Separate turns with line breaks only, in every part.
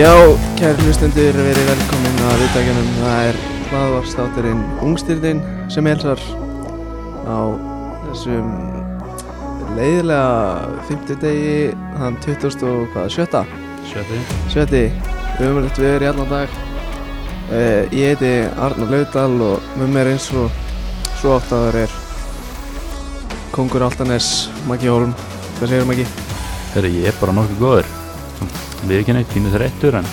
Já, kæri hlustendur, verið velkomin að viðdækjanum. Það er hlaðvarstátturinn Ungstyrðin sem helsar á þessum leiðilega 50 degi, þann 20. og hvað, sjötta?
Sjöti
Sjötti, umrætt viður í allan dag. Uh, ég heiti Arnar Laudal og með mér eins og svo áttaður er Kongur Altanes, Maggi Holm. Hvað segir Maggi?
Þegar ég er bara nokkuð góður Við erum ekki neitt pínu þrættur en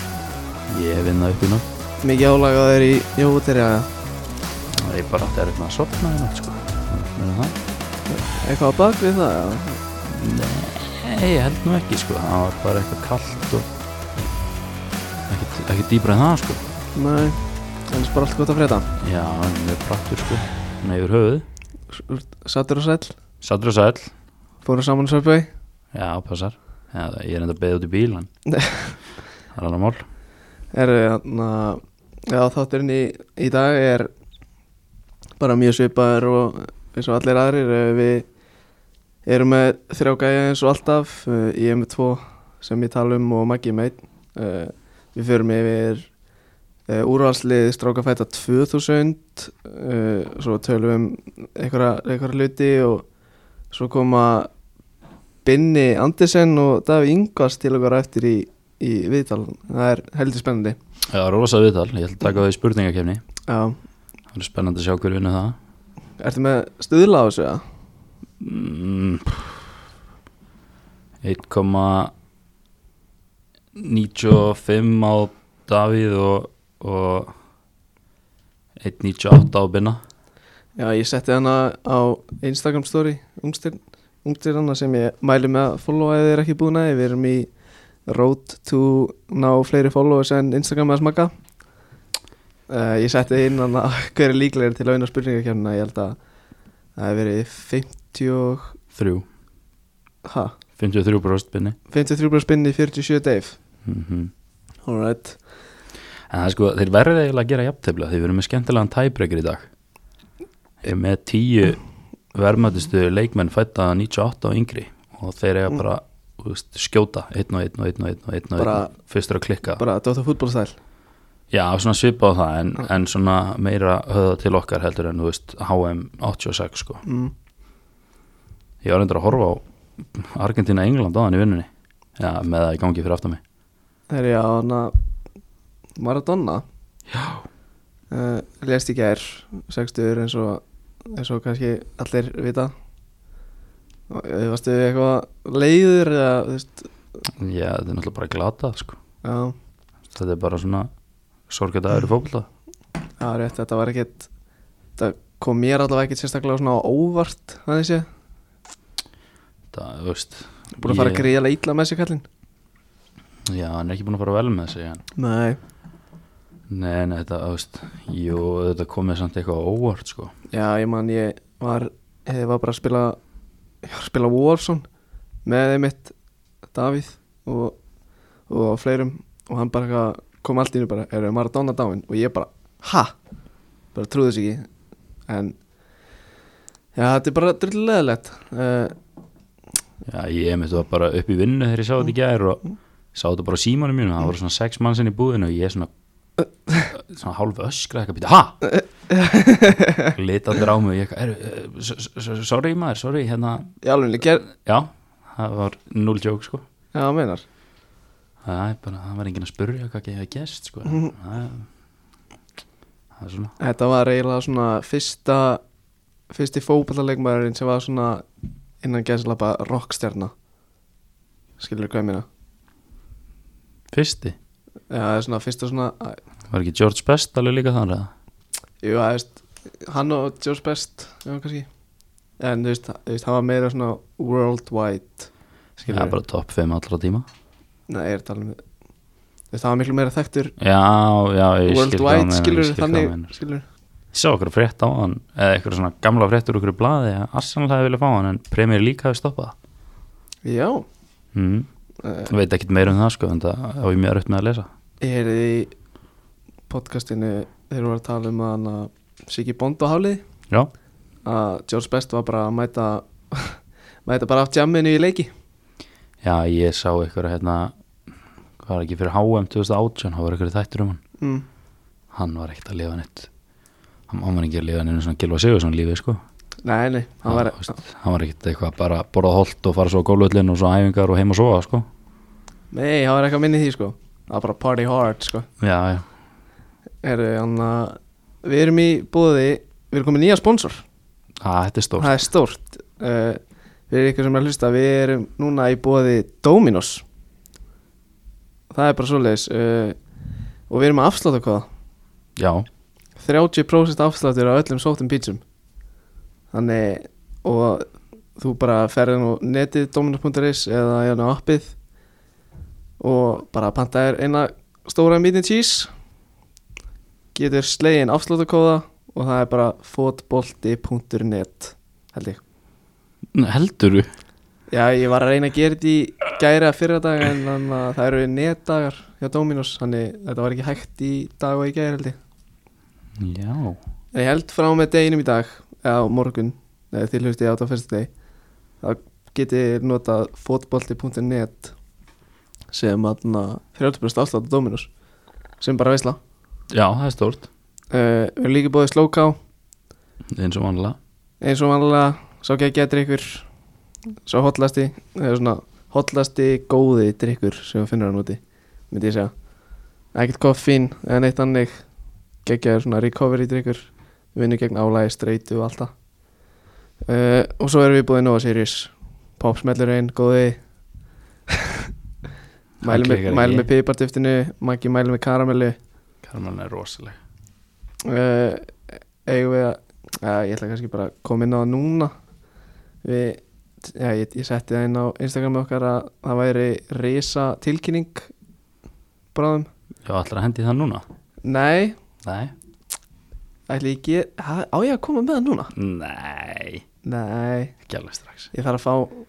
Ég vinn það upp í nótt
Mikið álagaður í jóhutir eða
Það er bara þetta er eitthvað að sopna í nótt sko Meina það?
eitthvað á bak við það? eða?
Nei, ég held nú ekki sko Það var bara eitthvað kallt og Ekkert, ekkert dýbra en það sko
Nei, annars bara allt gott að frétta
Já, en mjög praktur sko Nei, yfir höfuð
Sattur og sæll,
Sattur og sæll
fórum saman söpvei
Já, passar Já, það- ég er enda að beða út í bíl en
Nei.
Það er alveg mál
Eru, hérna, já þátturinn í, í dag er bara mjög svipaður og eins og allir aðrir Eh, Við erum með þrjá gæja eins og alltaf eh, Ég er með tvo sem ég tala um og Maggi með einn. Eh, Við förum yfir eh, úrvalslið strákafæta 2000 eh, Svo tölum við um einhverja, einhverja hluti og svo koma Binni Andersen og Davi Ingvars til okkar á eftir í, í viðtalan Það er heldur spennandi
Já, rosa viðtal Ég ætla að taka þau í spurningakefni
Já,
Það er spennandi að sjá hver vinnu það
ertu með stuðla á þessu? eða?
Mm, 1,95 á Davíð og, og 1,98 á Binna
Já, ég setti hana á Instagram story ungstyrn, ungstyrnana sem ég mæli með að followa eða er ekki búin að því. við erum í road to ná fleiri followers en Instagram að smaka uh, Ég setti inn hana hver er líklegir til að vinna spurningakjörnina ég held að það hefur verið 50 og,
3,
ha,
53 brost Binni
53 brúr spinni 47 Dave
mm
Alright,
En það er sko, þeir verður eiginlega að gera jafntefla því við erum með skemmtilegan tæbreykir í dag Ég er með 10 verðmættistu leikmenn fætta 98 og yngri og þeir eiga bara þú veist, skjóta 1 og 1 og 1 og 1 og 1 og 1
Bara-
fyrstur að klikka
bara Dota Football style
Já, svona svipa á það en, en svona meira höða til okkar heldur en þú veist HM 86 sko
mm.
Ég var endur að horfa á Argentina-England á hann í vinnunni Já, með það í gangi fyrir aftan mig
Þegar ég á hana Maradona Já uh, Lest í gær Sextur eins og eins og kannski allir vita Og, eh, Varstu eitthvað leiður eða þú veist
Já, þetta er náttúrulega bara glatað sko
Já,
Þetta er bara svona sorgjötaður í fótbolta
það var rétt Þetta var ekkit Þetta kom mér allavega ekkit sérstaklega svona á óvart Þannig sé
Það, þú veist
Búin að fara
ég-
að gríla ítla með sér kallinn
Já, hann er ekki búin að fara vel með þessi en
Nei
Nei, nei, þetta, þú veist Jú, þetta komið samt eitthvað á óvart sko
Já, ég man, ég var, ég var bara að spila, ég var að spila Warzone með mitt Davíð og, og fleirum og hann bara eitthvað- kom allt í hennu bara, erum Maradona dáin og ég bara, ha? Bara trúði þess ekki, en já, þetta er bara drulleðilegt. Uh,
Já, ég mitt var bara upp í vinnu þegar ég sá þetta í gær og sá þetta bara á símanum mínu, það voru svona sex mann sinni í búðinu og ég svona svona hálf öskra eitthvað býta, ha? Lita allir á mig og ég eitthvað, "Eru, eh, s- s- s- sorry maður, sorry, hérna,
í alveg, ger,
já, það var null joke sko,
já, meinar,
það er bara, það var enginn að spurja hvað ekki hefði gest sko, það er- það er svona,
þetta var eiginlega svona fyrsta, fyrsti fókballarleikmaðurinn sem var svona innan gæðslappa rockstjarna, skilur hvað ég meina?
fyrsti,
Já, það er svona fyrsta svona að-
var ekki George Best alveg líka þannig að,
Jú, það veist Hann og George Best, já, kannski En þú veist, þú veist, hann var meira svona Worldwide
það
Skilur
er bara topp 5 allra tíma,
Nei, ég er að tala um Þú veist, hann var miklu meira þekktur
já, já, ég skil hvað hann
Worldwide, skilur,
skil hvað hann
þannig
meinar.
Skilur,
Ég sá okkur frétt á hann eða eitthvað svona gamla fréttur okkur í blaði að Arsenal hefði viljað fá hann en Premier League hefði stoppað það.
já
mm.
uh,
Ég veit ekkit meira um það sko en það á ég mjög rött með að lesa
Ég heyrði í podcastinu Þeir voru að tala um að hann að Siggi Bond og Hálið
Já,
Að George Best var bara að mæta Mæta bara á jamminu í leiki
já ég sá eitthvað hérna var ekki fyrir HM 2018 þá var eitthvað þættur um hann
mm.
hann var ekkert að lifa neitt hann, hann var ekki að lifa neina svona Gilva Sigursson lífi sko.
Nei, nei, hann var
þú veist, hann var ekkert eitthvað bara að borða holt og fara svo á gólvöllin og svo á æfingar og heim og sofa sko.
Nei, hann var ekki að minni því sko Það var bara party hard sko
já, já,
Heru, anna, Við erum í búði Við erum komið nýja sponsor
Æ, þetta er stórt
Það er stórt uh, Við erum ykkur sem er að hlusta Við erum núna í búði Dominos Það er bara svoleiðis uh, Og við erum að afsláta hvað
já,
30% afsláttur á öllum sóttum pítsum Þannig og þú bara ferðin á netið dominus.is eða hérna á appið og bara panta þér eina stóra meat and cheese getur slegin afsláttarkóða og það er bara fotbolti.net held ég
heldur þú
Já, ég var að reyna að gera þetta í gæra fyrra dag en þannig að það eru netdagar hjá Dominus, þannig þetta var ekki hægt í dag og í gæra held ég
já,
En ég held frá með deginum í dag eða á morgun, eða til hlusti á það fyrstu deg þá geti notað fotbolti.net sem aðna 30% afslátt á Dominus sem bara veisla
já, það er stórt
uh, Við erum líka bóðið slóká
eins og vanlega
eins og vanlega sá geggja drikkur sá hotlasti eða svona hotlasti góði drikkur sem finnur hann úti myndi ég segja ekkert koffín eða neitt annig geggja svona recovery drikkur vinnu gegn álægi streitu og alltaf uh, og svo erum við búið Nova Sirius popsmellur einn góði mælum
klikkar
með,
ekki.
mælum með pipartiftinu Maggi mælum með karamellu
Karmelin er rosaleg
uh, eigum við að uh, ég ætla kannski bara að koma inn á það núna við já, ég, ég setti það inn á Instagrami okkar að það væri risa tilkynning bráðum
já, ætlar að hendi það núna?
nei,
nei,
ætla ég get ha, á ég að koma með það núna
nei,
nei,
ekki alveg strax
ég þarf að fá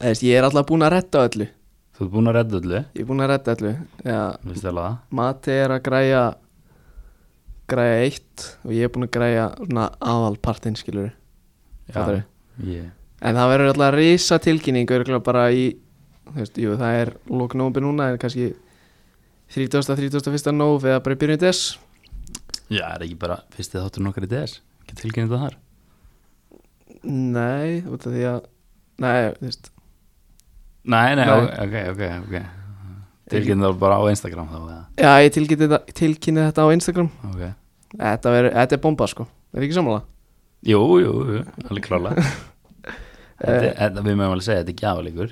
Eða, veist, ég er alltaf búin að retta öllu
þú ert búin að redda öllu,
ég er búin að retta öllu já,
veistu alveg það?
Mati er að græja græja eitt og ég er búin að græja svona aðalpartinn skilur Fattarðu?
ég,
En það verður alltaf risa tilkynning örgulega bara í þú veist, jú, það er lóknópi núna en kannski 30. 31. nóf eða bara í byrjun des
já, er ekki bara fyrst þið þáttur nokkar í DS, ekki tilkynnið það þar
Nei, út af því að Nei, þú veist
nei, nei,
Nei.
ok, ok, ok tilkynnið það bara á Instagram þá eða,
Já, ég tilkynni þetta, tilkynni þetta á Instagram
ok
Þetta, verður, þetta er bomba sko Er ekki sammála?
Jú, jú, jú, alveg klála
Eh.
Við mögum alveg segja að þetta er gjafalíkur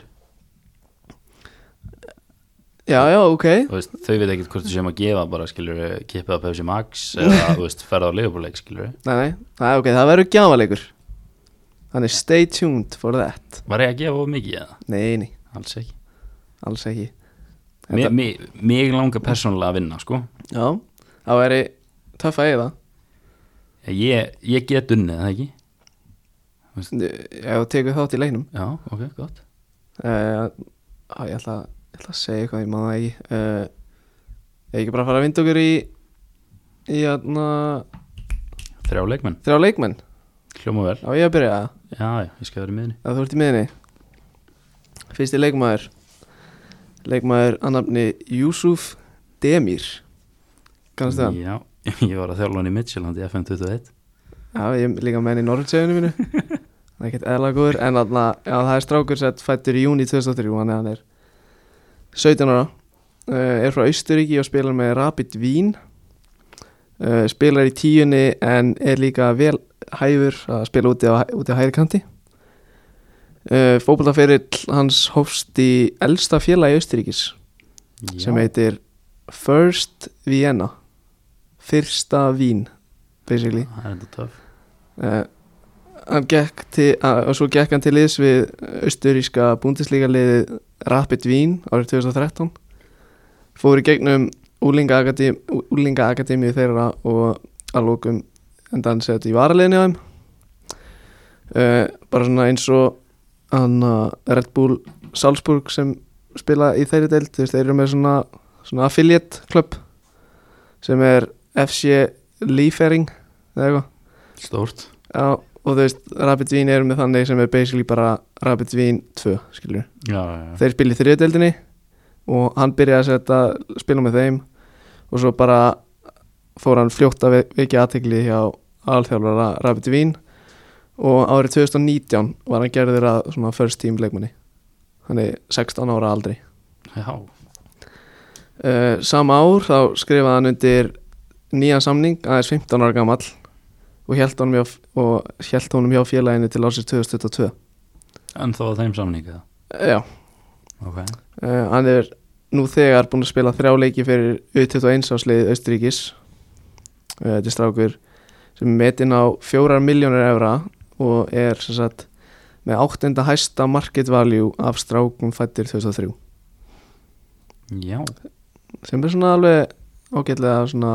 Já, já, ok
Þú veist, Þau veit ekkert hvort þú sem að gefa bara skilur kippið á Pepsi Max eða þú veist, ferða á leifbúleik skilur
Nei, nei, það, okay, það verður gjafalegur Þannig stay tuned for that
Var ég að gefa of mikið eða?
Nei, nei,
Alls ekki
alls ekki
Mér- mér- Mig langar persónulega að vinna sko
Já, það verður töff að eigða
Ég, ég get unnið, er það ekki?
Ef þú tekur þátt í leiknum
Já, ok, gott
uh, á, ég, ætla, ég ætla að segja eitthvað, ég maður það ekki uh, Ég ekki bara að fara að vinda okkur í í aðna
Þrjá leikmenn,
þrjá leikmenn,
hljóma vel
á ég að byrja það
Já, já, ég skal vera í miðinni
að þú ert í miðinni Fyrsti leikmaður leikmaður annafni Júsuf Demir kannast það?
Já, ég var að þjálfa hann í Midtjylland í FM21
Já, ég er líka menn í Norröldseginu mínu Það er ekkert eðla góður En þarna, já, það er strákur sett fættur í júni 2003 Þannig að hann er 17 ára uh, Er frá Austuríki og spilar með Rapid Vín uh, Spilar í tíunni En er líka vel hæfur Að spila úti á, úti á hægri kanti uh, Fótboltaferill hans hófst í Elsta félagi Austuríkis
Já.
Sem heitir First Vienna Fyrsta Vín Basically
Það er þetta töff
uh, hann gekk til uh, og svo gekk hann til liðs við austuríska búndisleika liðið Rapid Vín árið 2013 fór í gegnum úlinga akademíu þeirra og að lókum endan sett í varaliðinu á þeim uh, bara svona eins og hann uh, Red Bull Salzburg sem spila í þeirri deild þú veist, þeir eru með svona, svona affiliate klubb sem er FC Leafering eða eitthvað
Stórt
Já, og þú veist, Rapid Vín eru með þannig sem er basically bara Rapid Vín 2, skilur
Já, já, já
Þeir spila í þriðadeldinni og hann byrjaði að setja spila með þeim og svo bara fór hann fljótt að ve- vekja aðtegli hjá alþjálfara Rapid Vín og árið 2019 var hann gerður að svona first team leikmanni hann er 16 ára aldri
já,
uh, sama ár þá skrifaði hann undir nýjan samning aðeins 15 ára gamall og held honum hjá, og held honum hjá félaginu til ásins 2022
en þá að þeim samninga
já
ok,
Uh, hann er nú þegar búinn að spila þrjá leiki fyrir U21 áslið Östuríkis uh, Þetta er strákur sem er metinn á fjórar miljónir evra og er sem sagt með áttenda hæsta market value af strákum fættir 2003
já
sem er svona alveg ágætlega svona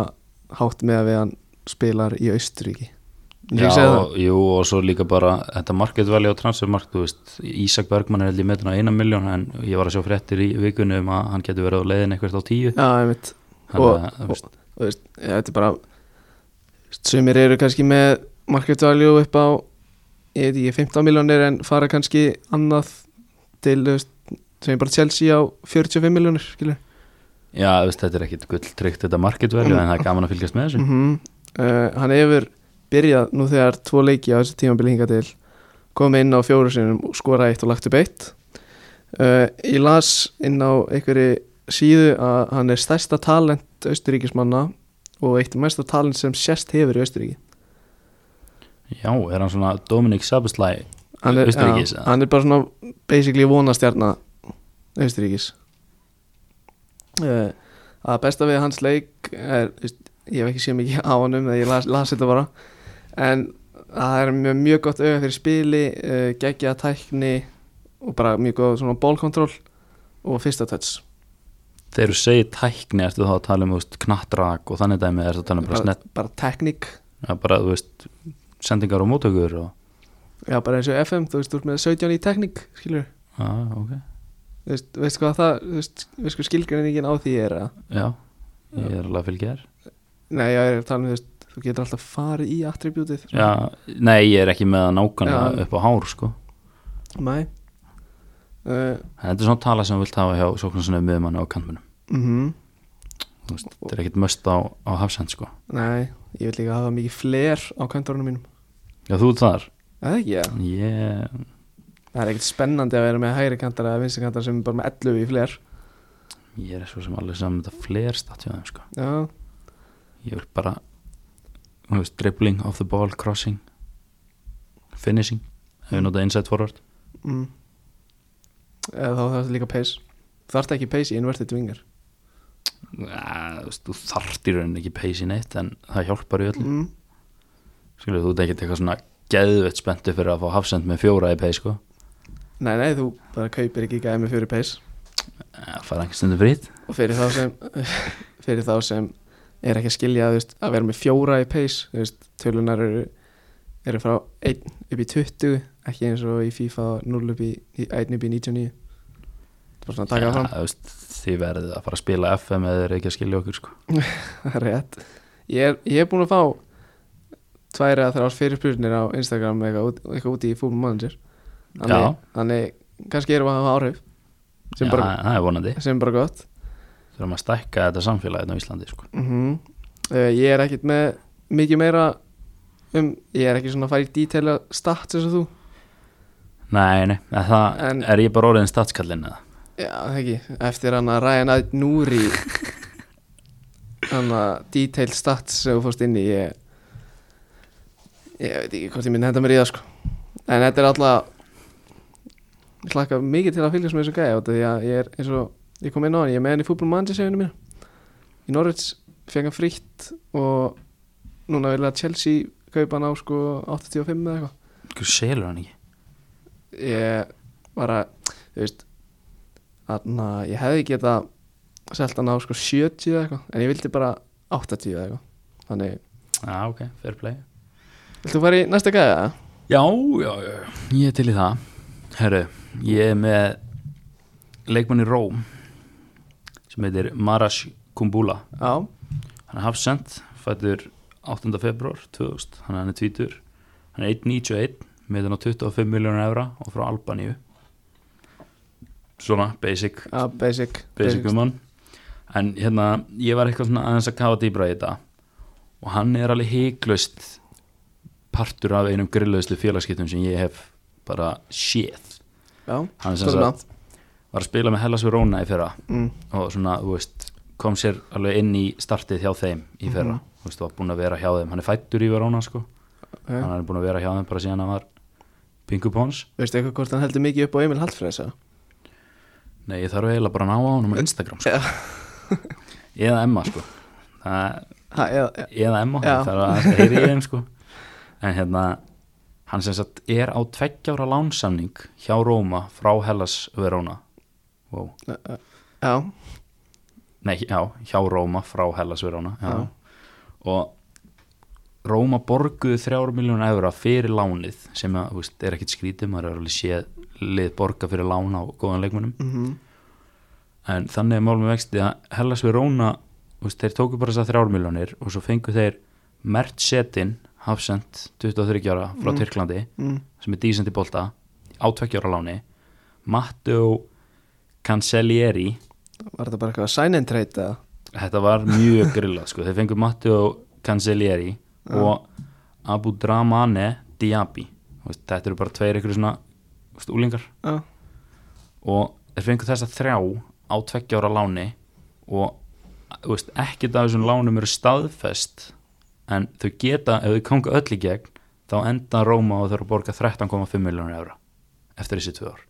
hátt með að við hann spilar í Östuríki
Já, jú, og svo líka bara þetta marketvali á transfermarkt, þú veist Ísak Bergmann er held í metin á eina miljón en ég var að sjá fréttir í vikunni um að hann getur verið á leiðin eitthvað á tíu
Já, ég veit Og-
Þannig að, þú veist,
og þú veist, ja, þetta er bara sumir eru kannski með market value upp á ég veit ekki 15 miljónir en fara kannski annað til þú veist, sem er bara Chelsea á 45 miljónir skilur
Já, þú veist, þetta er ekkit gulltryggt þetta marketvali en það er gaman að fylgjast með þessu
mm uh, hann hefur byrjað nú þegar tvo leiki á þessu tímabili hinga til komið inn á fjóru sinum og skorað eitt og lagt upp eitt uh, ég las inn á einhverju síðu að hann er stærsta talent austuríkismanna og eitt mesta talent sem sérst hefur í austuríki
Já, er hann svona Dominic Sabeslæ
hann er,
Austurríkis,
já,
eða?
hann er bara svona basically vonastjarna Austuríkis uh, að besta við hans leik er, þú veist, ég hef ekki séð mikið á honum eða ég las, las þetta bara en það er mjög, mjög gott auga fyrir spili uh, geggja tækni og bara mjög góð svona bólkontról og fyrsta touch
Þegar þú segir tækni, ertu þá að tala um þú veist, knattrak og þannig dæmi, ertu að tala um bara, snett,
bara teknik
ja, bara þú veist, sendingar og mótökur og,
já bara eins og FM, þú veist, þú ert með 17 í teknik skilur,
já, Ah, ok,
þú veist, veist hvað það þú veist, veist hvað skilgreiningin á því er að
já, ég er alveg að fylgja þér.
Nei, ég er að tala um þú veist Þú getur alltaf farið í attribútið
Já, nei, ég er ekki með að nákvæmlega
Já.
upp á hár, sko.
Nei uh,
En Þetta er svona tala sem þú vilt hafa hjá sóknarsinu miðmanni og kantmunum.
mm
Þú veist, Þetta er ekkit möst á, á hafsend, sko.
Nei, ég vil líka hafa mikið fler á köntorunum mínum
Já, þú ert þar.
Eða ekki, já
Ég,
Það er ekkert spennandi að vera með hægri kantar eða vinstri kantar sem er bara með 11 í fler
ég er svo sem alveg saman með þetta flerstatt hjá þeim, sko.
Já,
Ég vil bara, þú veist, dribbling, off the ball, crossing, finishing, hefur notað inside forward.
mm. Eða þá þarf þetta líka pace Þú þarft ekki pace í innvertið dvingar
Ja, þú veist, þú þarft í rauninni ekki peysi neitt en það hjálpar í öllu
mm.
Skilur, þú ert ekkert eitthvað svona geðveitt spenntu fyrir að fá hafsend með fjóra í peysi sko.
Nei, nei, þú bara kaupir ekki gæmi fyrir pace
Ja, það fær ekki stundum frýtt
Og fyrir þá sem Fyrir þá sem er ekki að skilja þú veist, að vera með fjóra í pace þú veist, Tölunar eru, eru frá 1 upp í 20 Ekki eins og í FIFA 0 upp í 1 upp í 99 Það er bara svona að taka það
veist, þið verðið að fara að spila FM eða þið er ekki að skilja okkur sko.
fram Rétt Ég er, ég er búin að fá Tværi að þrjá fyrirspurnir á Instagram eitthvað, út- eitthvað úti í fútbol manager
Já.
Þannig, þannig kannski erum við að hafa áhrif
Já,
Sem, bara,
það er vonandi
sem er bara gott
þurfum að stækka þetta samfélagið á Íslandi sko.
mm Ég er ekkert með mikið meira um, ég er ekki svona að fara í detaila stats eins og þú
nei, nei, en það
En-
er ég bara orðin statskallin eða
Já, það ekki, eftir hann að Ryan Ad Núri hann að detail stats sem þú fórst inn í ég, ég veit ekki hvort ég minn henda mér í það sko en þetta er alltaf ég hlakka mikið til að fylgjast með þessu gæja út af því að ég er eins og ég kom inn á hann, ég er með hann í fútbolmannsisefinu mín í Norwich fekk hann frítt og núna vilja Chelsea kaupa hann á sko 85 eða eitthvað
Hverju selur hann ekki?
ég var að þú veist þarna, ég hefði geta selt hann á sko 70 eða eitthvað en ég vildi bara 80 eða eitthvað þannig,
Já, ok, fair play
viltu fara í næsta gæða?
Já, já, já, ég er til í það Herru, ég er með leikmann í Róm sem heitir Marash Kumbula
Já,
hann er hafsend, fættur 8. februar 2000, hann er hann er tvítur hann er 1.91 með hann á 25 miljónur evra og frá Albaníu svona basic,
ja, basic,
basic um hann en hérna, ég var eitthvað svona aðeins að kafa dýbra í þetta og hann er alveg heiklaust partur af einum grillauðslu félagskiptum sem ég hef bara séð
Já,
hann sem
stöðum
sagt
nátt
var að spila með Hellas Verona í fyrra
mm.
og svona, þú veist, kom sér alveg inn í startið hjá þeim í fyrra þú veist, var búin að vera hjá þeim, hann er fættur í Verona sko,
okay.
hann er búin að vera hjá þeim bara síðan hann var Pingu Pons
Veistu eitthvað hvort hann heldur mikið upp á Emil Hallfræðis eða?
Nei, ég þarf eiginlega bara að ná á hann á Instagram sko.
Já.
eða Emma sko það,
Ha, eða-
eða Emma,
Já.
það er að heyri ég þeim sko en hérna hann sem sagt er á tveggjára lánsamning hjá Róma frá Hellas Verona wow.
Já,
Nei, já, hjá Róma frá Hellas Verona já.
Já.
og Róma borguðu 3 miljónu evra fyrir lánið sem að, þú veist, er ekkit skrítið maður er alveg séð lið borga fyrir lán á góðan leikmunum
mhm
en þannig er mál með vexti að Hellas Verona þú veist, þeir tóku bara þess að 3 miljónir og svo fengu þeir Mert Setin Hafsend, 23 ára frá Tyrklandi
mm.
sem er dísandi bolta á 20 ára láni Matteo Cancellieri
Var þetta bara eitthvað sign and trade eða?
þetta var mjög grillað sko. þeir fengur Matteo Cancellieri og Abu Dramane Diaby Þú veist, þetta eru bara tveir ykkur svona þú veist, úlingar
Já,
og þeir fengur þessa þrjá á tveggja ára láni og þú veist, ekkert af þessum lánum eru staðfest en þau geta, ef þau konga öll í gegn þá enda Róma og þau eru að borga 13,5 miljónur evra eftir þessi tvö ár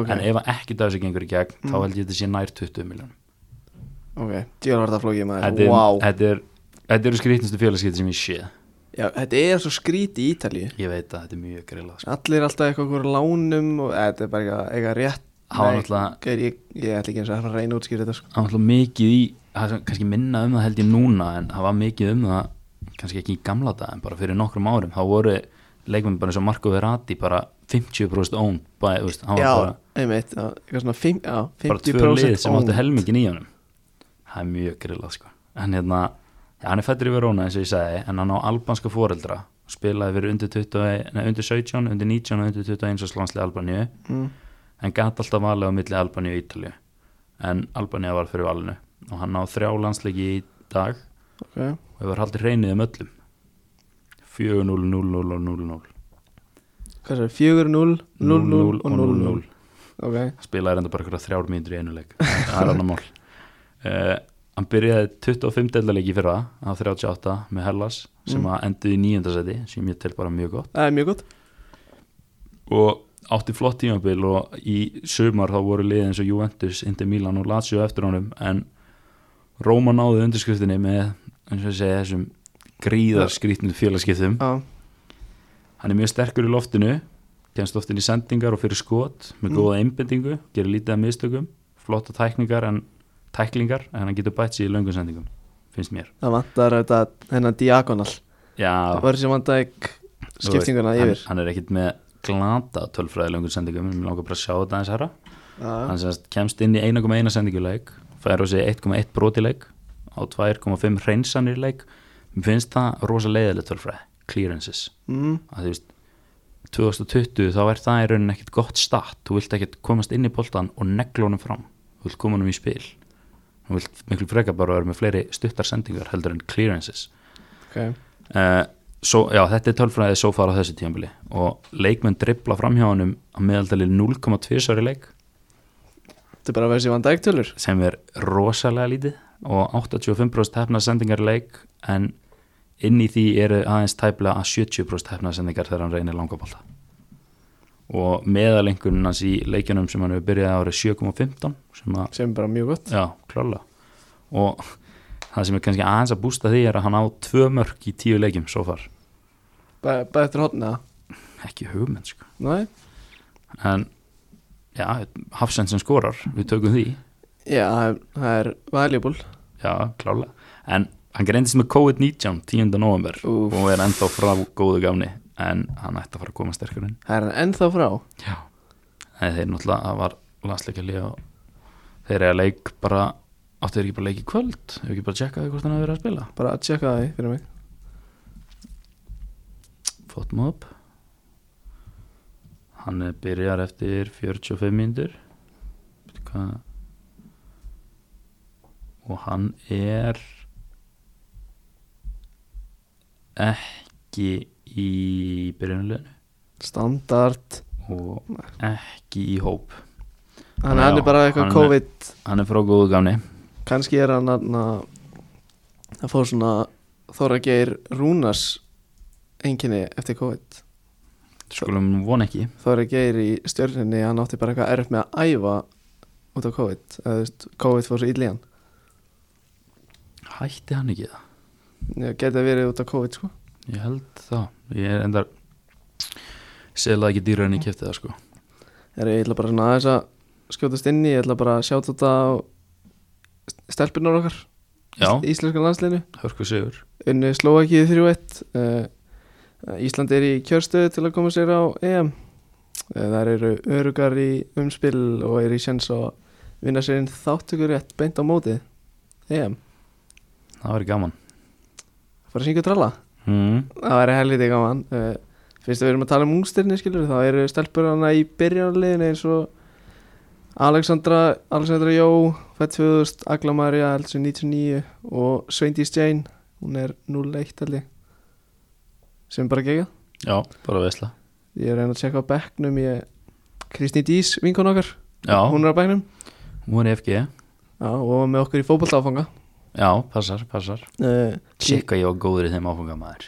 ok,
en ef ekkert af þessu gengur í gegn þá held ég þetta sé nær 20 miljónum
ok Djöl var þetta flókið maður,
þetta, er,
wow
þetta, er, þetta eru skrýtnustu félagskipti sem ég sé
Já, þetta er svo skríti í Ítalíu
ég veit að þetta er mjög grillað sko.
Allir er alltaf eitthvað okkur lánum og eh, þetta er bara eitthvað, eitthvað rétt
Hann var
Nei,
náttúrulega-
gaur, ég, ég ætla ekki eins og að fara að reyna að útskýra þetta sko.
það var alltaf mikið í það er svona kannski minna um það held ég núna en það var mikið um það kannski ekki í gamla dag en bara fyrir nokkrum árum þá voru leikmenn bara eins og Marco Verratti bara 50% own bara, þú veist, hann
Já,
var bara,
einmitt, já, eitthvað svona fimm, já,
bara tvö
50%
lið sem áttu
owned.
helmingin í honum það er mjög grillað sko. en hérna, já, hann er fættur í Verona eins og ég segi en hann á albanska foreldra spilaði fyrir undir, 20, nei, undir 17, undir 19 og undir 21 og slansli Albaníu
mm.
en gæti alltaf valið á milli Albaníu og Ítalíu en Albaníu var fyrir valinu og hann á þrjá landsleiki í dag
Ok,
og hefur haldið reynið um öllum 4-0-0-0-0-0
hvað sér, 4, 0, 0, 0 og 0, 0
0-0
Ok,
spilaði reynda bara eitthvað þrjár mínútur í einu leik það er annar mál uh, hann byrjaði 25 deildarleiki fyrra á 38 með Hellas sem
Mm.
að enduði í nýjöndasæti sem ég tel bara mjög gott
það er mjög gott
og átti flott tímabil og í sumar þá voru liðið eins og Juventus, Inter Milan og Lazio eftir honum en Róma náði undirskriftinni með eins og ég segja þessum gríðarskrítnum félagskiptum
Já,
hann er mjög sterkur í loftinu kemst oft inn í sendingar og fyrir skot með
Mm.
góða einbendingu, gerir lítið af mistökum flotta tækningar en tæklingar en hann getur bætt sér í löngum sendingum finnst mér
það vantar þetta hennar diagonal
Já,
Það var sem vantaði
þú
skiptinguna
veist,
yfir
hann, hann er ekkit með glata tölfræði löngum sendingum en mér langar bara að sjá þetta aðeins herra
Já,
hann semst kemst inn í 1,1 sendinguleik fær á sig 1,1 brotileik á 2,5 hreinsanirleik mér finnst það rosa leiðilegt tölfræði clearances
mm,
að þú veist 2020 þá er það í rauninni ekkit gott start þú vilt ekkit komast inn í boltan og negla honum fram þú vilt koma honum í spil þú vilt miklu freka bara vera með fleiri stuttar sendingar heldur en clearances
ok
uh, svo, já, þetta er tölfræðið svo fara á þessu tímabili og leikmenn dribla framhjá honum að meðaldali 0,2 svari leik
Þetta er bara að vera sem vantaði tölur
sem er rosalega lítið og 85% hefnað sendingar í leik en inn í því eru aðeins tæplega að 70% hefnað sendingar þegar hann reynir langabólta og meðalengunin hans í leikjunum sem hann hefur byrjað árið 7.15 sem að,
sem er bara mjög gott
já, klála og það sem er kannski aðeins að bústa því er að hann á tvö mörg í tíu leikjum svo far,
bara, bara eftir hotna
ekki hugmenn sko.
Nei?
en já, Hafsend sem skorar við tökum því
Já, það er- það er valuable
Já, klála En hann greindist með COVID-19 10. november
Úf.
og er ennþá frá góðu gafni en hann ætti að fara að koma sterkur inn
Það er hann ennþá frá
Já En þeir náttúrulega það var landsleika lið og þeir eru að leik bara áttu þeir ekki bara að leik í kvöld hefur ekki bara tjekkaði hvort hann hafi verið að spila
bara að tjekka það í fyrir mig
Fótt maður upp Hann eh, byrjar eftir 45 mínútur hvað og hann er ekki í byrjunuleginu
standard
og ekki í hóp
hann,
Já,
hann er bara
hann
eitthvað
er-
COVID
hann er frá góðu gamni
kannski er hann að að fór svona Þóra Geir Rúnars enginni eftir COVID
skulum von ekki
Þóra Geir í stjörninni hann átti bara eitthvað erf með að æfa út af COVID eða þú veist, COVID fór svo illa í hann
hætti hann ekki það
ég geti verið út af COVID sko
Ég held það Ég er endar Selaði ekki dýra en ég kefti það sko
Heru, ég ætla bara svona aðeins að skjótast inn í ég ætla bara að sjáta þetta á stelpunar okkar
Já,
í íslenska landsliðinu
hörku sigur
unni Slovakið 3-1 uh, Ísland er í kjörstöðu til að koma sér á EM uh, þar eru örugar í umspil og eru í sjens að vinna sér inn þáttökur rétt beint á móti EM,
Það væri gaman
fara að syngja og tralla
mm.
það væri helviti gaman uh, fyrst að við erum að tala um ungstirni skilur þá eru stelpur hana í byrjarlegin eins og Alexandra, Alexandra Jó fætt 2000, Agla Maria eldsum 99 og Sveindís Jane hún er 01 held ég sem er bara gegja
Já, bara veisla
ég er að reyna að tjekka á bekknum ég, Kristný Dís, vinkon okkar
Já, hún,
hún er á bekknum
hún er FG
já, og var með okkur í fótbolta áfanga
Já, passar, passar
uh,
Sikk að ég var góður í þeim áfunga maður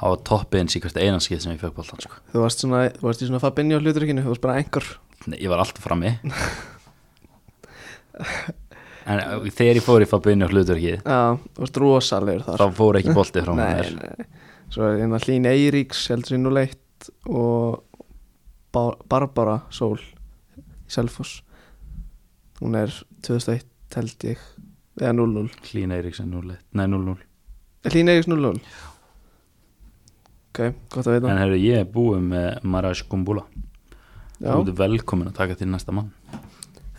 Það var toppins í hvert einanskið sem ég fekk boltan sko
þú varst, svona, þú varst í svona fabinni á hluturkinu þú varst bara engur
Nei, Ég var alltaf frammi En uh, þegar ég fór í fabinni á hlutverkið
já, þú varst rosalegur þar
Þá fór ekki boltið frá mér
Nei, nei. Svo er hérna Hlín Eiríks heldur sér nú leitt og Bá- Barbara Sól í Selfoss hún er 2001 held ég eða 00
Hlín Eiríksen 0 Nei, 0-0
Hlín Eiríks 00 ok, gott að veita
En herru, ég er búið með Marash Gumbula
Já,
Þú ert velkomin að taka til næsta mann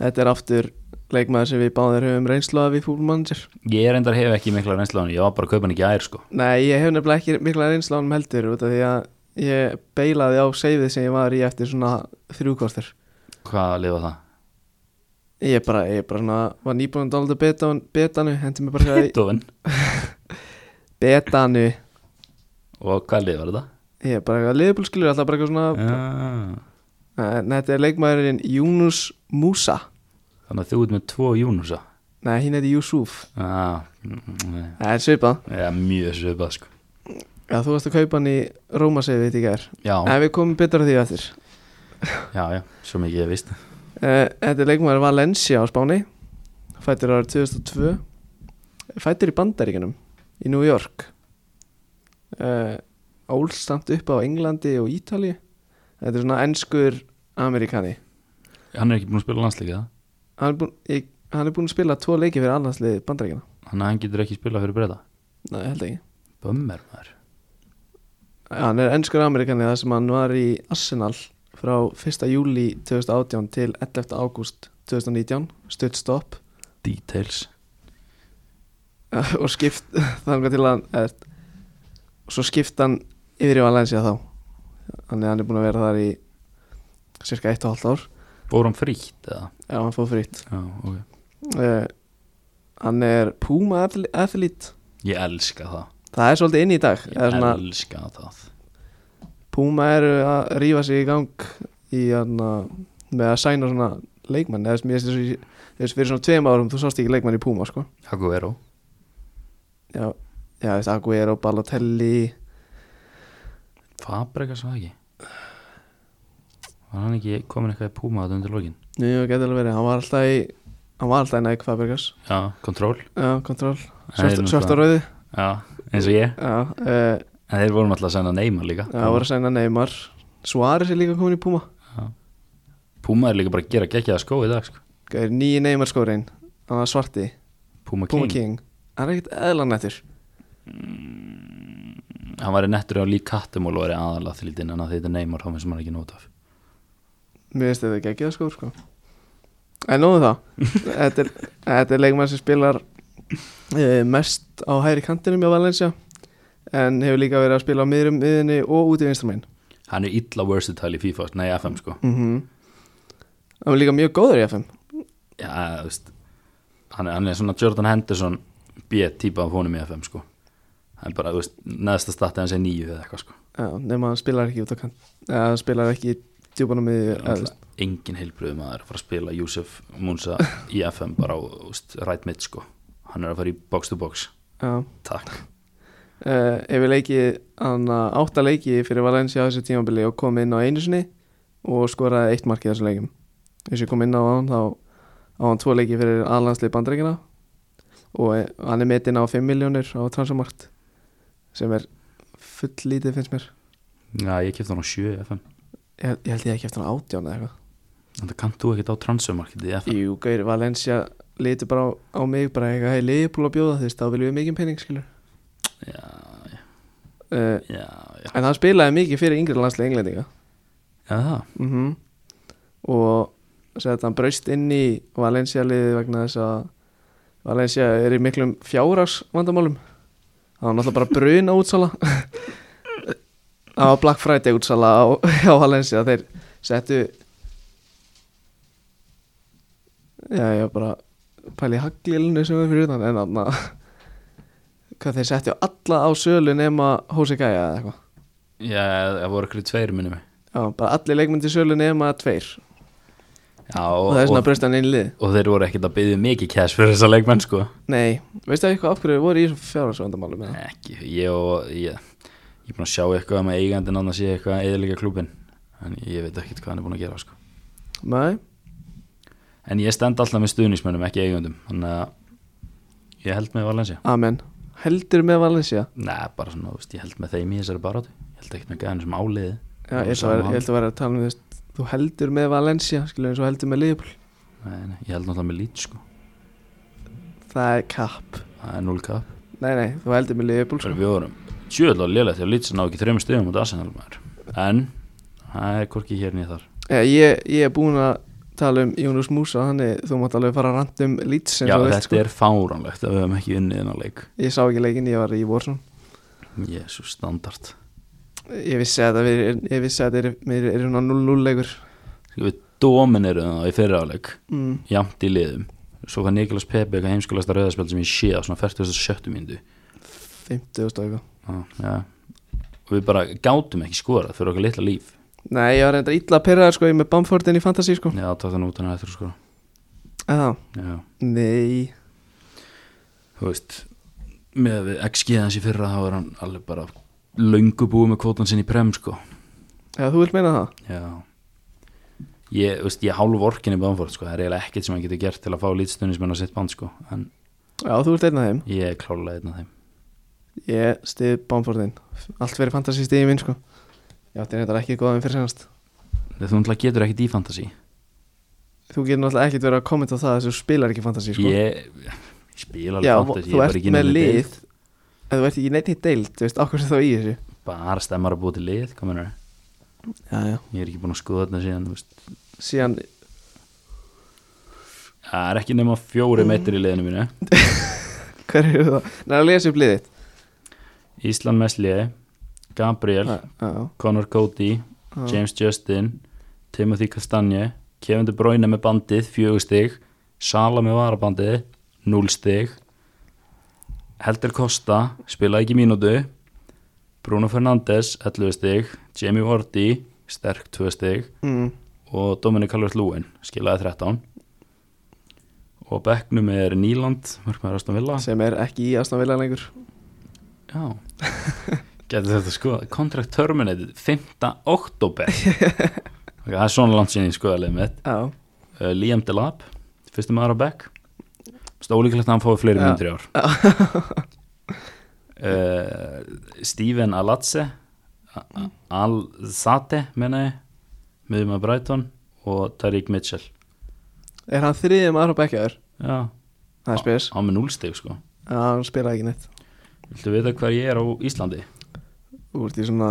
þetta er aftur leikmaður sem við báðir höfum reynslu af í fúlmannsir
Ég er endar hef ekki mikla reynsla á hann Ég var bara að kaupa hann í gær sko
Nei, ég hef nefnilega ekki mikla reynslu af hann heldur út af því að ég beilaði á seifið sem ég var í eftir svona þrjúkvartir
Hvað lifa það?
Ég bara, ég bara svona, var nýbúin að dálita betan, betanu, hendi mér bara í
Beethoven
betanu
Og hvað lifa þetta?
Ég er bara eitthvað liðbúlskilur, alltaf bara eitthvað svona ja.
Ah,
Nei, þetta er leikmaðurinn Júnus Músa
þannig að þú ert með tvo Júnusa
Nei, hinn heiti Júsúf
ah, mm, nei.
Það er svipað
Já, mjög svipað sko
Já, þú varst að kaupa hann í Rómaseiði þetta í gær
Já,
Nei, við komum betur að því eftir
já, já, svo mikið ég vist
Eh, Þetta er leikmaður Valencia á Spáni Fættur árið 2002 Fættur í Bandaríkunum Í New York uh, Ólstamt upp á Englandi og Ítalíu Þetta er svona enskur Amerikani
Hann er ekki búin að spila landsleika það
Hann er búinn- ég- hann er búinn að spila tvo leiki fyrir allansliði Bandaríkjana
Þannig að hann getur ekki spila fyrir breyta
Nei, held ekki Eh,
Bömmer maður
Hann er ennskur Amerikani þar sem hann var í Arsenal frá 1. júli 2018 til 11. ágúst 2019 stutt stopp
Details
og skipt þangar til hann eða, svo skipt hann yfir í Valencia þá þannig að hann er búinn að vera þar í cirka 1,5 ár
Bór hann frítt eða?
ef hann fóð fritt
Já, ok
uh, hann er Puma athl- athlete
Ég elska það
það er svolítið inn í dag
Ég
eða svona,
elska það
Puma eru að rífa sig í gang í hana, með að sæna svona leikmann eða sem ég veist þessu- þessu fyrir svona tveim árum þú sást ekki leikmann í Puma sko
Haguero
já, já þú veist Aguero, Balotelli
Fabregas var það ekki Var hann ekki komin eitthvað í Puma þetta undir lokin?
nú getur alveg verið, hann var alltaf í hann var alltaf í Nike Fabregas
Já, kontról
já, kontról,
Það er nú
svart og
það.
rauði
Já, eins og ég
já, uh,
En þeir vorum alltaf að senda Neymar líka
já, voru að sæna Neymar Suárez er líka komin í Puma
Puma er líka bara að gera geggjaða skó í dag sko.
það er nýji Neymar skórin hann var svarti,
Puma,
Puma
King.
King hann er ekkert eðlan eftir
Hann var nettur á lík kattum og lóri aðalega þildin en að þetta er Neymar þá finnst maður ekki nót af
Mér finnst þetta ekki að skór sko En nóðu þá þetta, er, þetta er leikmann sem spilar eh, mest á hæri kantinum hjá Valencia en hefur líka verið að spila á miðrum miðinni og út í vinstramæn
Hann
Mhm.
er illa versatile í FIFA, nei FM sko
mm -hmm. Hann var líka mjög góður í FM
já, þú veist hann er, hann er svona Jordan Henderson B-típa af honum í FM sko hann er bara, þú veist, neðsta stati hans er nýju eða eitthvað sko
já, nema hann spilar ekki út á kant eða hann spilar ekki í djúbunum miðju eða, þú veist.
Náttúrulega engin heilbröðu maður að fara að spila Júsef Munsa í FM bara á þú veist, right mid sko hann er að fara í box to box
já
takk
uh, ef við leikið hann átta leiki fyrir Valencia á þessu tímabili og kom inn á einu sinni og skoraði eitt markið þessum leikum eins og ég kom inn á hann þá á hann tvo leiki fyrir aðlandslið bandreikina og eh, hann er metinn á 5 miljónir á transfermarkt sem er full lítið finnst mér
já, ég kefti hann á 7 í FM
ég, ég held ég ekki eftir hann átján eða eitthvað
en það kannt þú ekkert á transfermarketið í FM
Jú, gauður, Valencia lítið bara á, á mig bara eitthvað, hei, liðbúl að bjóða þess þá viljum við mikið pening, skilur
já, já,
uh,
já, já,
en hann spilaði mikið fyrir yngri landslið englendinga
já það
mm og sagði að hann braust inn í Valencia liðið vegna þess að Valencia er í miklum fjárars vandamálum það var náttúrulega bara bruna útsala það var Black Friday útsala á, á Valencia þeir settu já ég var bara að pæla í haglilinu sem er fyrir utan en þarna hvað þeir settu alla á sölu nema Hosei Gæja eða eitthvað
já, það voru ykkur tveir minni mig
já bara allir leikmyndi sölu nema tveir
já,
og
og,
það er svona
og,
breyst hann inn í lið
og þeir voru ekkert að byggja mikið cash fyrir þessa leikmenn sko
Nei, veistu ekki hvað af hverju voru í þessum fjárhagsvandamálum eða?
ekki, ég og ég, ég er búin að sjá eitthvað um að eigandinn annars sé eitthvað eðalega klúbin en ég veit ekkert hvað hann er búin að gera sko.
Nei,
en ég stend alltaf með stuðnismönnum, ekki eigandum þannig að ég held með Valencia
amen Heldur með Valencia
Nei, bara svona, þú veist, ég held með þeim í þessari barátu ég held ekkert með gæðan sem áliði
Já, ég held að vera- ég held að vera að tala um þess Þú heldur með Valencia, skilur eins og heldur með Liverpool
nei, nei, ég held náttúrulega með lít sko.
Það er kapp
það er 0 kap
Nei, nei, þú heldur með Liverpool sko.
við vorum sjöðlega lélega þegar lít sem ná ekki þreim stöðum út Arsenal maður en það er hvorki hér nýð þar
Já, ég, ég er búin að tala um Jónus Músa Þannig þú mátt alveg fara að randa um Leeds eins
Já,
og þú
þetta
vilt, sko.
er fáránlegt að við hefum ekki unnið innan leik
Ég sá ekki leikinn, ég var í Warzone
Jésu, standart
Ég vissi að það er, ég vissi að það er, mér er svona 0-0 leikur
við dominerum það í fyriráleik
mm.
jamt í liðum svo hvað Niklas Pepe eitthvað heimskulasta rauðarspjald sem ég sé á svona 47. mínútu
50 og stóðu
ah, ja. og við bara gátum ekki skorað fyrir okkar litla líf
Nei, ég var reynda illa að pyrra sko, ég er með Bamfordin í Fantasí sko.
já, tók þannig út hann eftir sko
Eða,
já,
nei
þú veist með að við XG hans í fyrra þá er hann alveg bara löngu búið með kvotan sinn í prem sko
Já, þú vilt meina það?
já ég, þú veist, ég hálf orkinni bánfórt sko það er eiginlega ekkert sem hann getur gert til að fá lítstunismenn á sitt band sko en
Já, þú vilt einna þeim
ég er klálega einn af þeim
Ég stið Bamfordin Allt verið fantasísti í minn, sko Já, þetta er þetta ekki góðan fyrir senast
þú náttúrulega getur ekkert í fantasy
Þú getur náttúrulega ekkert verið að kommenta á það þess að þú spilar ekki fantasí, sko
ég, ég spila alveg
Já,
fantasy, ég
þú
er bara
ert
ekki í
með
neinni
lið
deild.
En þú ert ekki neitt í deild, þú veist, ákvæmst þá í þessu
bara stemmar að búa til lið hvað meinar,
Já, já
ég er ekki búin að skoða þetta síðan þú veist.
Síðan,
það er ekki nema
Mm.
fjóri meittir í liðinu mínu
hver eru það? Nei, að lesa upp liðið
Ísland Meslie, Gabriel
Já, já,
Connor Cody,
já.
James Justin Timothy Castagne Kevin De Bruyne með bandið, fjögur stig Sala með varabandið, núl stig Helder Costa spilaði ekki mínútu Bruno Fernandes 11 stig, Jamie Vardy sterk 2 stig
mm.
og Dominic Calvert-Lewin skilaði 13 og bekknum er Nýland mörgmaður Aston Villa
Sem er ekki í Aston Villa lengur
já getur þetta sko contract terminated 5. oktober okay, það er svona langt sinni sko að leið mitt
Já,
uh, Liam Delap fyrstum maður á bekk stólíkulegt að hann fái fleiri
Já.
myndir í ár uh, Steven Alatse A- A- Alzate menna ég miðum að Brighton og Tariq Mitchell
er hann þriðið maður á bekkjaður?
já
Það er spes
á með núlstig sko
Já, hann spilaði ekki neitt
Viltu vita hver ég er á Íslandi?
Þú ert í svona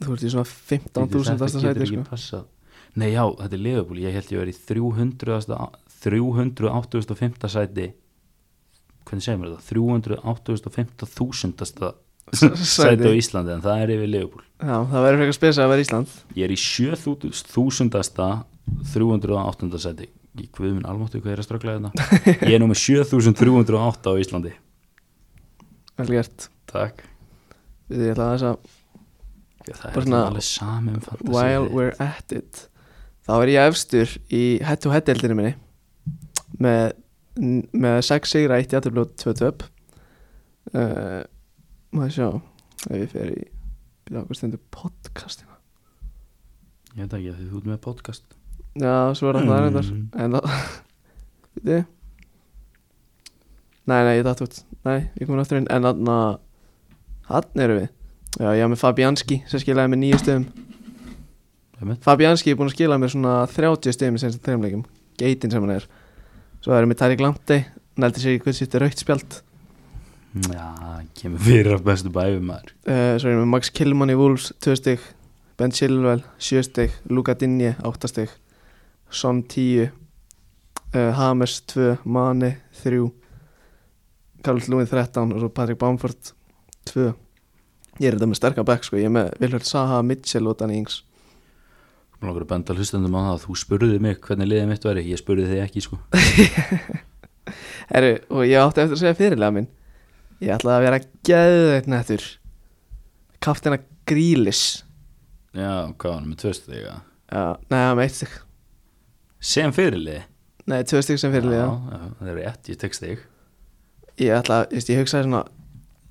Þú ert í svona 15.000
Þetta
dasta
getur
sæti
ekki
sko.
passað Nei já, þetta er liðabúli Ég held ég verið í 300 385. sæti Hvernig segir maður þetta? 385.000
Sæti.
sæti á Íslandi En það er yfir liðabúl
Já, það verður frekar spes að vera Ísland
Ég er í 7000 308. sæti ég guð minn almáttu hvað er að ströggla þetta ég er nú með 7308 á Íslandi
vel gert
takk
Við ég ætla aðeins að
Já, það
Bara
er
svona-
alveg sami um fantasy
while we're at it Þá er ég efstur í head to head deildinu minni með, með 6 sigra 1 játtöflu og 2 töp uh, Maður sjá ef ég fer í byrja okkur stundu podcastina
ég veit ekki að þið þú ert með podcast
Já, svo er það það reyndar
Mm.
En það Viti Nei, nei, ég datt út Nei, ég komin aftur inn En þarna Hann eru við Já, ég haf með Fabianski sem skilaði mér nýju stöðum
Einmitt.
Fabianski er búin að skila mér svona 30 stöðum sem þessum þreimleikum Geitin sem hann er Svo erum við Tarik Lamptey Nældi sér í hvað sýtti raukt spjald
já, kemur fyrir af bestu bæfum maður
uh, Svo erum við Max Killmann í Wolves 2 stygg Ben Chilwell 7 stygg Luka Dinje 8 stygg Son 10 uh, Hames 2 Mane 3 Karl Lúin 13 og svo Patrick Bamford 2 Ég er þetta með sterka back sko Ég er með Vilhjörn Saha, Mitchell og Danny Ings
Mér langar að benda hlustandum á það að þú spurði mig hvernig liðið mitt væri, ég spurði þig ekki sko
Herru, og ég átti eftir að segja fyrirlega minn Ég ætlaði að vera geðveit nættur Kaftina Grílis
Já, hvað var hann með tvö stig eða?
Já, Nei, það með eitt stygg
Sem fyrirlið
Nei, tvö stygg sem fyrirlega
já, já, Það er rétt, ég tek stig
Ég ætla að, ég, ég hugsaði svona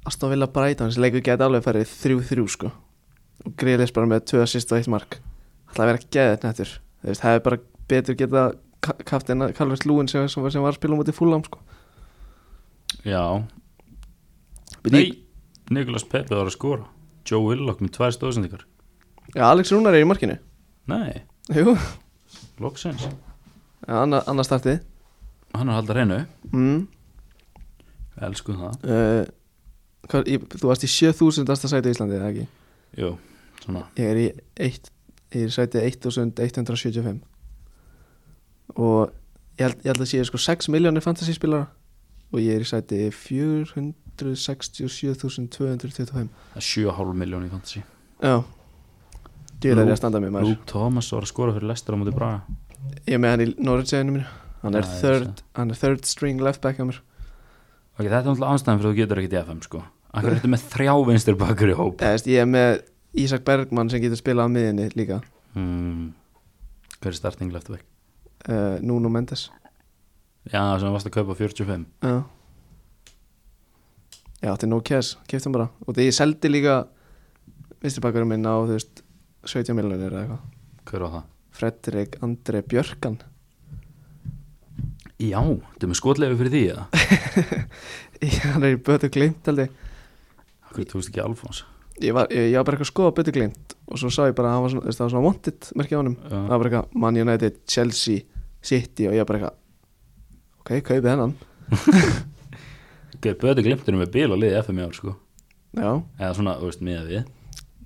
Aston Villa Brighton, þessi leikur geti alveg farið 3-3 sko og Grealish bara með 2 assist og 1 mark ætla að vera geðið nættur þú veist, hefði bara betur geta kaft en að Calvert Lúin sem, sem, var- sem var að spila mútið fúlam sko
Já,
Bíddu,
nei, Nikolas Pepe var að skora Joe Willock með tvær stóðsendikar
Já, Alex Rúnar er í markinu
Nei,
Jú,
loksins
Já, anna- annað startið
Hann er að halda reynu,
mm.
elsku það
uh, hvað, ég, Þú varst í 7000. sæti í Íslandi, eða ekki?
Jú, svona
Ég er í, eitt, ég er í sæti 1175 og ég held, ég held að sé sko 6 miljónir fantasyspilara og ég er í sæti 467.225
það er 7,5 miljón í fantasy
Já Dýlar
Nú-
er að standa með maður
Luke Thomas var að skora fyrir Lester á móti Braga
Ég er með hann í Norwicheginu mínu Hann er,
Já, ég
third, hann er third string left back að mér
Ok, þetta er náttúrulega anstæðan fyrir þú getur ekkert í FM sko Akkur ertu með þrjá vinstir bakur í hóp
Eðast, Ég er með Ísak Bergmann sem getur spilað á miðinni líka
hmm. Hver er starting left back?
uh, Nuno Mendes
Já, sem varst að kaupa 45
Já Já, þetta er no cash, keftum bara Og þegar ég seldi líka Vistibakurum minn á, þú veist 17 miljonir eða eitthvað
Hver var það?
Fredrik Andri Björkan
Já, þetta er með skotleifu fyrir því eða?
Hann er í Bötu Glimt held ég
Akkur tókst ekki Alfons
Ég var, ég, ég var bara eitthvað að skoða Bötu Glimt Og svo sá ég bara að hann var svona, þú veist, það var svona wanted Merkja á honum,
Já.
það var bara eitthvað Man United, Chelsea, City Og ég var bara eitthvað Ok, kaupið hennan
Gauð, Böti glimturinn með bíl og liði FM í ár sko
Já,
Eða svona, þú veist, miða við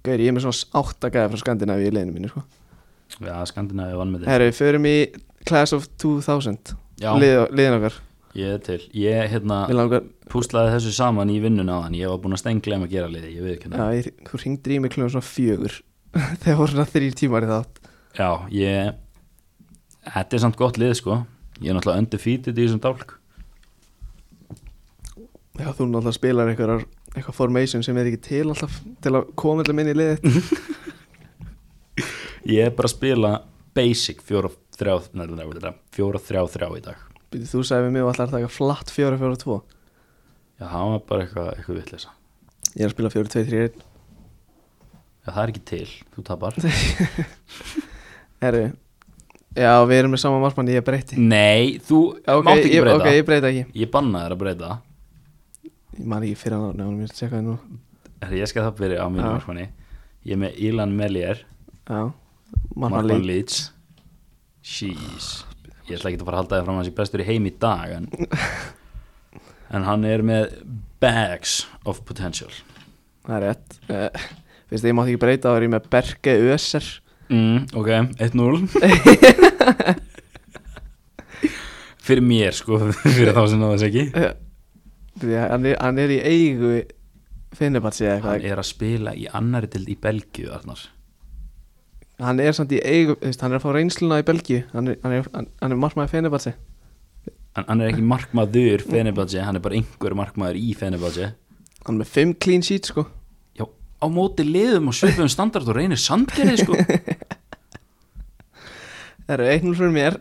gauður, ég er með svona átta gæði frá Skandinavíu í leiðinu mínu sko.
Já, Skandinavi vann með þetta
Herru, við förum í Class of 2000
Já.
Lið- Liðin okkar,
Ég er til, ég hérna
við langar
púslaði þessu saman í vinnuna á hann Ég var búinn að stenglega að gera liði, ég veit ekki
Já, ég, þú ringdi í mig klunum svona fjögur Þegar voru svona þrýr tímar í þátt
Já, ég Þetta er samt gott lið sko Ég er náttúrulega undefeated í þessum dálk
Já, þú náttúrulega spilar eitthvað, eitthvað formation sem er ekki til alltaf Til að koma alltaf minni í liðið
Mhm.
þitt.
Ég er bara að spila basic 4-3-3 í dag
Býtu, Þú sagði við mig og alltaf að taka flatt 4-4-2
Já, það var bara eitthvað, eitthvað vitleysa
Ég er að spila 4-2-3-1
Já, það er ekki til, þú tapar
Herru, já, við erum með sama markmann ég breytti
Nei, þú
Já, ok,
mátt Mm. ekki
ég,
breyta
ok, ég breyti ekki
Ég banna þér að breyta
Ég man ekki fyrir hann á nefnum, ég tjekka það nú
Herra, Ég skal það byrja á mínu
Já.
markmanni Ég er með Ilan Melier
Já, markmann
Markmann
lík
Leeds Jeez Ég ætla ekki að fara að halda þér fram að hans í bestur í heim í dag en, en hann er með Bags of potential
Það er rétt uh, Fyrst ég mátt ekki breyta, þá er ég með Berge Öser
mm, Ok, 1-0 Fyrir mér sko Fyrir þá sem náðu þess ekki
uh, hann, er- hann er í eigu Finnibatsi eða eitthvað
Hann er að spila í annari til í Belgíu Arnar
hann er samt í eigu, þú veist, hann er að fá reynsluna í Belgíu hann er, hann er, hann, hann er markmaði fenebalsi
hann, hann er ekki markmaður Fenerbahce, hann er bara einhver markmaður í Fenerbahce
hann er með 5 clean sheets sko
já, á móti liðum og svipum standard og reynir sandgerði sko
það eru 1-0 fyrir mér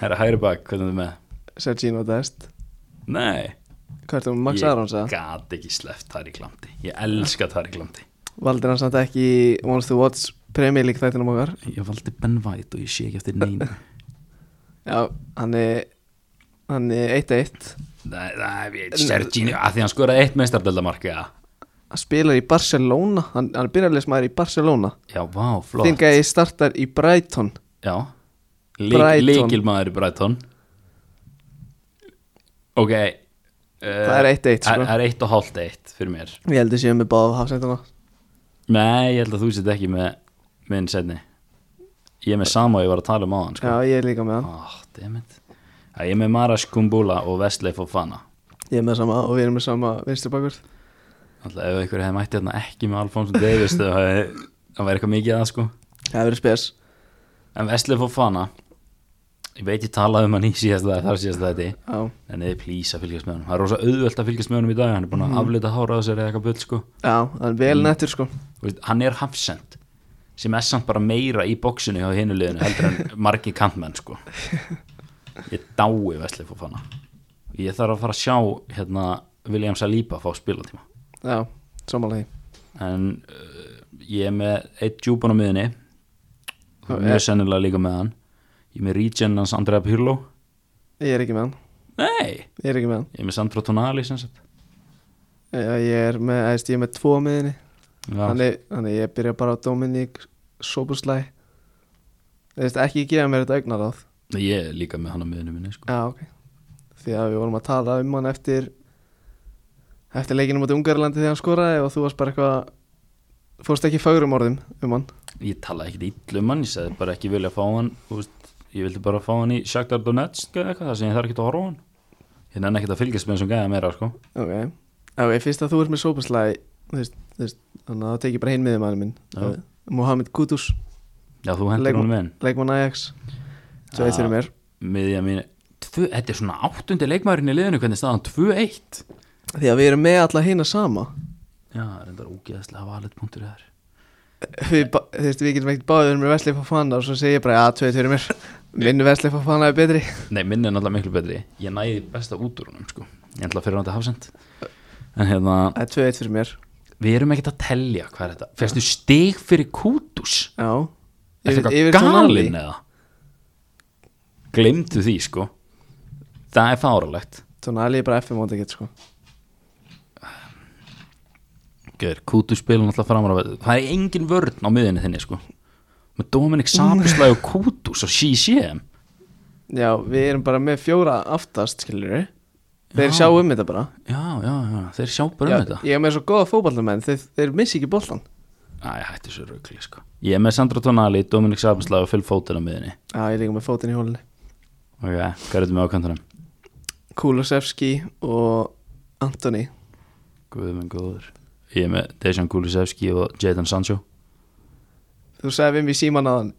herra hægri bak, hvernig er þetta með?
Sergino Dest
nei,
hvað er það, Max Arons
ég
að
gat ekki sleppt þar í glamti ég elska þar í glamti
valdir hann samt ekki í Once to Watch Premier League þættinum okkar
ég valdi Ben White og ég sé ekki eftir neina
já, hann er hann er 1-1
nei, nei, Serginio, að því hann skoraði eitt meistardöldamarka
hann spilar í Barcelona hann, hann er byrjarleismæður í Barcelona
já, vá, flott
þingar ég startar í Brighton
Já
Brighton.
Líkilmaður í Brighton Ok uh,
Það er 1-1, sko.
Það er 1 og hálft 1 fyrir mér
ég held að séu með báða hafsendana
Nei, ég held að þú sett ekki með minn setni Ég er með sama og ég var að tala um áðan sko.
já, ég er líka með hann
ah, dammit. Já, Ég er með Maras Kumbula og Vestley Fofana
ég er með sama og við erum með sama vinstri bakur
Alltaf ef einhver hefði mætti hérna ekki með Alfonso Davis þá hefði- það væri eitthvað mikið að sko
það verður spes
En Vestley Fofana Ég veit ég talaði um hann í síðast það þar síðast þetta
já,
En eða plís að fylgjast með honum Það er rosa auðvelt að fylgjast með honum í dag Hann er búin að aflita hára á sér eða eitthvað bull sko.
já það er vel nettur sko
Þú veist, Hann er hafsend Sem er samt bara meira í bóksinu hjá hinu liðinu Heldur en margi kantmenn sko. Ég dái Vesli Fofana Ég þarf að fara að sjá hérna, William Saliba fá spilatíma
já, samanlega því
En uh, ég er með Eitt djúpan á miðinni Þú er mjög sennilega líka með hann Ég er með Regen hans Andrea Pirlo
ég er ekki með hann
Nei,
ég er ekki með hann
ég er með Sandro Tonali sem sagt
já, ég er með, æst, ég er með tvo á miðinni
Já.
þannig, þannig ég byrja bara á Dominic Sobuslæ þú veist ekki gefa mér þetta augnaráð
Ég er líka með hann á miðinu minni sko.
já, ok því að við vorum að tala um hann eftir eftir leikinu mot Ungarlandi þegar hann skoraði og þú varst bara eitthvað fórst ekki fagrum orðum um hann
Ég talaði ekkert illa um hann, ég sagði bara ekki vilja fá hann þú veist, Ég vildi bara fá hann í Shakhtar Donetsk eða eitthvað, það sem ég þarf ekkert að horfa á hann Ég nenni ekkert að fylgjast með þessum gæða meira sko.
Ok, ok, fyrst að þú ert með sópaslæ þú veist, þú veist, þannig að það tekið bara hinn miðum aðeins minn Eh,
Já.
Mohamed Kudus,
Já, þú hendur
Leikmann.
hann með hann
leikmann Ajax Svo eitt fyrir mér
Miðja mín Tvö, Þetta er svona áttundi leikmaðurinn í liðinu, hvernig er staðan 2-1
Því að við erum með alla hina sama
Já, reyndar ógeðslega valet punktur þar
Við, ba- þú veist, við getum ekkert báðið með Vesli Fofana og svo segi ég bara, já, tveit fyrir mér Minn Vesli Fofana er betri
Nei, minn er náttúrulega miklu betri Ég næði besta út úr honum sko. Ég ætla að fyrir hann til hafsend En hérna,
Það er tveit fyrir mér,
við erum ekkert að telja hvað er þetta Fyrstu stig fyrir kútus
já
Er
Yfir-
þetta
yfir
eitthvað
Tonali.
galinn eða? Glemdu því sko Það er fáralegt
Tonali er bara FM móti ekkert, sko
Gjör, Kútu spilur náttúrulega framar á velli. Það er engin vörn á miðinni þinni sko Með Dominik Saberslæg og Kútu Svo sí séum
Já, við erum bara með fjóra aftast, skilur við Þeir sjá um þetta bara
Já, já, já, þeir sjá bara um
Já,
þetta
Ég er með svo góða fótballamenn, þeir, þeir missi ekki boltan
Æ, hættu svo raugli sko Ég er með Sandra Tonali, Dominik Saberslæg og Phil Foden á miðinni
Já, ég er líka með fótinn í hólinni
Ok, hvað er þetta með ákantunum?
Kulusevski og Antoni
Guðum en góður Ég er með Dejan Kulusevski og Jadon Sancho
Þú sagði við mér síman að hann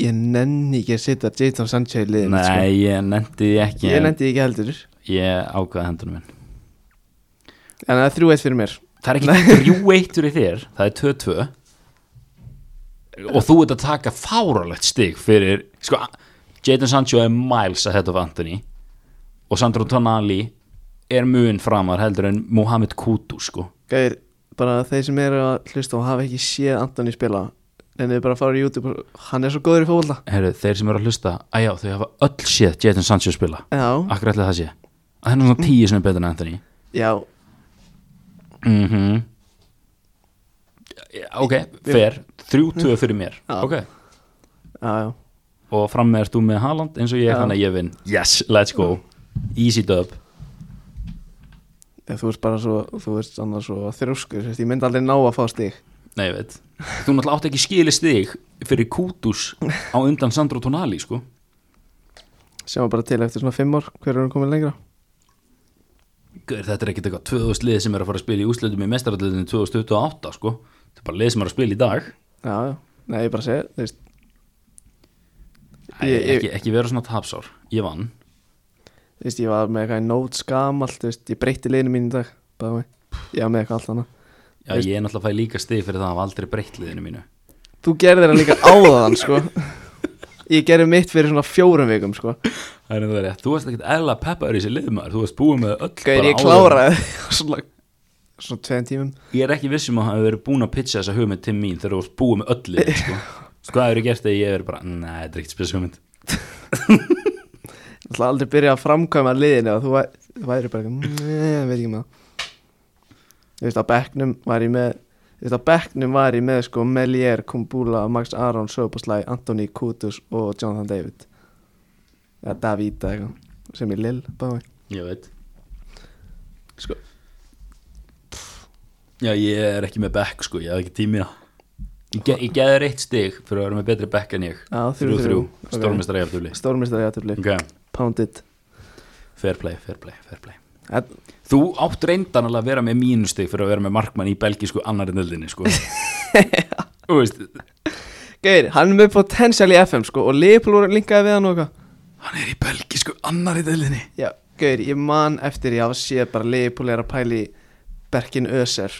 Ég nenni ekki að sitja Jadon Sancho í liðin
Nei, ég nefndi því ekki
Ég
en
nenni ekki heldur En
Ég ákvaða hendunum minn
það er þrjú eitt fyrir mér
Það er ekki þrjú eittur í þér Það er 2-2 Og þú ert að taka fáralegt stig Fyrir, sko Jadon Sancho er miles ahead of Anthony Og Sandro Tonali Er mun framar heldur en Mohamed Kutu sko
Gæðir, bara þeir sem eru að hlusta og hafa ekki séð Antoni spila En þau bara fara í YouTube og Hann er svo góður í fótbolta
Heru, Þeir sem eru að hlusta, æjá þau hafa öll séð Jadon Sancho spila,
Já,
akkur ætla það sé Það er nú svona tíu sem er betur en Anthony
já,
mm Ok, fer 3-2 fyrir mér
Já.
Ok
já, já
og fram með ert þú með Haaland eins og ég,
Já.
þannig að ég vinn yes, let's go, easy dub
Ef Þú ert bara svo, þú ert annars svo þrjóskur þú veist, Ég myndi aldrei ná að fá stig
nei, ég veit, þú náttúrulega átt ekki skilist þig fyrir kútus á undan Sandro Tonali, sko
Sjáum bara til eftir svona fimm ár Hver er hann komin lengra?
Guður, þetta er ekkert eitthvað 2000 lið sem er að fara að spila í úslutum í mestarallutinu 2028, sko þetta er bara lið sem er að spila í dag
Já, já Nei, ég bara segi, þú veist
Æ,
Ég- ég-
ekki, ekki vera svona tapsár, ég vann
Þú veist, ég var með eitthvað í notes gamalt Þú veist, ég breytti liðinu mín í dag Bæði mig, ég var með eitthvað allt annað
Já, ég er náttúrulega að fæ líka stig fyrir það að hafa aldrei breytt liðinu mínu
Þú gerðir það líka áðan, sko Ég gerði mitt fyrir svona fjórum vikum, sko
Það er það rétt, þú varst ekkert eðla peppar í þessi liðmaður, þú varst búið með öll
Gæði, ég
áður.
kláraði á svona, svona tveim tímum
Ég er ekki vissum að hafa verið búin að pitcha þessa hugmynd til mín þegar þú varst búið með öll liðin, sko Sko það eru gert þegar ég er bara, nei, þetta er ekkert spes hugmynd
Ég ætla aldrei að byrja að framkvæma liðinu og þú væ- þú væri bara eitthvað, "Mm, "Nei, veit ekki með það Þú veist, á bekknum var ég með Þú veist, á bekknum var ég með sko Melier, Kumbula, Max Aron, Söpaslæ, Antoni Kutus og Jonathan David eða Davida eitthvað sem er Lill, bæði
Ég veit Sko Já, ég er ekki með back, sko, ég hef ekki tímina Ég, ge ég geður eitt stig fyrir að vera með betri back en ég
Já, þrjú,
Þrjú-þrú,
ok.
stórmestari af þúli
Stórmestari aðtöfli,
Ok,
Pounded
fair play, fair play, fair play
Þetta-
Þú átt reyndan alveg að vera með mínustig fyrir að vera með markmann í belgísku annarri nöldinni sko. Þú veist,
Geir, hann er með potensial í FM sko og Leopold linkaði við hann og eitthvað
hann er í belgísku annarri nöldinni
Já, Geir, ég man eftir ég hafa séð bara Leopold er að pæli Berkin Öser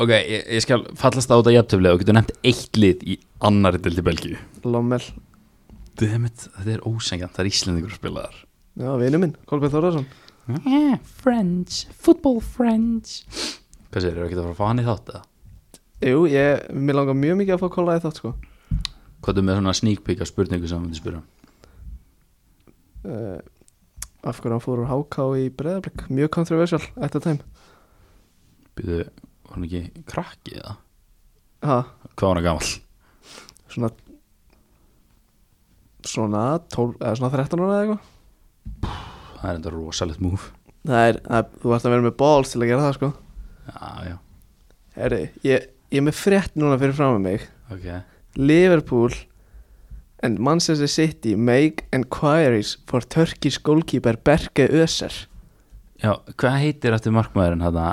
Ok, ég, ég skal fallast á þetta jafntöflega og getur nefnt eitt lið í annarri nöldi belgíu
Lommel
Demmit, þetta er ósengjant, það er íslendingur spilaðar
Já, vinnu minn, Kolbjörn Þórðarsson
Yeah, French, football French Hvað sér, eru ekki að fara að fá hann í þátt eða?
Jú, ég, mér langar mjög mikið að fá kolla í þátt sko
Hvað er með svona sneak peek af spurningu sem hann myndi spyrja? um?
uh, Af hverju hann fór úr HK í breðablik Mjög controversial at the time
Býðu, var hann ekki krakki eða?
ha,
Hvað var hann gamall?
Svona Svona 12, eða svona 13 ára eða eitthvað
Það er enda rosalegt múf
Það er, að, þú ert að vera með balls til að gera það sko
Já, já,
Herri, ég, ég er með frétt núna fyrir fram með mig
ok
Liverpool and Manchester City make inquiries for Turkish goalkeeper Berke Öser
Já, hvað heitir eftir markmaðurinn hana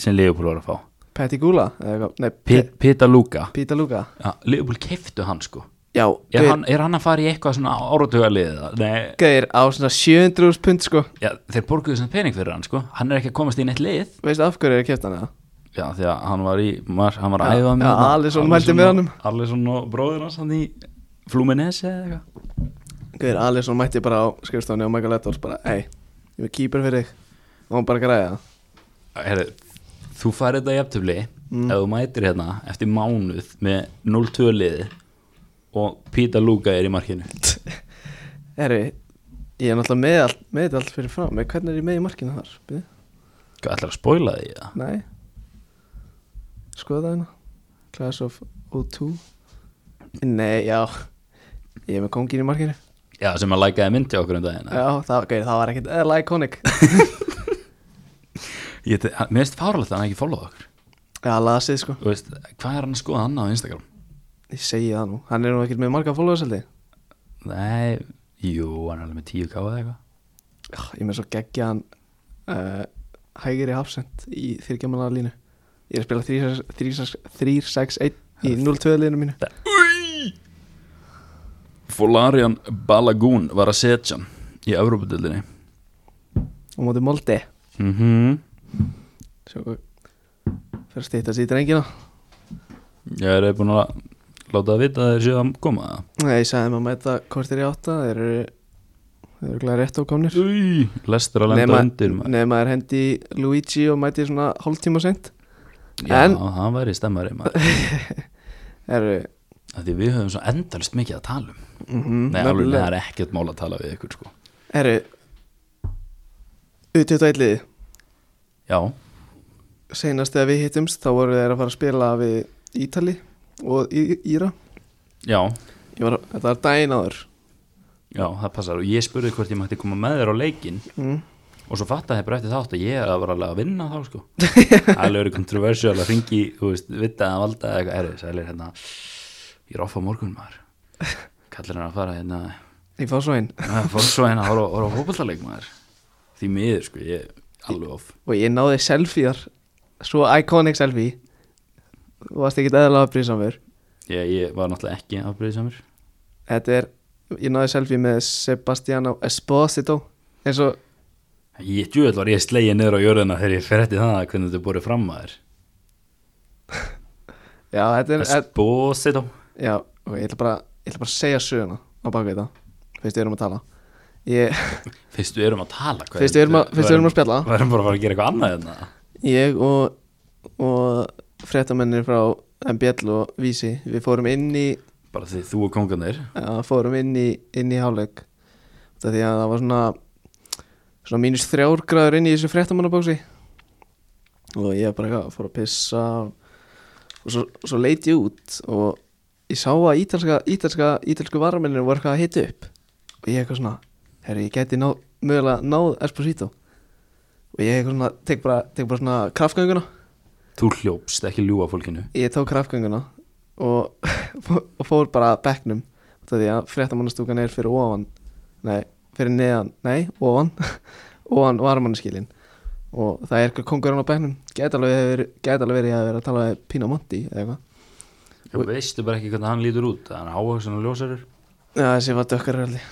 sem Leopold var að fá?
Petty Gula, eða eitthvað, nei,
P
Pe-
Pita Luka
Pita Luka
Já, Leopold keiftu hann sko
Já,
er
Gaur-
hann, er hann að fara í eitthvað svona áratugalið? Nei,
Gauðir á svona 700 pund sko
já, þeir borguðu svona pening fyrir hann sko Hann er ekki að komast í neitt lið
Veistu af hverju er kæft hann eða?
Já, því að hann var í, mar, hann var að
Já,
æfa með
já,
þarna.
Alisson mældi með honum.
og- Alisson og bróður hans hann í Fluminense eða eitthvað
Gauðir Alisson mætti bara á skrifstofni og Michael Edwards bara Ei, ég er kýpur fyrir þig Og hann bara græði það
Herru, þú farið þetta í eftirfli ef þú mætir hérna eftir mánuð með 0-2 liði og Pita Luka er í markinu
Herri, ég er náttúrulega með allt, með þetta allt fyrir fram Með hvernig er ég með í markinu þar? Byrðu?
Hvað ætlar að spoila því það?
Nei Skoða það hérna Class of 02 Nei, já Ég er með kongin í markinu
Já, sem að lækaði myndi okkur um daginn
Já, það, gauðir, það var ekkert eðla iconic
Ég, te- hann- Mér finnst fáralegt að hann ekki followa okkur
Já, lasið sko
Þú veist, Hvað er hann að skoða hann á Instagram?
Ég segi það nú Hann er nú ekkert með marga followers heldig
Nei, jú, hann er alveg með 10k eða eitthvað
Já, Ah, ég er með svo geggja hann uh, hægri hafsend í þyrkjamanlega línu ég er að spila 3-6- 3-6- 3-6-1 í 0-2 línu mínu
Folarian Balagun var að setja hann í Evrópudildinni
og móti Molde
mm
Mhm.
-hmm.
Sjá hvað- fyrir að stýta sér í drengina
Ég er búin að láta það vita að þeir séu að koma það
Nei, ég sagði maður að mæta kortir í átta þeir eru þeir eru glæði rétt ákomnir
Új, lestur að lenda undir maður.
nema er hendi Luigi og mæti svona hálftíma sent
Já,
en-
hann væri stemmari maður
eru
Af Því við höfum svo endalist mikið að tala um
mm
Nei, alveg, það er ekkert mál að tala við ykkur sko
eru U21 liði
Já,
senast þegar við hittumst þá voru þeir að fara að spila við Ítali og Í- Íra
já,
Ég var, þetta var daginn áður
já, það passar Og ég spurði hvort ég mætti koma með þér á leikin
mm.
Og svo fattaði ég bara eftir þátt að ég að var alveg að vinna þá sko Alveg eru kontroversial að ringi, þú veist, vita að valda eða eitthvað erfið Sælir hérna, ég er off á morgun maður Kallar hann að fara hérna
Ég fá svo einn
að Fór svo hérna að horfa á fótballtaleik maður Því miður sko, ég er alveg off
Og ég náði selfiear Svo iconic selfie Þú varst ekkit eðalega að prýsa mér
ég, ég var náttúrulega ekki afbreyðisamur
Þetta er, ég náði selfie með Sebastiano Esposito eins og,
Ég djúvel var ég slegið niður á jörðina þegar ég frétti það hvernig þetta búið fram að
já, þetta er
þér Esposito
Já, ok, ég ætla bara, ég ætla bara að segja söguna á bakvið það Fyrst við erum að tala Ég,
Fyrst við erum að tala hvað
fyrst við erum að, fyrst við erum að spjalla
Við erum bara að fara að gera eitthvað annað hérna. en
Ég og, og fréttamennir frá MBL og Vísi Við fórum inn í,
Bara því þú og konganir
já, fórum inn í, inn í hálfleik Út af Því að það var svona Svona mínus þrjár gráður inn í þessu fréttamannabóksi Og ég bara eitthvað, fór að pissa Og svo, svo leit ég út Og ég sá að ítalska, ítalska, ítalsku varamennin voru eitthvað að hita upp Og ég eitthvað svona Herri, ég geti ná, mögulega náð Esposito Og ég eitthvað svona, tek bara, tek bara svona kraftgönguna
Þú hljópst ekki ljúa fólkinu
ég tók kraftgönguna og, og fór bara að bekknum út af því að fréttamannastúkan er fyrir ofan nei, fyrir neðan, nei, ofan ofan varmannaskilin og það er eitthvað kongurinn á bekknum gæti alveg verið- gæti alveg verið að vera að tala við Pino Monti eða eitthvað
Þú veistu bara ekki hvernig hann lítur út Hann er áhugsan og ljósarur
Já, þessi var dökkar röldi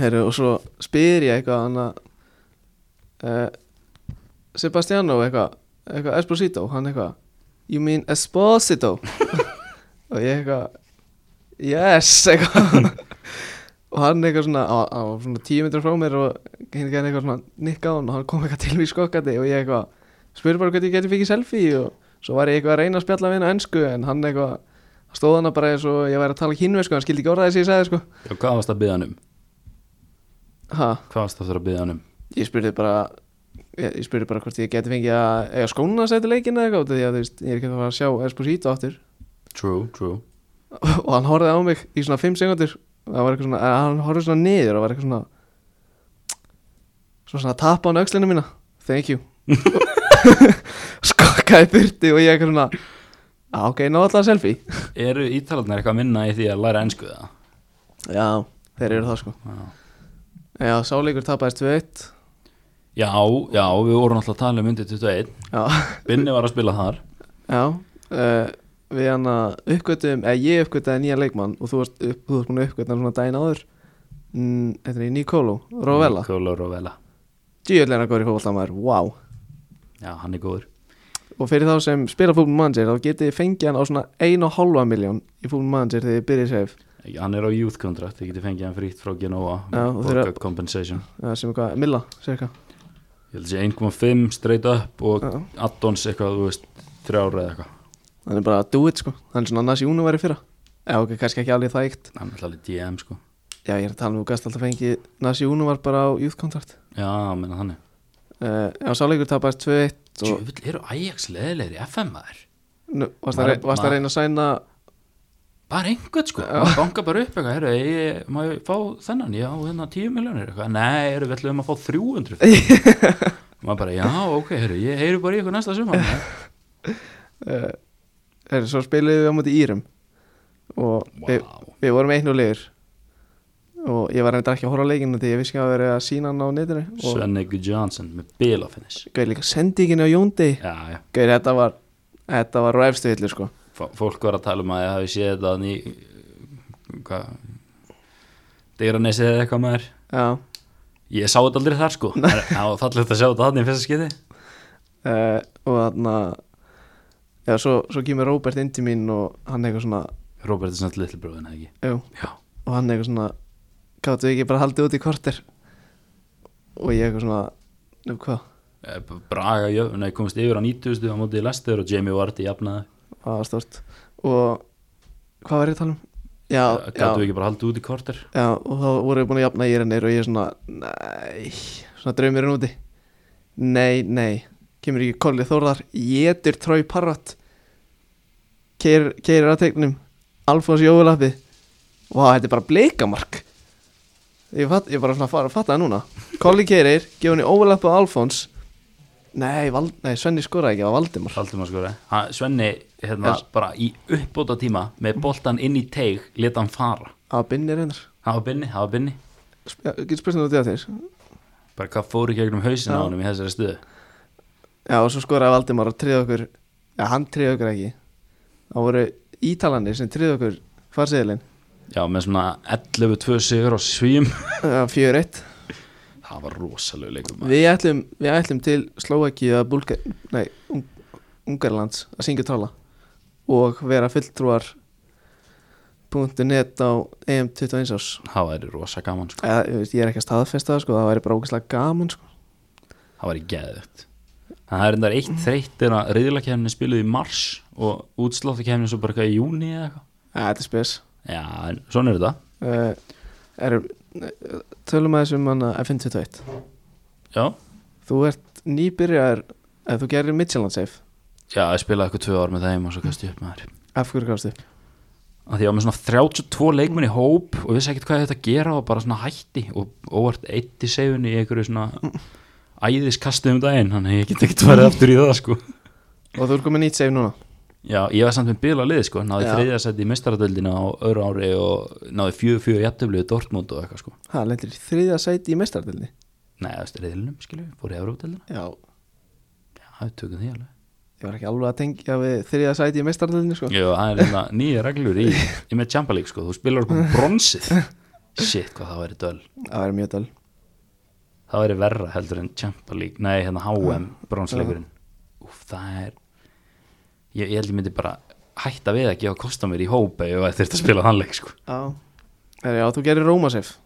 Heru, Og svo spyr ég eitthvað hann að uh, Sebastiano eitthvað eitthvað Esposito, hann eitthvað You mean Esposito og ég eitthvað Yes, eitthvað og hann eitthvað svona á, á svona tíu myndir frá mér og hinn gerði eitthvað svona nikka á hann og hann kom eitthvað til mér skokkandi og ég eitthvað spurði bara hvernig ég geti fikið selfie og svo var ég eitthvað að reyna að spjalla við hann á ennsku en hann eitthvað stóð hann bara eins og ég væri að tala kínvei sko, hann skildi ekki orðaði sem ég sagði sko
Já, hvað varst að byggja hann um?
ha,
Hvað varst að þurfa að byggja hann um?
ég spurði bara ég, ég spurði bara hvort ég geti fengið að eiga skóna að setja leikina eitthvað út af því að þú veist, ég er ekki að fara að sjá Esposito aftur
True, true
og hann horfði á mig í svona 5 sekundur það var eitthvað svona, eh, hann horfði svona niður og var eitthvað svona svona svona að tappa hann aukslinu mína thank you skokkaði byrti og ég eitthvað svona "Ah, ok, ná alltaf selfie
Eru ítalarnir eitthvað að minna í því að læra ennsku það?
já, þeir eru það sko
Já.
já, sáleikur tapaðist við eitt
Já, já, við vorum alltaf að tala um undir 21
já
Binni var að spila þar
Já, uh, við hann að uppgötum, eða ég uppgötaði nýja leikmann og þú varst, upp, þú varst búin að uppgöta hann svona daginn áður mm, Þetta er Nikolo, Rovella
Kóla Rovella
Djöðlega góður í fótboltamæður, wow
Já, hann er góður
Og fyrir þá sem spila fútbolum manager þá getið þið fengið hann á svona 1,5 miljón í fútbolum manager þegar þið byrjið séf
Hann er á youth contract, þið getið fengið hann frítt frá Genoa
Já, og þeirra-
Borga compensation
uh, sem eitthvað, Milla, cirka
Ég held að sé 1.5 straight up og
Já.
add-ons eitthvað, þú veist, þrjára eða eitthvað
Hann er bara do it sko, hann er svona annars í var í fyrra Já, ok, kannski ekki alveg það eitt
Hann er alltaf DM sko
Já, ég er að tala um þú gast alltaf fengið Nasi Unuvar bara á youth contract
Já, menna þannig
uh, Já, sáleikur tapast 2-1 og
Tjöfull eru Ajax leðilegir í FM maður
Nú, varst að,
Maður-
varst að
maður-
reyna að sæna
Bara einhvern sko, maður banka bara upp eitthvað Herru, ég, má ég fá þennan, já, hérna 10 miljónir eitthvað Nei, eru við ætlum að fá 300 Maður bara, já, ok, herru, ég heyri bara í ykkur næsta sumar maður.
uh, er, Svo spiluðum við á móti Írum Og við,
Vá.
við vorum einn og legur Og ég var reyndar ekki að horfa á leikinu Því ég vissi ekki að vera að sína hann á netinu Og
Svennig Johnson með bilafinnis
gauði líka sendingin á Jóndi
Já, já,
Gauði þetta var Þetta var ræfstu hillu sko
F fólk var að tala um að ég hafi séð þetta ný hvað Degranesið eða eitthvað maður
Já
Ég sá þetta aldrei þar sko Það er- það var fallegt að sjá þetta hann í fyrsta skiti
uh, Og þarna Já, svo, svo kemur Róbert inn til mín Og hann eitthvað svona
Robert er samt litli bróðin eða ekki
Jú,
Já,
og hann eitthvað svona gáttu við ekki bara haldið út í korter og ég eitthvað svona nú hvað,
Eh, B- Braga jö- nei, komist yfir á 90 á mótið Lester og Jamie Vardy jafnaði
það var stort Ah, og hvað var ég að tala um? Já,
Eh,
já,
Gáttu ekki bara haldið út í korter
já, og þá voru við búin að jafna í hennir og ég svona, nei svona draumurinn úti nei, nei, kemur ekki kollið þórðar jetur trói parrat keirir að tegnum Alfons Jólapi vá, þetta er bara bleikamark ég, fatt, ég bara svona fara, fatta það núna Colin keirir, gefa henni Jólapi og Alfons nei, Val, nei, Svenni skoraði ekki, það var Valdimar
Haldum að skora sko, eh. ha, Svenni hérna
Já.
bara í uppbóta tíma með boltan inn í teig leta hann fara
að binni reyndar
Hafa binni, hafa binni
Sp- já, getur spurt um það út í að þeir
bara hvað fór í gegnum hausin á
Já.
honum í þessari stöðu
Já og svo skoraði Valdimar og triði okkur Já hann triði okkur ekki Það voru Ítalanir sem tryði okkur farseðilinn
Já, með svona 11-2 sigur á svím
uh, 4-1
Það var rosalegu leikum maður.
við ætlum, við ætlum til Slovaki að Búlga, nei, Ung- Ungarlands að syngja og tala og vera fulltrúar .net á E EM21 ás
Það væri rosa gaman sko.
Eða, ég, veist, ég er ekki að staðfesta það sko, það væri bara ógæslega gaman sko.
Það væri geðugt Það er endar eitt þreytt er að riðlakefni spiluð í mars og útsláttakefni svo bara eitthvað í júni eða eitthvað
Æ, Þetta er spes
Já, en svona er þetta
uh, er, eh, Tölum aðeins um hana FN21
Já,
Þú ert nýbyrjar eða þú gerir Midtjylland safe
Já ég spilaði eitthvað tvö ár með þeim og svo kasti ég upp með þær
Af hverju gafstu?
að því ég var með svona 32 leikmenn í hóp og vissi ekkert hvað ég þetta að gera og bara svona hætti og óvart eitt í sefunni í einhverju svona æðiskasti um daginn, þannig að ég get ekkert farið aftur í það sko.
Og þú ert komið nýtt safe núna
Já, ég var samt með bila liði sko, náði
Já.
þriðja seti í mestaradöldina á öðru ári og náði fjögur fjögur jættöflið Dortmund og eitthvað sko.
Það lendir í þriðja sæti í mestardilni
Nei, það er reyðlunum, skilju, fór í Európdöldina
Já
Já, það tökum því alveg
Ég var ekki alveg að tengja við þriðja sæti í mestardilni sko
Jú, það er hérna nýja reglur í, í með Champa League sko, þú spilar okkur bronsið Shit, hvað það væri döl
Það er mjög dal
það væri verra heldur en Champa League nei hérna HM bronsleikurinn úf það er ég, ég held ég myndi bara hætta við að gefa kosta mér í hópa ef ég þurfti að spila þann leik sko.
Já Herra, Já, þú gerir Róma safe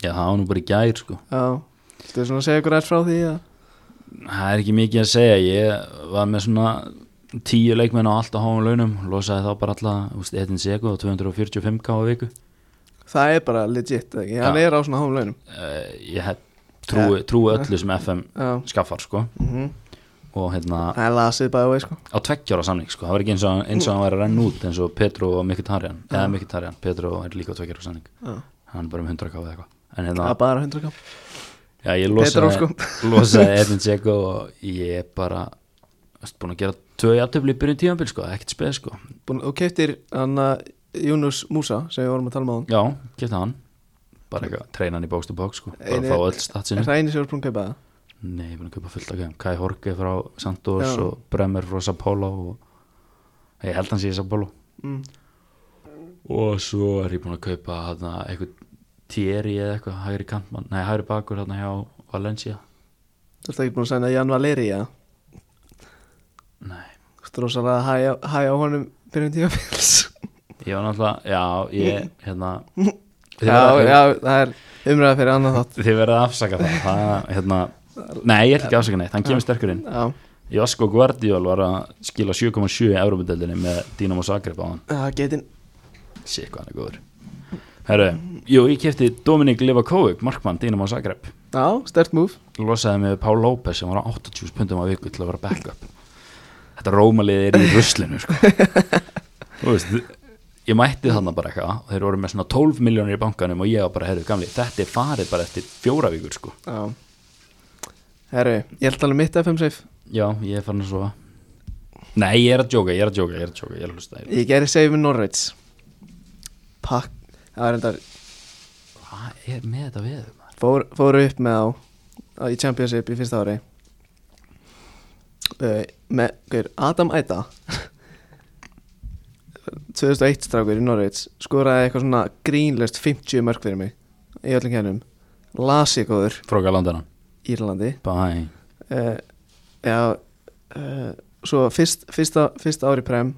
já það var nú bara í gær sko.
Já Þú svona að segja ykkur alls frá því að
það er ekki mikið að segja ég var með svona tíu leikmenn á alltaf háum launum losaði þá bara alltaf ettin segu og 245 k á viku
Það er bara legit, eða ekki? Hann
Já.
er á svona háum launum
uh, ég hef trúi, trúi öllu sem FM
Já
skaffar sko
Mhm.
og hérna
Það er lasið bæði vei sko
á tveggjára samning sko, það var ekki eins og, eins og hann væri að renna út eins og Petro og Mkhitarjan eða Mkhitarjan, Petro er líka á tveggjára samning
Já.
hann er bara um 100 káð eitthvað en
Það
hérna,
er bara 100 kamp
já, ég
Pedro,
losaði
sko.
losaði Edin Dzeko og ég er bara veist, búin að gera tvö jafntöfli í byrjun tímanbíl sko, ekkert speð sko
Búin, Þú keiptir hann að Júnus Músa sem við vorum að tala um á
já, geta hann bara eitthvað, treina hann í bóks til bóks sko bara
Einu-
fá öll
hann Er
statsinu
það eini sem er búin að kaupa það?
nei, ég er búin að kaupa fullt að gæm Kai Horke frá Santos
Já.
og Bremer frá Sapolo og ég held hann sé í Sapolo
Mm.
og svo er ég búinn að kaupa hana, eitthvað Thierry eða eitthvað hægri kantmann, nei hægri bakur hérna hjá Valencia
Þú ert ekki búin að segja Jan Valeri eða?
nei,
Þú ert rosalega hæ á- hæ á honum byrjum tímaféls
ég var náttúrulega, já ég, hérna þið
Já,
verða-
já, það er umræða fyrir annan þátt
þið verða að afsaka það, það hérna, nei ég ætla ekki að afsaka neitt, hann kemur sterkur inn
Já,
Josko Guardiol var að skila 7,7 í Európa-deldinni með Dinamo Zagreb á hann
það getinn
sé hvað hann er góður herru, jú ég kefti Dominik Livakovic, markmann Dinamo Zagreb
Já, stert múf
losaði mig við Pál López sem var á 80 pundum á viku til að vera backup þetta rómalið er í ruslinu sko. Þú veist, ég mætti þannig bara eitthvað og þeir voru með svona 12 miljónir í bankanum og ég var bara, herru gamli, þetta er farið bara eftir fjóra vikur sko.
Já Herru, ég held alveg um mitt FM safe
já, ég er farin að svo nei, ég er að djóka, ég er að djóka, ég er að djóka ég er að hlusta, ég
Ég gerir safe með Norveits Pakk Það var endar
hvað er með þetta við maður?
fór, fóru upp með á, á í Championship í fyrsta ári uh, með hver, Adam Aida 2001 strákur í Norveits skoraði eitthvað svona grínlöst 50 mörg fyrir mig í öllum kennum Lasikóður
fróka landana,
Írlandi
bæ
uh, já uh, svo fyrst, fyrsta, fyrsta ári prem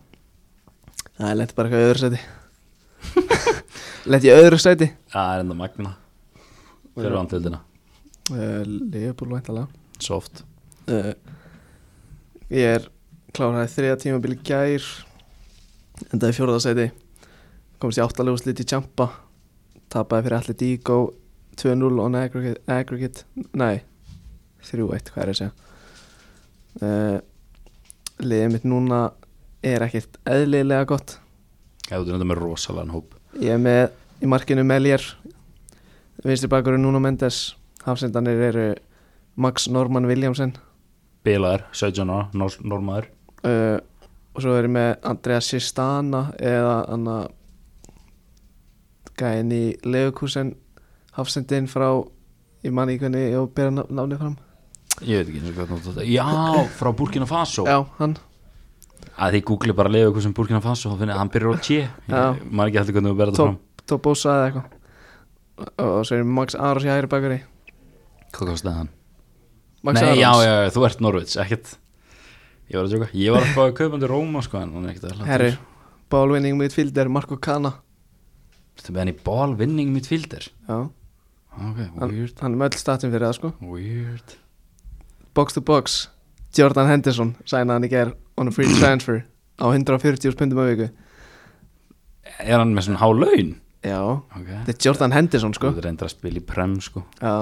það lendi bara eitthvað í öðru sæti lendi í öðru sæti
það er enda magna fyrir vandildina,
uh, Leifbúl væntalega
soft
uh, Ég er kláraði þriða tímabili gær endaði fjórðarsæti komst í áttalegu slit í Champa tapaði fyrir allir Díko 2-0 on aggregate, aggregate nei, 3-1 hvað er þessi uh, liðið mitt núna er ekkert eðlilega gott
ég er þetta með rosalega hóp
ég er með í markinu Meljar vinstri bakurinn Nuno Mendes hafsendanir eru Max Norman Williamsen
bilaðar, 17 ára, nor normaður
uh, og svo er ég með Andrea Sistana eða anna gæðin í Leukúsen hafsendin frá ég man ekki hvernig ég á að bera nafn- nafnið fram
Ég veit ekki eins og hvað þetta Já, frá Burkina Faso
já, hann
að þið googli bara að lifa ykkur sem Burkina Faso og finna að hann byrjar á tje
Já.
maður ekki alltaf hvernig þú berða fram
Top- Tobosa eða eitthvað og og svo er Max Arons í hægri bakari
hvað kostiði hann?
Max
Nei,
Arons
já, já, já, þú ert Norvits, ekkert ég var að sjóka, ég var að fá að kaupa hann til Róma sko en hann er ekkert að
Herri, bálvinning midfielder Marco Cana
Þetta með hann í ball winning midfielder
já,
ok,
hann,
weird,
hann er með öll statin fyrir það sko
weird
box to box, Jordan Henderson sæna hann í ger on a free transfer á 140 spundum á viku
er hann með svona há laun?
já,
ok,
þetta er Jordan Henderson sko
þú reyndir að spila í prem sko
já,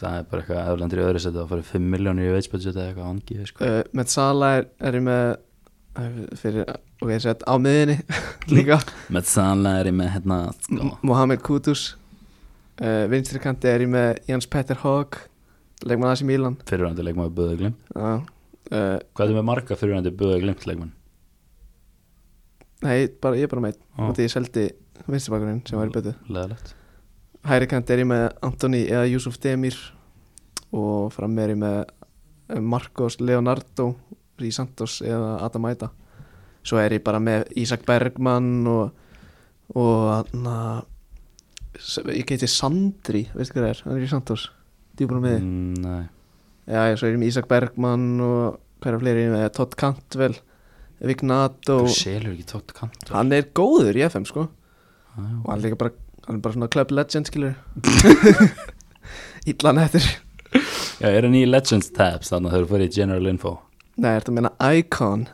það er bara eitthvað öðlendur í öðru setja að fara 5 miljónir í veitsbudget eða eitthvað angið sko.
uh, með Sala er, er ég með eh, fyrir, ok, sett á miðinni líka
með sannlega er ég með hérna sko.
M- Mohamed Kudus uh, vinstri kanti er ég með Jans Petter Hogg leikmann aðeins í Mílan
fyrirvændi leikmaður Böða Glimt
uh,
hvað er með marga fyrirvændi Böða Glimt leikmann?
nei, bara, ég er bara meitt og því ég seldi vinstri bakurinn sem var í betu
leðalegt
hæri kanti er ég með Antoni eða Júsuf Demir og fram er ég með eh, Marcos Leonardo Rís Santos eða Adam Aida svo er ég bara með Ísak Bergmann og og na, ég geti Sandri veistu hvað það er, hann er í Santos djúbúrum með
Mm, nei.
Já, já, svo erum Ísak Bergmann og hverja fleiri erum við, Todd Cantwell Vignato,
þú selur ekki tótt kant
hann er góður í FM sko
já.
og hann er líka bara, hann er bara svona club legend skilur Ítlan eftir
já, er hann í Legends tabs þannig að þau eru fyrir í General Info
Nei, ertu að meina Icon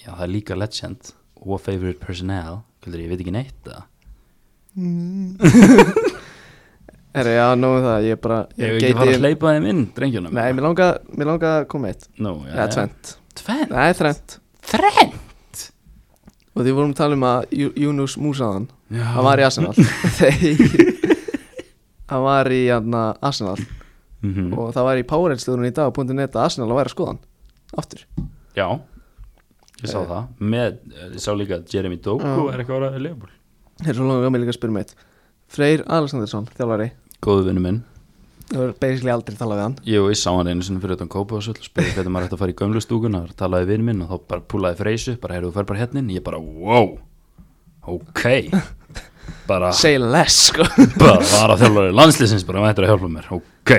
já, það er líka Legend og Favorite Personnel Kvöldur, ég veit ekki neitt það
Herra, já, nógu það, ég er bara
ég hef ekki fara að hleypa þeim inn, drengjunum
Nei, mér langa, mér langa að koma eitt
Nú, já,
Eða tvent,
Tvenn?
nei, þrent
Þrenn?
Og því vorum að tala um að Jú- Yunus Musaðan
Já.
Hann var í Arsenal Þeir Hann var í hann Arsenal
Mhm.
og það var í powerheadstöðunum í dag að Arsenal að væri að skoða hann aftur
Já, ég sá það Með, eh, ég sá líka að Jeremy Doku er eitthvað ára leifból
hér er svo langar mig líka að spyrja meitt Freyr Alexandersson, þjálfari
Góðu vinnu minn
það var basically aldrei talað við hann
Jú, ég sá hann einu sinni fyrir utan kópa og svolítið spurði hvernig maður ætti að fara í gömlustúkuna og talaði við minn og þá bara púlaði freysu bara heyrðu þú fer bara hérna inn ég bara wow ok bara,
say less sko
bara var að þjálfari landslýsins bara mættur að hjálpa mér ok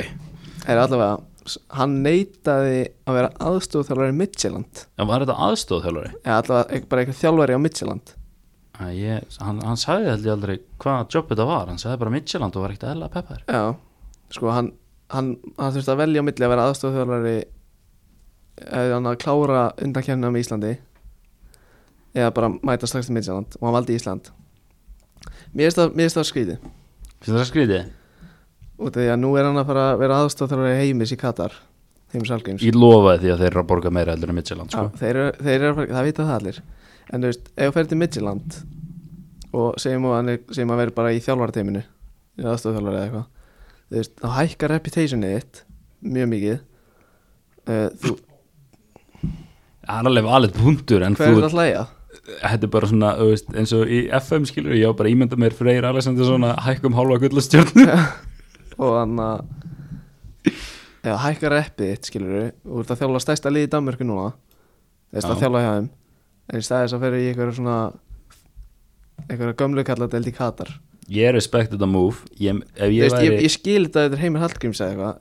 það
en
er allavega s- hann neitaði að vera aðstof þjálfari Midtjylland
var þetta aðstóð þjálfari?
eða allavega ek- bara eitthvað þjálfari á Midtjylland
Æ, Ég, hann, hann sagði held ég aldrei hvaða jobb þetta var hann sagði bara Midtjylland og var ekkert eðla peppar
já, sko hann hann, hann þurfti að velja á milli að vera aðstof þjálfari eða hann að klára undankjörnum í Íslandi eða bara mæta slags til Midtjylland og hann valdi Ísland mér finnst það- mér finnst það skrítið
finnst það skrítið?
út af því að nú er hann að fara að vera aðstofþjálfari heimis í Katar heimis algeims
Ég lofaði því að þeir eru að borga meira heldur en Midtjylland
Já,
sko.
þeir eru, þeir eru, að fara- það vita það allir en þú veist, ef þú ferð til Midtjylland og segjum að, hann er, segjum að vera bara í þjálfarteiminu í aðstofþjálfari eða eitthvað þú veist, þá hækkar reputationið þitt mjög mikið uh, þú,
Það er alveg valið punktur en
hver
þú
er að hlæja?
þetta er bara svona þú veist, eins og í FM skilur ég á bara ímynda mér Freyr Alexander svona hækkum hálfa gullastjörnu
og hann að já, hækkar reppið þitt skilur við þú ert að þjálfa stærsta lið í Danmörku núna þess að
Já.
þjálfa hjá þeim en í staðis að ferja í einhverju svona einhverju gömlu kalladeld í Katar
ég er respect þetta move ég, ef
ég,
ég
veist,
væri
ég, ég skil þetta að þetta er heimir Hallgríms eða eitthvað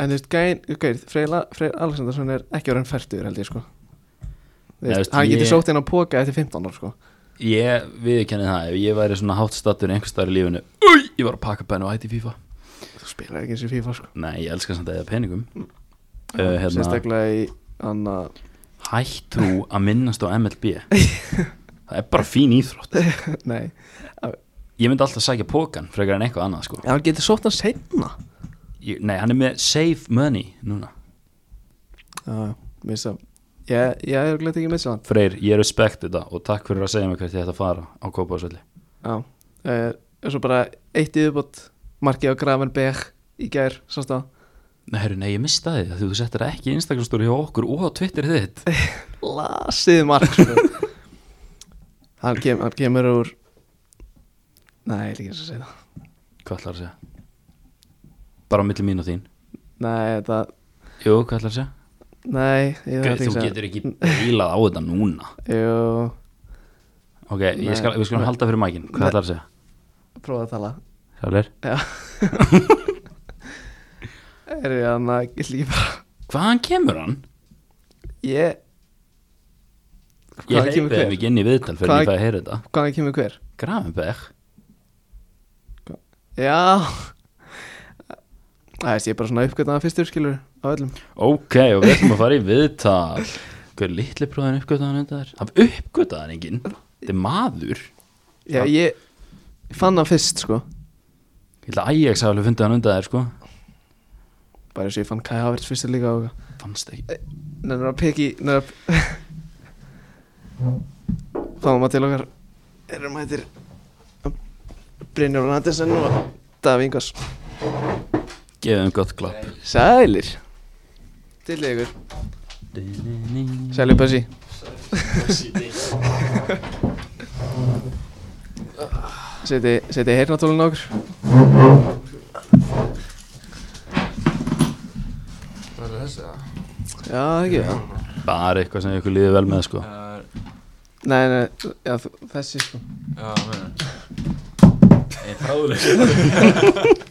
en þú veist, gæn, gæn, Freyr, La- Freyr Alexandersson er ekki orðin færtur held ég sko Þú
Nei,
veist,
veist,
hann getur
ég-
sótt inn á póka eftir 15 ár sko
ég viðkenni það ef ég væri svona hátt stattur einhvers staðar í lífinu Új, ég var að pakka bennu og ætti FIFA
þú spilar ekki eins og FIFA sko
nei, ég elska samt að eða peningum uh, hérna,
sérstaklega í hann að
hættrú að minnast á MLB það er bara fín íþrótt
nei,
ég myndi alltaf sækja pókan frekar en eitthvað annað sko.
en hann getur sótt hann seinna
ég, nei, hann er með save money núna
Já, mér finnst það Ég, ég er glætt ekki með sér
Freyr, ég respekt þetta og takk fyrir að segja mér hvert ég ætti að fara á Kópásvelli
hann Já eh, Og svo bara eitt yfirbót Markið á Gravenberg í gær Sást það
Nei, herru, nei, ég mista þið að þú settir ekki Instagram-stóri hjá okkur og á Twitter þitt
Lasið mark sko. hann, kem, hann kemur úr Nei, ég er ekki eins að segja það
Hvað ætlar að segja? Bara á milli mín og þín
Nei, þetta
Jú, hvað ætlar að segja?
Nei, ég
Gauð,
þarf
þú
ekki að
getur ekki bílað á þetta núna
Jú,
ok, ég skal, við skulum halda fyrir mækin hvað ætlar að segja?
prófa að tala
Sjáleir.
Já Er ég hann að lífa
hvaðan kemur hann?
Ég
ég
Hvaðan kemur
leiði
hver?
mig inn í viðtal fyrir
Hvaðan-
ég fæði að heyra þetta
Hvaðan kemur hver?
Gravenberg
Já Það veist ég er bara svona uppgötnaða fyrstur skilur á öllum
ok, og við ætlum að fara í viðtal hver litli bróðin uppgötaðan þetta er hann uppgötaðan enginn þetta er maður
Já, ég fann hann fyrst sko
ég ætla að Ajax hafa alveg fundið hann undan þér sko
Bara eins og ég fann Kai Havertz fyrstur líka og eitthvað.
fannst ekki
Nennir að peki Nennir að Fáum að til okkar Erum hættir Brynjólf Andersen og Davíð Ingvars
gefið um gott klapp
Sælir Til ykkur Sælir Bessi Seti, seti heyrnatólun okkur
Það er þessi það
Já, ekki já.
bara eitthvað sem ykkur líður vel með sko
Já,
Nei, nei, já, þú- þessi sko
já, meina Ég er fráðuleg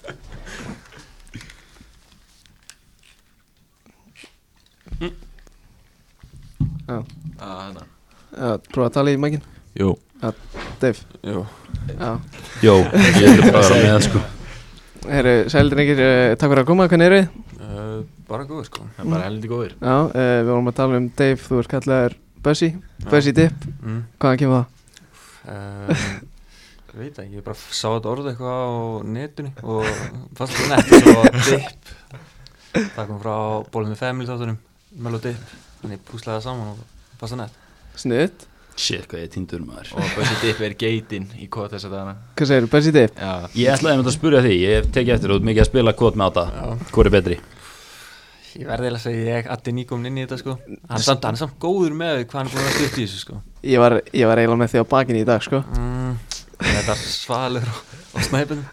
Já,
Já, hérna
já prófa að tala í mækin
Jú,
Dave,
jú
já
Jó, ég er bara að vera með sko
Herru, sælir drengir, uh, takk fyrir að koma, hvernig eru þið?
uh, Bara góð, sko
Það er bara heldur góður
Já, uh, við vorum að tala um Dave, þú ert kallaður Bessi Bessi Dip,
mm.
hvaðan kemur það?
uh, Veit ekki, ég bara sá þetta orð eitthvað á netinu og fannst þetta nett og dip Það kom frá bólum með family þáttunum Melo dip, þannig ég púslaði það saman og fannst það nett
Snutt
Shit, hvað ég er tindur maður
Og Bössi Dipp er geitin í kóð þess að dana
Hvað segir, Bessi Dip?
Já,
Ég ætlaði einmitt að spyrja því, ég hef tekið eftir út mikið að spila kvot með átta Hvor er betri?
Ég verði eiginlega að segja ég allir nýkomin inn í þetta sko Hann er samt, hann er samt góður með hvað hann er búin að stutta í þessu sko
Ég var, ég var eiginlega með því á bakinn í dag, sko
mm, Þetta er svalur og, og snæpun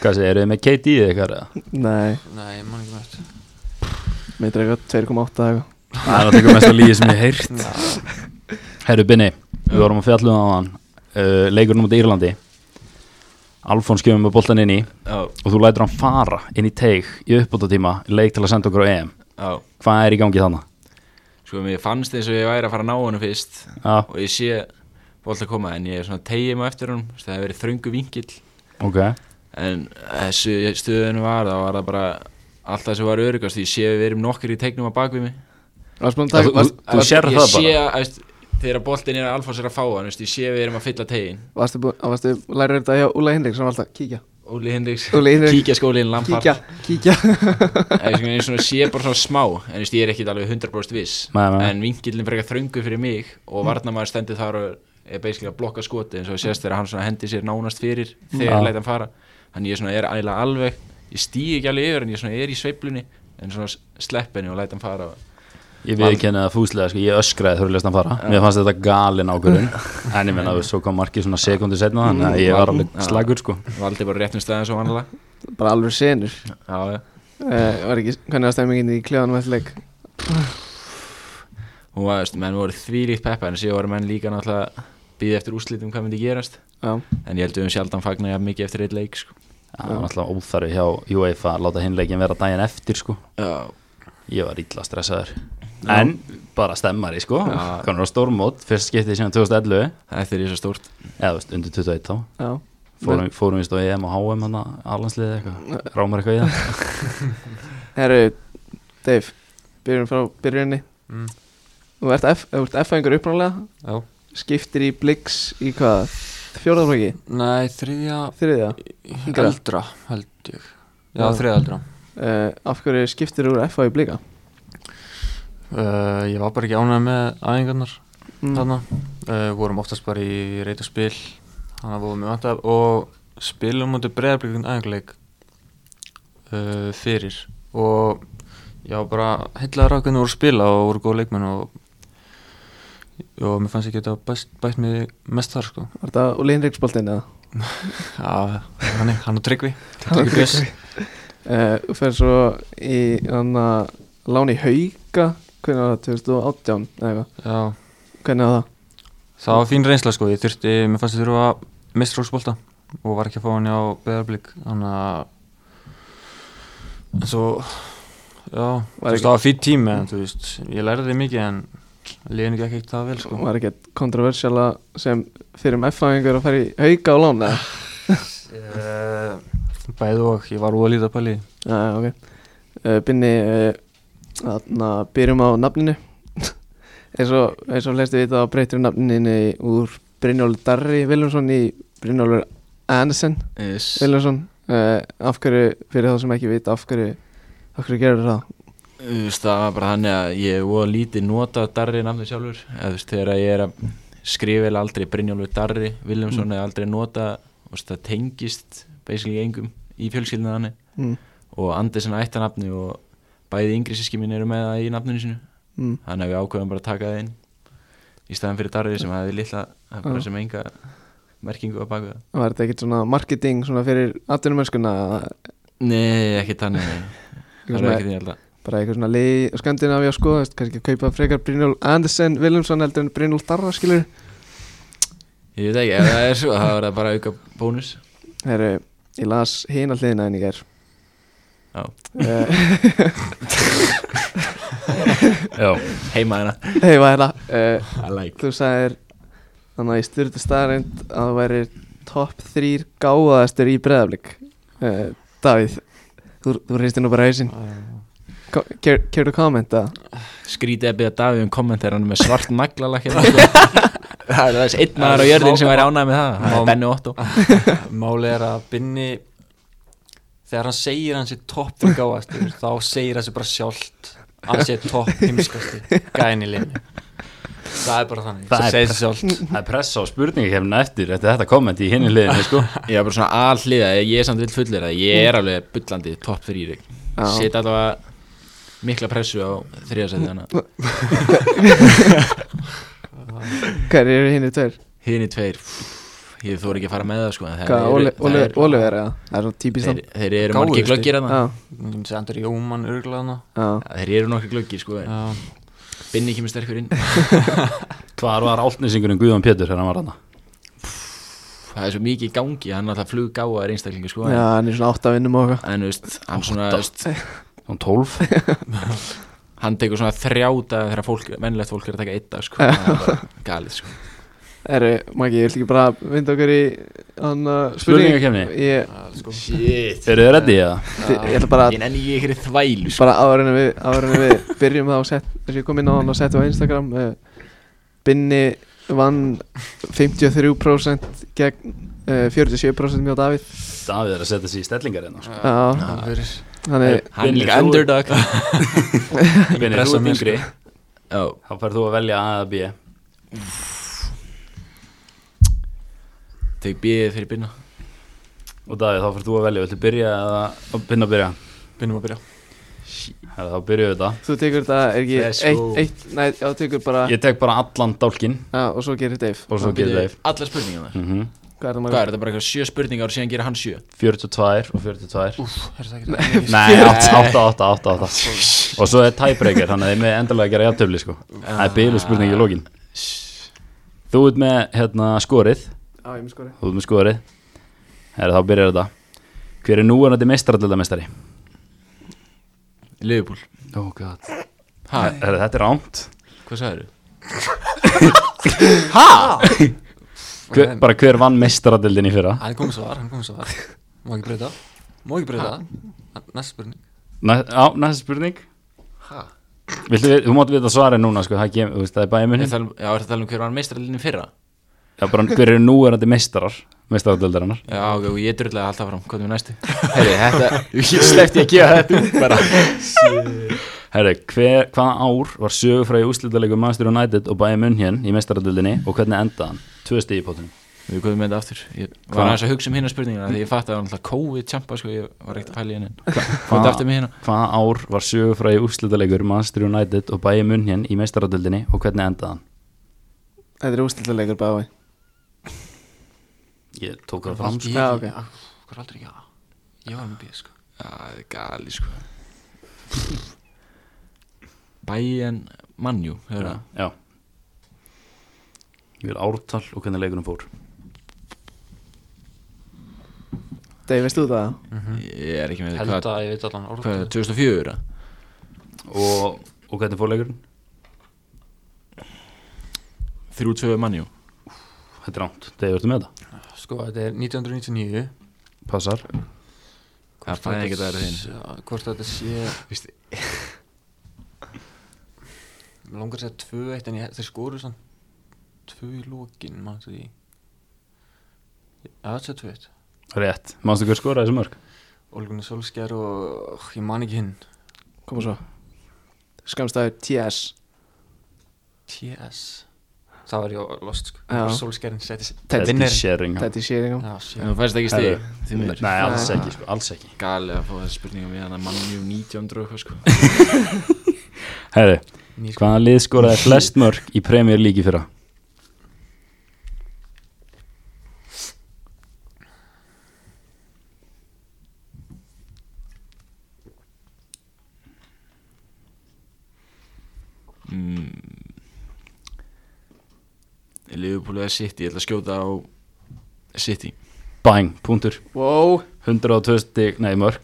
Hvað segir, eru þið með KD eða eitthvað? eða?
Nei,
Nei, ég man ekki með þetta
mér dregur 2,8 eða eitthvað
Það er náttúrulega mest að líði sem ég hef heyrt Herru Binni, við vorum að fjalla um aðan uh, Leikurinn út í Írlandi Alfons kemur með boltan inn í
já,
og þú lætur hann fara inn í teig í uppbótatíma leik til að senda okkur á EM
já
Hvað er í gangi þannig?
Sko, mér fannst eins og ég væri að fara að ná honum fyrst
Já,
Og ég sé bólt að koma En ég er svona tegið mig eftir honum þú veist, Það hefur verið þröngu vingill
ok
En þessu stöðun var Það var það bara Alltaf sem var örugast Ég sé við erum nokkur í teiknum að bak við mig
Varst búin að
Þú-
taka, varst,
Þú sérð það
Ég
bara?
sé að þú veist, Þegar boltin er að Alfons er að fá hann þú veist, Ég sé við erum að fylla tegin
varstu, búin, varstu lærið þetta hjá Úla Hinrik sem var alltaf kíkja
Óli Hendriks
Óli Hinriks.
Kíkja skólinn Lampart
Kíkja, kíkja
Eða, svona, ég svona sé bara svona smá en veist, ég er ekkit alveg 100% viss
Nei, nei, Mm. nei.
en vingillin frekar þröngu fyrir mig og varnamaður stendur þar og er basically að blokka skoti eins og sést þegar hann svona hendi sér nánast fyrir þegar
Mm. Já.
ja. læt hann fara þannig ég svona er eiginlega alveg ég stíg ekki alveg yfir en ég svona er í sveiflunni en svona s- slepp henni og læt hann fara
Ég viðkenni það fúslega, sko, ég öskraði þurfið lesna að fara Mér fannst þetta galin ákvörðun En ég menna, svo kom markið svona sekundu setna Þannig að ég var alveg slagur, sko
valdi bara réttum stæðan svo vanlega
Bara alveg senur
já, já.
uh, Var ekki, hvernig var stemmingin í klefanum eftir leik?
hún var, veist, menn voru þvílíkt peppa en síðan voru menn líka náttúrulega býði eftir úrslitum hvað myndi gerast
Já,
en ég held við um sjaldan fagna jafn mikið eftir eitt leik sko.
Já, Það var náttúrulega óþarfi hjá UEFA að láta hinleikin vera daginn eftir, sko
já,
Ég var illa stressaður En bara stemmari, sko
Já.
Hvernig var stórmót, fyrst skiptið síðan 2011
þetta er í svo stórt
Eða, þú veist, undir 21 þá
já
Fórum, fórum við stóð EM og HM hann að alansliði eitthvað Rámar eitthvað í það
Herru, Dave, byrjum frá byrjunni
Mm.
Þú ert F- þú ert F-fæðingur uppnáðlega
Já
Skiptir í Blix í hvað? Fjórðarflöki?
Nei, þriðja
Þriðja? Yngra?
eldra held ég Já,
Já.
þriðja eldra
Uh, af hverju skiptir úr F-fæði í Blika?
uh, Ég var bara ekki ánægð með æfingarnar
Mm.
þarna uh, vorum oftast bara í reyt og spil þannig að vorum við vantað og spilum mútið breyðarblikun æfingarleik uh, fyrir og já bara hellaður á hvernig voru að spila og voru góð leikmenn og og mér fannst ekki þetta bæst, bætt mig mest þar sko
Var þetta Úli Hinriksboltinn eða?
já, hann, hann og Tryggvi
Hann og
Tryggvi Björns
Eh, Þú fer svo í hann að lán í hauka hvernig var það, 2018 eða eitthvað
Já,
hvernig var það?
það var fín reynsla sko, ég þurfti, mér fannst ég þurfa mistrósbolta og var ekki að fá hann á beðarblík, þannig að en svo já, þú
ekki-
veist, það var fín tími en þú veist, ég lærði mikið en liðinu ekki ekki það vel sko
var ekkert kontroversiala sem fyrir um F-fæðingur að fara í hauka á lán eða?
Eh, Bæði og, ég var úr að líta pæli í.
Já, Ah, ok uh, Binni, uh, þarna byrjum um á nafninu eins og, eins og flesti vita þá breytir nafninu úr Brynjólfur Darri Viljónsson í Brynjólfur Ansen
Yes.
Viljónsson uh, af hverju, fyrir þá sem ekki vita af hverju, af hverju gerir það
Þú veist, það var bara hann að ég er óa lítið nota Darri namni sjálfur eða þú veist þegar ég er að skrifa eða aldrei Brynjólfur Darri Viljámsson mm. eða aldrei nota og það tengist basically engum í fjölskyldinu hann
mm,
og Andersen ætta nafni og bæði yngri síski mín eru með það í nafninu sinu
mm.
þannig að við ákveðum bara að taka það inn í staðan fyrir Darri sem hefði litla það er
Já.
bara sem enga merkingu að baka það
Var þetta ekkert svona marketing svona fyrir atvinnumennskuna
Nei, ekki þannig nei. það er ekki því alltaf
bara eitthvað svona leið og skandinavíu að skoða þú veist, kannski kaupa frekar Brynjólfur Andersen Viljónsson heldur en Brynjólfur Darra skilur
Ég veit ekki, ef það er svo, það var það bara auka bónus
Herru, ég las hina hliðina en ég er
Já,
Eh,
Já,
heima hérna
Hei, hvað er það? Eh,
I like
Þú sagðir þannig að ég styrtu staðarind að þú væri topp þrýr gáðastur í breðaflik uh, Davíð, þú, þú reystir nú bara hausinn
Ah.
Kjörðu kommenta?
Skrítið að byrja Davíð um komment þegar hann er með svart naglalakk hérna, sko. Það er þess einn maður á jörðin sem væri ánægð með það Það
Má-
er Benni Otto
Máli er að Binni þegar hann segir hann sé topp fyrir gáast þá segir hann sé bara sjálft hann sé topp heimskasti gæðin í linni það er bara þannig
Það
það
er
segir sig sjálft
það er pressa á spurningakefna eftir eftir þetta komment í hinni liðinu sko
Ég er bara svona alhliða, ég ég er samt vill fullir að ég er alveg bullandi topp þrýri
Já.
Sitt allavega mikla pressu á þriðasæti hana
Hver eru hinni tveir?
Hini tveir, pff, ég þóri ekki að fara með það sko en þeir
Hvað,
eru-
Óli-
það
Óli-
eru-
Oliver eða? Það er svona típist hann
Þeir, þeir eru
Gáfustu.
margir glöggir hana
Já,
ég myndi segja Andri Jóman örglaðna
já
Þeir eru nokkri glöggir sko en Binni kemur sterkur inn
Hvar var áltnisingurinn Guðjón Pétur þegar hann var hana?
það er svo mikið í gangi, hann er alltaf fluggáa er einstaklingu sko
Já,
en-
hann er svona átt að um vinnum og okkar
en þú veist, hann svona þú veist,
Hún 12?
hann tekur svona þrjáta þegar fólk, mennilegt fólk er að taka eitt dag sko, það er bara galið sko
Herru, Maggi, ég vil ekki bara vinda okkur í hann að
Spurningakefni?
Ég,
shit,
Eru þið reddið eða?
ég ætla bara að
sko. ég nenni ég ykkur í þvælu sko.
bara áður en við, áður en við byrjum þá sett, þess að ég kom inn á hann og settu á Instagram uh, Binni vann 53% gegn uh, 47% mjög Davíð
Davíð er að setja sig í stellingar hérna sko.
Já, hann er
hann er
Binni,
líka
þú-
underdog
Vinir, þú
pressa
ert
mér,
yngri
já,
Þá færð þú að velja A eða B
tek bíðið fyrir binna
Og Davíð, þá færð þú að velja Viltu byrja eða að pinna að byrja?
Binnum að byrja
Hefði, þá byrjuðu þetta
Þú tekur þetta, er ekki
Let's go.
eitt, eitt Nei, já, tekur bara
Ég tek bara allan dálkin
Já, og svo gerir Dave
Og svo gerir Dave
allar spurningar
mm
Hvað er það
hvað
maður?
er þetta bara eitthvað sjö spurningar og síðan gerir hann sjö
42 og 42
úf, er það ekki
Nei, 8, 8, 8, 8, 8 Og svo er tiebreaker, þannig að þið með endalega gera jafntöfli sko Það er byrjuð spurning
Ah,
í lókin Þú ert með hérna skorið
Já, ég mér skori
Þú ert með skorið Herra, þá byrjar þetta Hver er núverandi meistarallilamestari?
Liverpool,
Oh god
ha,
Herra, þetta er rámt
hvað sagður
hver, Bara hver vann meistaradildin í fyrra?
hann kom svar, hann kom svar má ekki breyta má ekki breyta næsta spurning
Næ, á, næsta spurning
Ha?
Viltu, við- Þú mátt vita svarið núna sko, það, kem, þú veist, það er bæði
já,
munni
er það að tala um hver var meistralinni fyrra
Já, bara hver eru núverandi meistarar Meistararildarinnar
já, ok, og ég drullega alltaf fram, hvað er næstu herri, þetta, ég sleppti að gefa þetta út bara
Herri, hver, hvaða ár var sögufræði úslítaleikum Master United og Bayern München í mestaradildinni og hvernig endaði hann? Tvö stíð í potinu.
Við komum með þetta aftur Ég
Hvað?
var aðeins að hugsa um hérna spurningina Því ég fatt að það var náttúrulega COVID tjampa sko, Ég var ekkert að pæla í henni Hvað aftur með hérna?
Hvaða ár var sögufræði úslítaleikur Master United og Bayern München í mestaradildinni og hvernig endaði hann?
Þetta er ústildarleikur bæði
Ég tók það fram.
Já, ok
hvað er aldrei ekki að ég var með bíð sko
Já, það er gali sko Bayern Manju ja.
Já Ég vil ártal og hvernig leikunum fór
Dave, veist þú það?
ég er ekki með
Held
hvað,
að ég veit allan
hvað
orðið
2004 eða?
og, og hvernig fór leikurinn?
3-2 Manju
Þetta er rámt, þegar verður með þetta
Sko, þetta er 1999
Passar
það fæði ekki það er þinn
þinn Hvort þetta sé Vistu Mér langar að segja 2-1 en ég, þeir skoru sann 2 í lókin, mann því Já, þetta sé 2-1
Rétt, mannstu hver skoraði þessu mörg?
Olgunni Solskjær og oh, ég man ekki hinn
Koma svo Skamstæður TS
TS Það var ég lost sko
Já.
Solskjærin setti
Teddy
Teddy
Vinner.
Sheringham
Þetta er séringum
Já,
en þú
shit
fæst ekki stig
Herru,
því miður.
Nei, alls ekki, sko, alls ekki
galið að fá þessi spurningum í hann að Manju 1900 og eitthvað sko
Herri,
Ný sko
hvaða lið skoraði flest mörg í Premier League í fyrra?
mm, Liverpool eða City ég ætla að skjóta á City
Bang, punktur
Wow
102 stig, nei mörg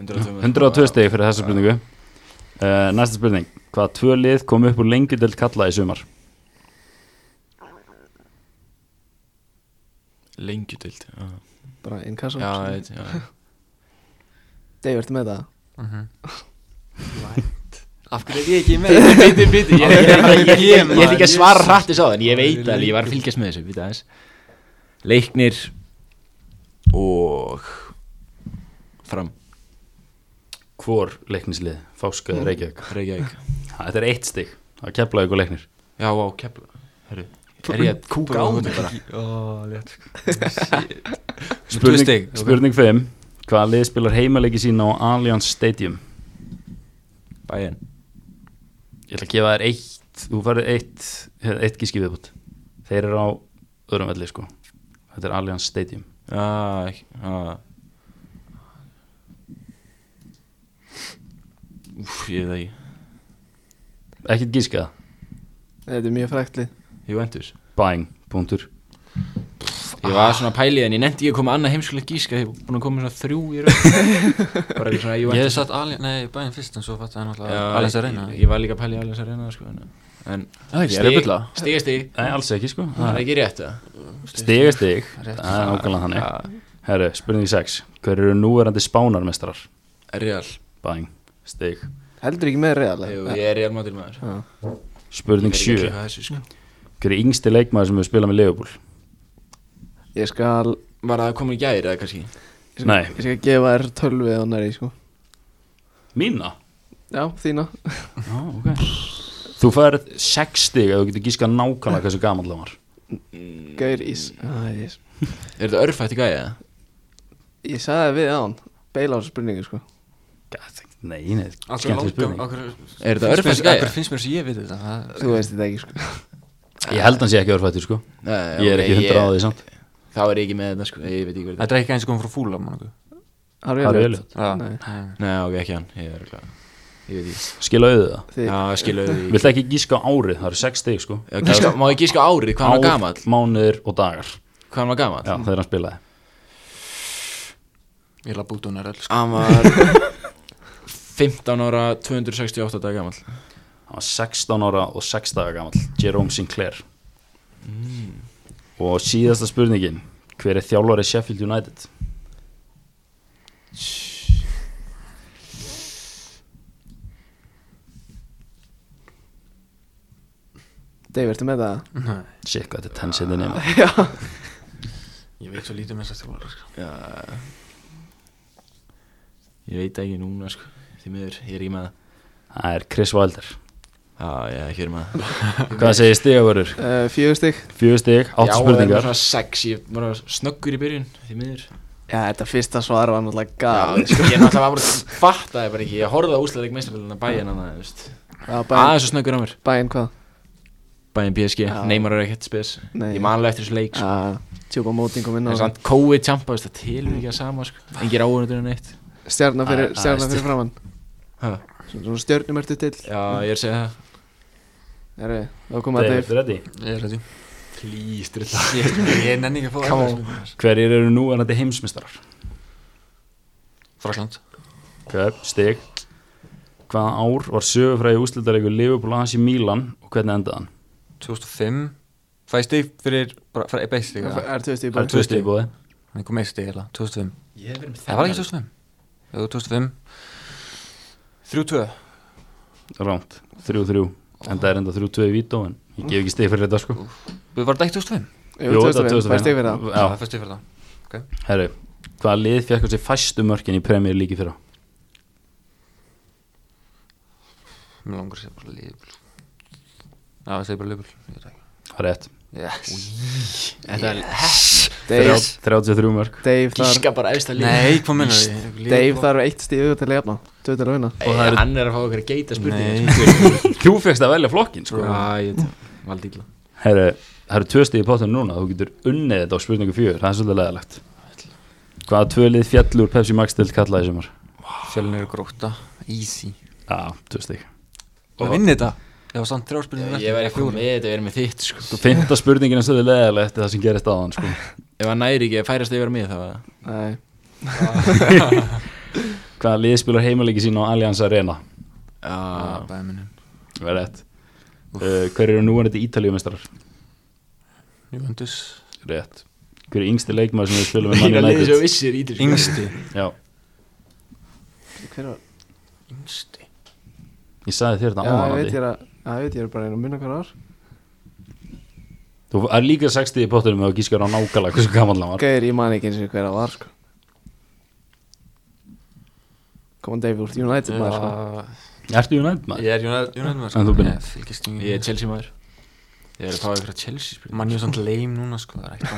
102
Já.
stig fyrir þessa spurningu uh, Næsta spurning Hvaða tvö lið kom upp úr lengjudeld kalla í sumar?
lengjudild já,
Bara innkassa
já, ég veit, já, já.
Dave, ertu með það?
Af hverju er ég ekki með Ég
Bíti, bíti, ég ég- ég- ég- ég- ég ætla ekki að
Jesus.
svara hrætti sá en ég veit að ég var að fylgjast með þessu bíti aðeins Leiknir og fram,
Hvor leiknislið? Fáskaði Reykjavík
Reykjavík
Ha, Þetta er eitt stig Það keflaði ykkur leiknir
Já, á, kepla, herru Er ég að kúka á mig bara?
Ó, létt sko
Spurning,
Tvö stig, ok.
spurning 5 Hvaða lið spilar heimaleiki sína á Allianz Stadium?
Bæinn
Ég ætla að gefa þér eitt Þú færði eitt, hérna, eitt gíski viðbútt Þeir eru á öðrum velli sko Þetta er Allianz Stadium
Já, ekki- já Úf, ég veit það ekki
Ekkert gíska það
Þetta er mjög fræktlið
Juventus
Bang, punktur
Ég var svona pælið en ég nefndi ekki að koma annað heimskulega gíska Ég var búin að koma með svona þrjú í raun Bara eitthvað svona
Ég hef
Juventus
satt alveg, nei, bæinn fyrst en svo fætti það náttúrulega
Já,
Alveg að reyna
ég, ég var líka að pælið alveg að reyna sko, en- En
Ég er að bylla
Stig, stig
Nei, alls ekki sko
Það er ekki rétt það
Stig er stig,
Rétt.
það er nákvæmlega þannig
Ja.
Herru, spurning 6 Hver eru núverandi spánarmestrar?
Real
Bang, stig
Heldur ekki með
Jú,
reyðarlega
Ég er Real Madrid maður
Spurning
Ég er ekki
7
að klukka þessu, sko.
Hver er yngsti leikmaður sem hefur spilað með Leopold?
Ég skal
Var það komin í gæri eða kannski?
Ég skal-
Nei.
Ég skal gefa þér tölvið á næri, sko
Mína?
Já, þína
Já, ok Þú færð 6 stig ef þú getur gískað nákvæmlega hversu gaman það var
Gaur ís
Mm.
Ah, Æ, ég,
Er þetta örfætt í gæri eða?
ég sagði við án Beila á þessu spurningu, sko
Gat, Nei, nei,
Akkur
skemmtileg spurning
Er þetta örfætt í gæri?
finnst mér sem ég veit þetta Það-
Þú veist þetta ekki, sko
Ég held hans ég ekki örfættur sko Ég er ekki 100 á því samt
Þá er ég ekki með þetta sko, ég veit ekki hvað þetta
Þetta er ekki eins og komið frá fúla mann okkur
Harfi
Harvey Elliott.
Elliott Nei.
er Nei, ok, ekki hann, ég er klár Ég veit ekki
Skila auðið það
Þið,
Já, skiluðu því
Vilt ekki gíska á árið, það eru 6 stig sko
Já, gíska, Má ég gíska á árið, hvað hann var gamall?
mánuðir og dagar
Hvað hann var gamall?
Já, þegar hann spilaði
Ég laði búti hún er öll sko
Hann var 15 ára, 268 dag gamall
hann var 16 ára og 6 daga gamall Jerome Sinclair
Mm.
og síðasta spurningin hver er þjálfari Sheffield United
Dave, ertu með það?
Nei
shit hvað þetta er
Ah.
tensinni nema
Ég veit svo lítið með þess að þjálfara sko
Já Ég veit ekki núna sko Því miður, ég er ekki með það
það er Chris Wilder
Já, ég er ekki verið með það
hvað segir stigavörður?
Uh, Fjögur stygg
fjögur stig,
Já,
áttu
það er bara
spurningar
svona sex, ég var snöggur í byrjun Því miður
Já, þetta fyrsta svar var náttúrulega
Já,
gæð
sko, ég náttúrulega var bara fattaði bara ekki Ég horfði á úsleðleik meistafélagina bæjan annað, þú veist
Já, bæinn
Aðeins og snöggur á mér
Bæinn hvað?
Bæinn PSG,
Já.
Neymar er ekkert spes
Nei.
Ég manlega eftir þessu leik sko.
Já, tjúpa móting kom inn
En
á
samt COVID champa, það tilur ekki að sama sko. Engir áhundur en eitt
Stjarnar fyrir,
Æ, æ,
stjarnar
stjarna.
fyrir framann
Hvað
Svona stjörnum ertu til
Já, ég er að segja það
Herri, þá kom að
Dave,
Dave
ertu ready?
Ég er ready
Please,
Ég, ég nenni ekki að fá
Come on.
erfiðisspurningar.
Hverjir eru nú ennandi heimsmyndstarar?
Frakland
Ok, stig Hvaða ár var sögufræði úslitareikur Liverpool AC Milan og hvernig endaði hann?
2005 Fæ stig fyrir bara, fyrir eitt stig eða?
Er tvö stíð
Það er
bara
tvö stig bóði
Nei, kom eitt stig eða 2005
Ég verðum
Það var ekki 2005 Jú, 2005 32
Ránt, 3-3 En það er enda 3-2 í vító en ég gef ekki stig fyrir þetta sko
Við varum þetta ekki 2005
Jú, tvö stíð Fær stíð fyrir það
Það
Já,
er fyrst yfir það
herru Hvaða lið fekk á sig fæstu mörkin í Premier League í fyrra?
Mér langar að segja bara lífbúl Já, það segja bara lífbúl Ég veit það ekki
Það er rétt
Yes
Þetta er-
Yes
Dave,
Þrjá- 33 mörk
Dave þarf
Gíska bara efst að líka
Nei, hvað menna ég?
Dave þarf eitt stíð til að jafna Tvö til að vinna
og það eru-
Hann er að fá okkur að geita spurningar sko.
Nei.
Þú fegst að velja flokkin sko
Já, ég valdi illa
Herru, það eru tvö stig í pottunum núna Þú getur unnið þetta á spurningu fjögur Það er svolítið leðalegt Hvaða tvö lið fjallur Pepsi Max til kallaði sem var?
Fjölnir og gróta Easy
Já, tvö stig
Það vinni þetta Ég var samt þrjár spurningar
Ég væri eitthvað með þetta, ég er með þitt sko.
Þú finnst að spurningin er svolítið leðalegt Það sem gerist aðan sko
Ef hann næri ekki að færast yfir mig þá var það
Nei
Hvaða lið spilar heimaleiki sín á Allianz Arena?
Já,
Bæminin
Það er rétt uh, Hver eru núanandi Ítalíumestrar?
Juventus
Rétt Hver er yngsti leikmaður sem við spilum með
Meina
Man
liðið svo
United?
vissir í þessu
Yngsti
Já,
Hver var
Yngsti
ég sagði þér þetta
Já, ég veit
áhannandi
ég er að Já, ég veit ég er bara að reyna að munna hver ár
Þú er líka 60 í pottunum og gískar á nákala hversu gaman hann var
Gauðir, ég man ekki eins og hver að var sko Kom að Dave úr United maður sko
Ertu United maður?
Ég er United United maður
En þú, Binni?
Ég fylgist
Ég er Chelsea maður Ég er að fá ykkur að Chelsea spil
Mann ég er samt leim núna sko Það er ekkert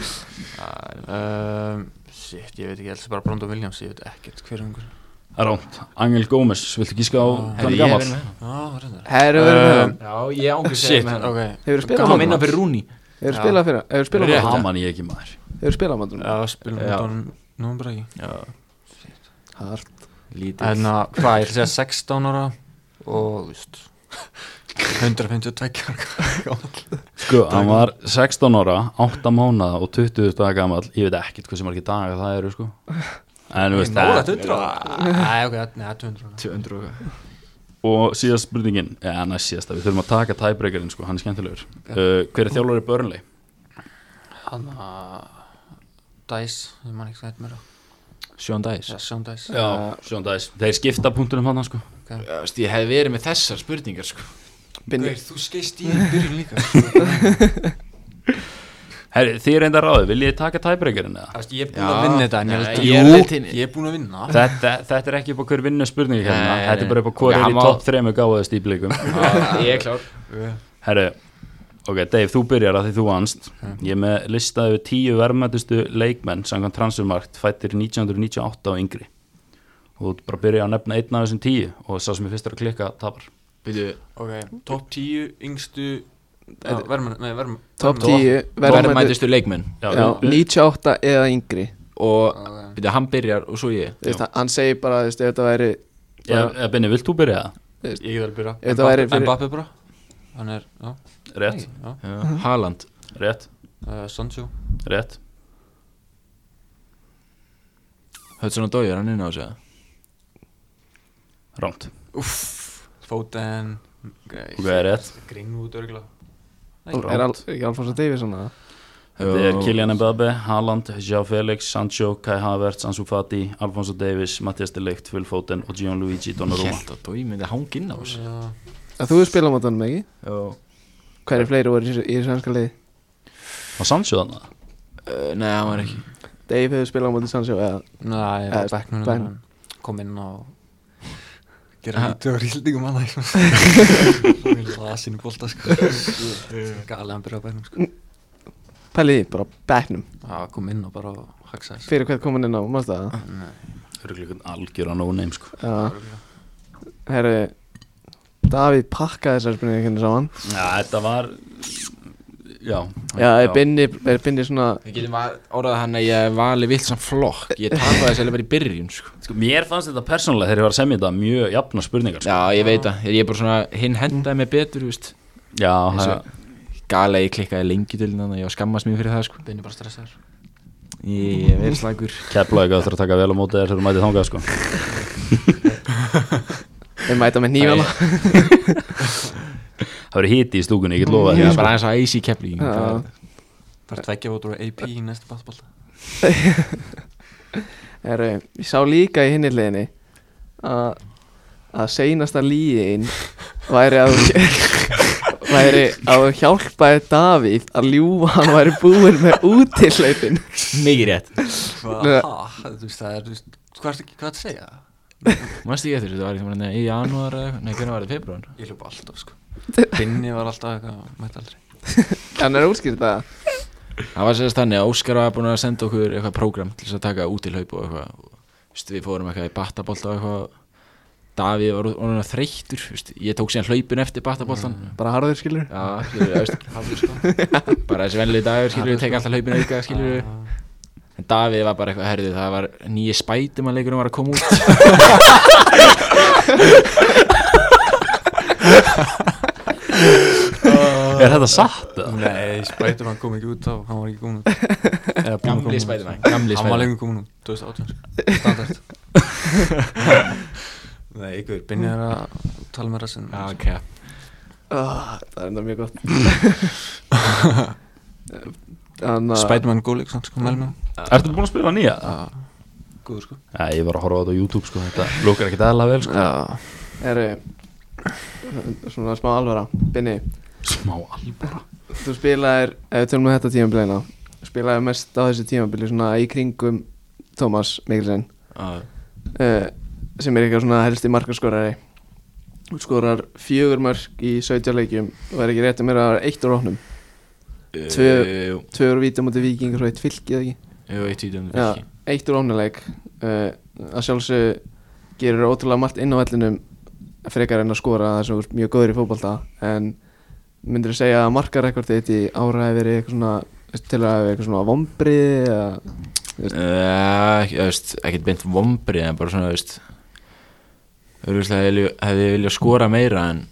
að horfa um, Shit, ég veit ekki Elsa bara Brandon Williams Ég veit ekkert hver ungur
Það er Ránt, Angel Gómez, viltu gíska á
Hefði
hann
ég
gammal?
verið með hann?
Já, hvað er þetta?
Herru, verður með hann
Já, ég ángur segja
Shit,
með hann
ok
Hefur spilað á
Eh, Um, Gaman minna
mótunum?
fyrir Rúni
Hefur spilað fyrir Hefur spilað á
Rétt,
mótunum?
hann ég ekki maður
Hefur spilað á mótunum?
Já, spilum
Já.
við honum Nú bara ekki
Já,
Hart
lítið
En að, Hérna, hvað, ég ætla að segja 16 ára Og, þú veist 152 ára
Sko, hann var 16 ára, 8 mánuða og 20 daga gammal Ég veit ekkert hversu margir daga það eru sko En þú veist
Nála
það
200 ára Nei, ok, neða 200 ára
200 og eitthvað.
Og síðast spurningin, eða næst síðasta, við þurfum að taka tæbreykarinn sko, hann er skemmtilegur uh, Hver er þjálfur í Börnley?
Hann að Ah, Dice, ég man ekki hvað þetta meira
Sean Dice
Já, Sean Dice
Já, Sjón Dæs Uh, Þeir skipta punktunum hann sko
Já, veist, Ég hef verið með þessar spurningar sko
Binni
Þú skeist í einn byrjun líka sko.
Herri, þið er enda ráðið, viljið þið taka tæbreykarinn eða?
Ég er búinn að vinna þetta en
Já,
held að-
ég er
Jú,
leitt inn.
Ég er búinn að vinna
Þetta, þetta er ekki upp á hver vinnu spurningi hérna,
Nei,
þetta
nei.
er bara upp á hver
Ok,
er
hann
í
má-
topp 3 gáðast í blikum
Ég er klár
Herru, ok, Dave, þú byrjar að því þú vannst Ég er með listaði við tíu verðmættustu leikmenn samkvæmt transfermarkt fættir 1998 og yngri og þú ert bara að byrja að nefna einn af þessum tíu og sá sem ég fyrst er að klikka tapar
Byrju,
Ok, top 10 yngstu Verman, nei, verman
Top 10 Verðmættist
verðmættistu leikmenn
Já,
Já, 98 eða yngri
Og, byrju, hann byrjar og svo ég
Þú veist, hann- Hann segir bara, þú veist, ef þetta væri
Ég, ég Benni, Eh, vilt þú byrja það?
Ég get alveg byrja
Ef þetta væri fyrir-
Mbappe bara Hann er, já
Rétt,
Já,
Haaland
rétt,
uh, Sancho
rétt
Hudson og Dói, er hann inn á þessu eða?
Rámt,
Uff Foden okay.
ok, rétt
Greenwood örgla
Er al- ekki Alfonso Davies svona
Þetta er
Jú.
Kylian Mbappe, Haaland, Joao Felix, Sancho, Kai Havertz, Ansu Fati, Alfonso Davies, Mattias de Ligt, Phil Foden og Gianluigi
Ég
Donnarumma
held að Dói myndi hang inn á þessu
Já
Að þú hefur spilað á mótunum, ekki?
Jú.
Hverju fleiri voru í þessu- í þessu svenska liði?
Og Sancho þannig
Uh, Nei, hann var ekki
Dave hefur spilað á móti Sancho eða
Nei, ég
Eh,
var backnum
back-
back. Kom inn og Ah. Gerða lítið á rýldingum hann Lasin í bolta sko Galið hann byrja á backnum sko
Pæliði, bara backnum
Já, kom inn og bara sko. haksa þessu
Fyrir hvert komin inn á, mást það?
Örgleikur algjör á no name sko
Ah.
Já Herru Davíð pakkaði þessar spurningu hérna saman
Já, þetta var já,
Já, er binni, er binni svona
Við getum að orðað hann að ég vali vilt samt flokk Ég tapaði þess að bara í byrjun sko.
Sko, mér fannst þetta persónulega þegar ég var að semja þetta mjög jafna spurningar sko.
Já, ég veit það, ég er bara svona hinn hendaði mig betur, þú veist
Já, já
Eins og- Gala, ég klikkaði lengi til hann Ég var skammast mér fyrir það, sko
Benni bara stressaður
Ég er verið slagur
Keflavík að það að taka vel á móti þér þegar þú mætið þangað sko.
Við mæta með nýjala
Það verið hiti í stúkunni, ég get lofa
Ég
þér
var
sko.
Mm. bara aðeins að æsi í kefli
Já.
Það er tveggja fótur og AP í næstu battbólta
Heru, eh, Ég sá líka í hinni hliðinni að að seinasta líðin væri að væri að þú hjálpaði Davíð að ljúfa hann væri búinn með útileipin
Mikið rétt
Nei.
Hvað? Þú veist það er, þú veist Hvað ertu hvað ertu að segja?
Manstu ekki eftir, þetta var eitthvað nei, í janúar eða eitthvað Nei, hvernig var þetta, februar?
Ég hljópa alltaf sko Benni var alltaf eitthvað Mætti aldrei
hann er útskýrt það
Það var sérst þannig að Óskar var búin að senda okkur eitthvað prógram til þess að taka útilhaup og eitthvað og, þú veist, við fórum eitthvað í battabolt og eitthvað Davíð var orðin að þreyttur þú veist, ég tók síðan hlaupin eftir battaboltan
bara harður skilur
Já, skilur við, veist,
Haldur Mm, sko
bara þessi venlið dagur skilur við, tek alltaf hlaupin auka skilur við
Ah.
En Davíð var bara eitthvað, herðu, það var nýji spætum að leikurum var að koma út
Er þetta satt? eða?
Nei, Spiderman kom ekki út þá, hann var ekki komin út Eða búinn að koma
Gamli
út.
spætum, gamli
Hann var
spætum
lengur komin út, 2018 sko. Standard Nei, ykkur, Binni er að tala með rassin
Já, Ah, ok,
oh, það er enda mjög gott Þannig að-
Spiderman góleik, svona sko, mælum við
Ertu búin að spila nýja?
hann. Góður sko
Já, ég var að horfa á þetta á YouTube sko, þetta lukkar ekkert aðalega vel sko.
Já, eru eh, Svona smá alvara Binni,
Smá albara
þú spilaðir Ef við tölum með þetta tímabilina Spilaðir mest á þessu tímabili Svona í kringum Tómas Mikkelsen
já,
uh, Sem er eitthvað svona helsti markaskorari Þú Skorar fjögur mörk í 17 leikjum Og er ekki rétt að mér að það er eitt úr ofnum Tvö.
Eh, Jú,
Tvöður vítum út í viking og svo eitt fylki eða ekki
jú, eitt í dömum
Já, eitt úr ofnuleik uh, að sjálfsög gerir ótrúlega margt inn á vellinum frekar en að skora það sem er mjög góður í fótbolta en myndir þú segja að markarekordið þitt í ára hefur verið eitthvað svona til að hefur eitthvað svona vombrið eða
Já, Eh, ekki- þú veist, ekkert beint vombrið en bara svona, þú veist auðvitað hefði hef ég viljað skora meira en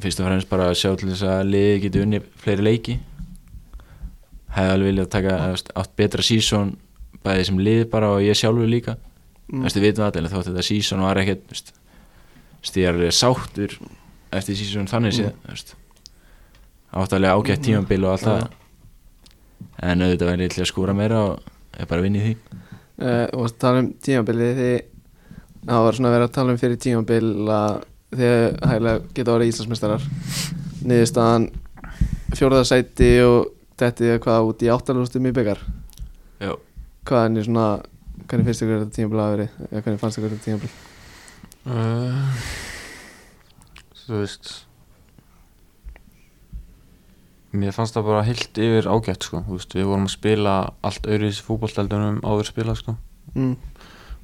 fyrst og fremst bara að sjá til þess að liði geti unni fleiri leiki hefði alveg viljað taka þú veist, átt betra sísón bæði sem lið bara og ég sjálfur líka þú veist, við vitum það en þótt þetta sísón var ekkert þú veist, þú veist, ég er alveg sáttur eftir sísón þannig séð þú veist áttalega ágætt tímambil og allt það en auðvitað væri ég til að skóra meira og ég bara vinn í því
uh, og að tala um tímabilið því það var svona verið að tala um fyrir tímabil að þið hægilega geta orðið Íslandsmeistarar niðurstaðan fjórðarsæti og þetta er hvað út í áttalústum í byggar
Já.
hvaðan er svona hvernig finnst ykkur þetta tímabil að veri eða hvernig fannst ykkur þetta tímabil
Uh, Þú veist Mér fannst það bara heilt yfir ágætt sko Þú veist, Við vorum að spila allt öðru í þessi fútbolteldunum áður spila sko
mm.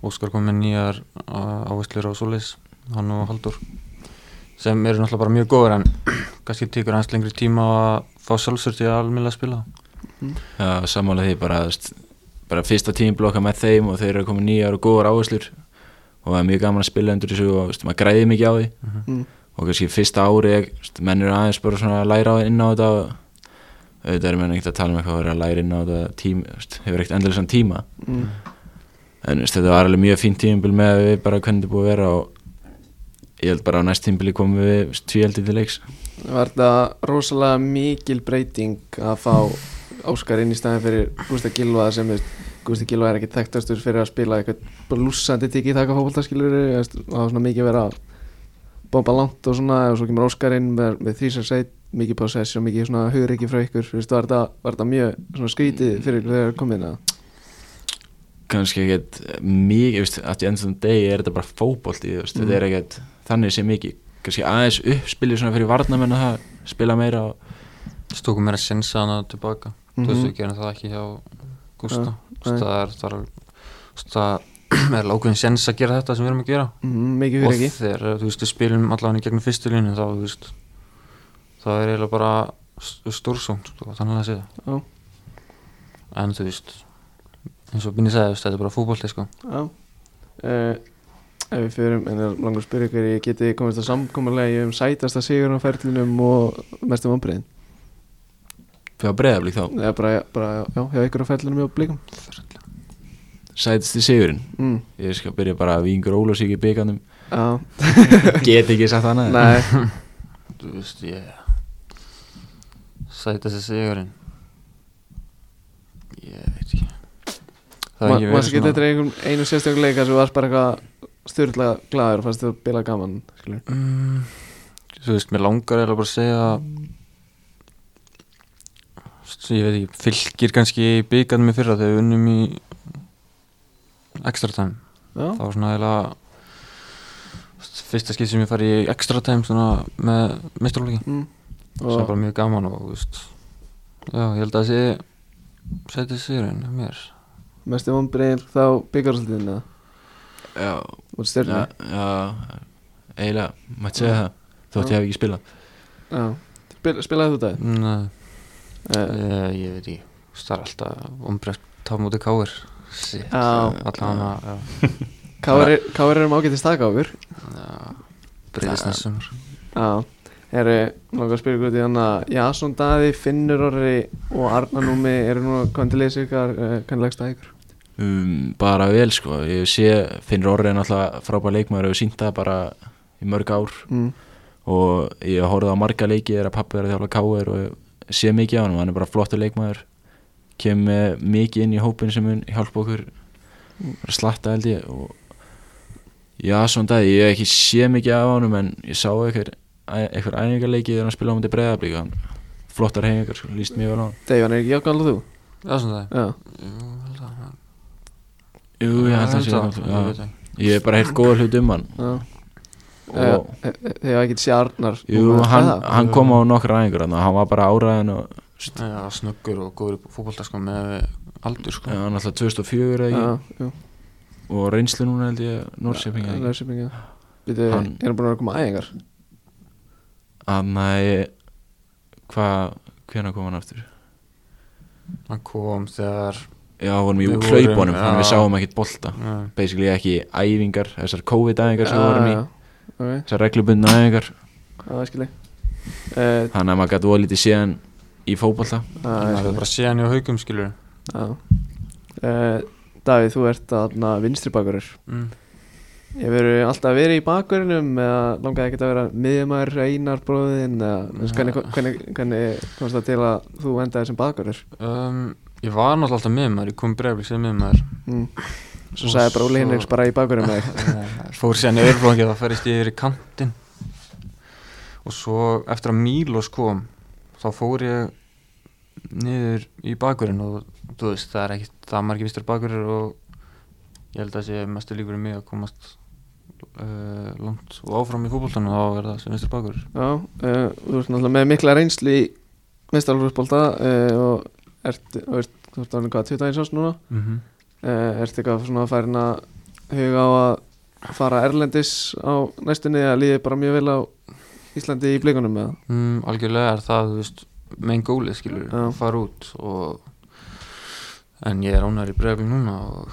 Óskar kom með nýjar uh, áherslur á Solis Hann og Haldur sem eru náttúrulega bara mjög góður en kannski tekur hans lengri tíma að fá sjálfsvörti að almennilega spila
Já, sammála því bara, þú veist, bara fyrsta tímblokka með þeim og þeir eru komið nýjar og góðar áherslur og það er mjög gaman að spila undir þessu og þú veist, maður græði mikið á því
Mm.
og kannski fyrsta ári þú veist, menn eru aðeins bara svona að læra á inn á þetta og auðvitað er menn ekkert að tala um eitthvað að vera að læra inn á þetta tím, þú veist, hefur ekkert endilega svona tíma
Mm.
en þú veist, þetta var alveg mjög fínt tímbil með að við bara hvernig þetta er búið að vera og ég held bara á næst tímbili komum við þú veist, tvíeldi til leiks
Var þetta rosalega mikil breyting að fá Óskar inn í staðin fyrir Gústa Gilva sem er Gústa Gilva er ekki þekktastur fyrir að spila eitthvað bara lúsandi tiki taka fókbaltarskilur og það var svona mikið verið að bomba langt og svona og svo kemur Óskar inn með, með þrísarsæt, mikið possession, mikið svona hugreiki frá ykkur, þú veist, var þetta, var þetta mjög svona skrítið fyrir ykkur þegar komið inn að
kannski ekkert mikið, þú veist, að ég endur degi er þetta bara fótbolti, þú veist, þetta er ekkert þannig sé mikið, kannski aðeins uppspilið svona fyrir varnamenn og það, spila meira og,
Stókum meira að sensa hana tilbaka
Mhm.
Þú veist við gerum það ekki hjá Gústa
Ja,
Þú veist,
nei.
það er það er, þú veist, það er lágurinn sens að gera þetta sem við erum að gera
mm, mikið
og
hugreiki
þegar þú veist við spilum allavega í gegnum fyrstu línu þá þú veist það er eiginlega bara stórsóng sko, þannig að segja
Já.
en þú veist eins og Binni sagði, þú veist, þetta er bara fútbolti sko.
Já uh, Ef við fyrum, en ég langar að spyrja ykkur ég geti komist að samkommulegi um sætasta sigur á ferlinum og mestum ombriðin
Fyrir að breyðaflík þá
eða bara, bara já, hjá ykkur á ferlinum og blíkum
Sætist í sigurinn
mm.
Ég skal byrja bara að vingur Ólafsík í byggarnum
Já,
Get ekki sagt annað
nei
þú veist, yeah sæta sér sigurinn ég veit ekki
Ma-
það er ekki
Maður
verið
sem getur
svona
þetta einhvern einu sérstökum leika sem varst bara eitthvað styrla glæður og fannst þetta bila gaman skilur.
mm, þú veist, mér langar eða bara að segja Þú veist, ég veit ekki, fylgir kannski byggarnum í fyrra þegar við unnum í extra time
Já,
það var svona eiginlega fyrsta skil sem ég fari í extra time svona með mestralóki
mm.
það var
og,
bara mjög gaman og þú veist já, ég held að það sé sæti sigurinn hjá mér
mestum ombriðin þá byggarsaldiðin eða
Já,
út
já,
styrla
já Eiginlega, maður segja það Þótt ég hef ekki spilað
Já, Spil, spilaði þú það?
Nei,
Uh,
ég, ég veit ekki Mm, eh, Þú veist, það er alltaf ombreyft támúti káir Sitt,
Já.
allan að já,
Káir um erum ágætið stakáfur
já, breyðist næst sumar
Já, herru, langar að spyrja ykkur út í þannig að Jason Daði, Finnur Orri og Arna Númi eru nú komið til leysi ykkar, uh, hvernig leggst það ykkur?
um, Bara vel sko Ég sé, finnur orðið náttúrulega frábær leikmaður og sínt það bara í mörg ár
Mm.
og ég horfði á marga leiki þegar pappi er að þjála káir og sé mikið á hann og hann er bara flottur leikmaður kem eh, mikið inn í hópin sem mun hjálpa okkur bara slatta held ég og já, svona dag, ég hef ekki sé mikið á hann en ég sá einhver einhver æfingarleiki þegar hann spilaði á myndi breiðablíka hann flottar hefingar, sko, líst mjög vel á hann
Dave, hann er ekki jákvæðan og þú?
Já, svona það
Já,
Jú, held að hann-
Jú, ég held
held
að hann
að-
sé
ég veit
já.
ekki.
ég hef bara heyrt góða hlut um hann
já Eh,
og
Þegar ég ekki sé Arnar
jú,
núna,
hann,
eða?
hann kom á nokkra æfingar þarna, hann var bara áraðin og
Já, snöggur og góður í fótbolta sko með aldur sko
já, hann alltaf 2004 eða ekki
Já, jú,
og reynslu núna held ég Norrköpinga ekki
Norrköping, já Býtu, er
Hann-
hann búin að koma aðeingar?
Þannig hvað, hvena kom hann aftur?
Hann kom þegar
Já, vorum í
Við vorum,
klaupunum, þannig að við
já.
sáum ekkert bolta
uh,
basically ekki æfingar, þessar COVID-æfingar sem við vorum í,
Ok,
þessar reglubundna æfingar
það er skilji Eh,
þannig að maður gæti voða lítið síðan í fótbolta
Það
Það
er
er bara síðan í haugum skilur
skilji Davíð, Eh, þú ert þarna vinstri bakurur
mm.
Ég verið alltaf verið í bakverðinum eða langaði ekki að vera miðjumæður einar bróðin eða þú veist, hvernig, hvernig, hvernig komst það til að þú endaði sem bakverður
um, Ég var náttúrulega alltaf með maður, ég kom breyflik sem með maður
mm. Svo sagði bara Óli Hinriks bara í bakverðinu með þig
Fór síðan í öðruflóki það færist ég yfir í kantinn Og svo eftir að Mílos kom Þá fór ég niður í bakurinn og þú veist það er ekkit það margir vistur bakurir og ég held að sé mestu líkur í mig að komast uh, langt og áfram í fútboltanum þá er það sem vistur bakur
Já, uh, þú ert náttúrulega með mikla reynslu í mestarlúfsbólta uh, og ert, og ert, þú ert orðin hvað, 21 árs núna
mm -hmm.
uh, ert eitthvað svona færin að huga á að fara erlendis á næstunni eða líði bara mjög vel á Íslandi í blikunum eða?
Mm, algjörlega er það, þú veist, megin gólið skilur,
Já.
að fara út og en ég er ánæður í bregðum núna og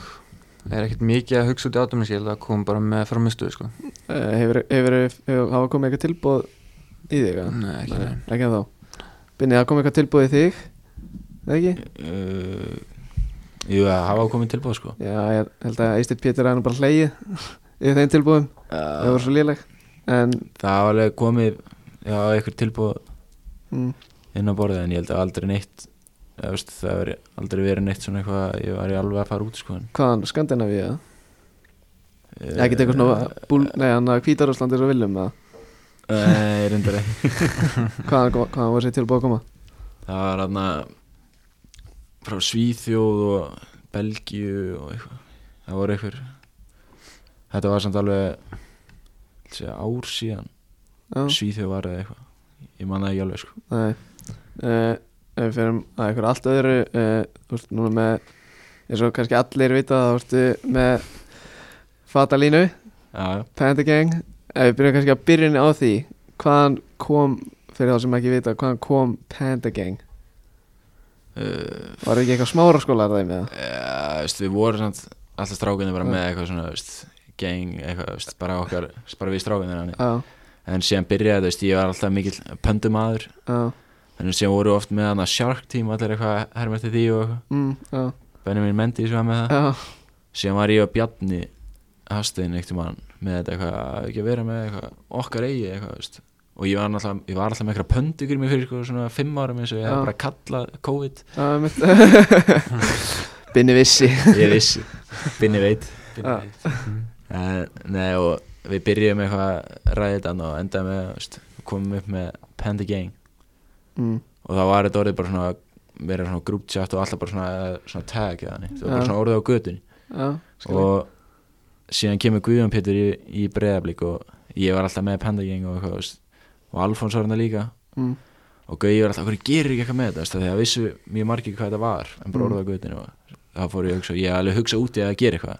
er ekkert mikið að hugsa út í átumins, ég held að kom bara með framistuð, sko.
Uh, hefur, hefur, hefur hafa komið eitthvað tilbúð í þig? eða?
Nei, ekki
Nei,
neinn.
ekki en þá Binni, það kom eitthvað tilbúð í þig eða ekki?
uh, Jú, það hafa komið tilbúð sko
Já, ég held að Eistir Pétur er nú bara hlegið yfir þeim tilbúðum, það
uh,
voru svo léleg en,
Það hafa alveg komið já, eitthvað tilbúð
mm,
inn á borðið en ég held að aldrei neitt eða, veist, það hefur aldrei verið neitt svona eitthvað að ég var í alveg að fara út sko en,
hvaðan, Skandinavíu eða?
uh,
Ekkert eitthvað svona búl, nei, hann að Hvítarúsland er svo viljum eða?
Eh, Nei, reyndar ekki
Hvaðan, kom- hvaðan voru sér tilbúð að koma?
Það var hann frá Svíþjóð og Belgíu og eitthvað Það voru eitthvað Þetta var samt alveg sé, ár síðan
Já,
Svíþjóð var eða eitthvað Ég man það ekki alveg sko
nei uh, Ef við fyrir að eitthvað allt öðru uh, Þú ert núna með eins og kannski allir vita það, þú ertu með Fatalínu
Já, já
Panda Gang Ef við byrjum kannski að byrjun á því Hvaðan kom fyrir þá sem ekki vita hvaðan kom Panda Gang
uh,
var ekki eitthvað smára skólar þeim eða
Já, veist, við vorum samt alltaf strákunni bara með eitthvað svona veist, gang, eitthvað, veist, bara okkar bara við strákunni hann
já,
en síðan byrjaði þetta, veist, ég var alltaf mikill pöndumadur
já,
en síðan voru oft með hann að Shark Team allir eitthvað hermætti því og eitthvað
mm, já,
Benjamin Mendy sem var með það
já
síðan var ég og Bjarni Hastein eitt um hann með þetta eitthvað ekki að vera með eitthvað okkar eigi eitthvað veist. og ég var, alltaf, ég var alltaf með eitthvað pöndugur mér fyrir sko, svona fimm árum eins og ég
Já.
hef bara kallað COVID
já, einmitt. Binni vissi
ég vissi, binni veit
Já.
en, nei, og við byrjuðum eitthvað að ræða þetta og endaðum með veist, komum upp með Panda Gang
mm,
og þá var þetta orðið bara svona meira svona group chat og alltaf bara svona, svona tag eða þannig, það var
Já.
bara svona orðið á götun
já, skilji.
og síðan kemur Guðjón Pétur í, í breðablík og ég var alltaf með Panda Gang og eitthvað veist, og Alfons var hann líka
mm,
og Guði var alltaf, hverju gerir ekki eitthvað með þetta veist, af því að vissu mjög margir hvað þetta var en
Mm.
bara orðið á göttinu og þá fór ég að hugsa og ég alveg hugsa út í að gera eitthvað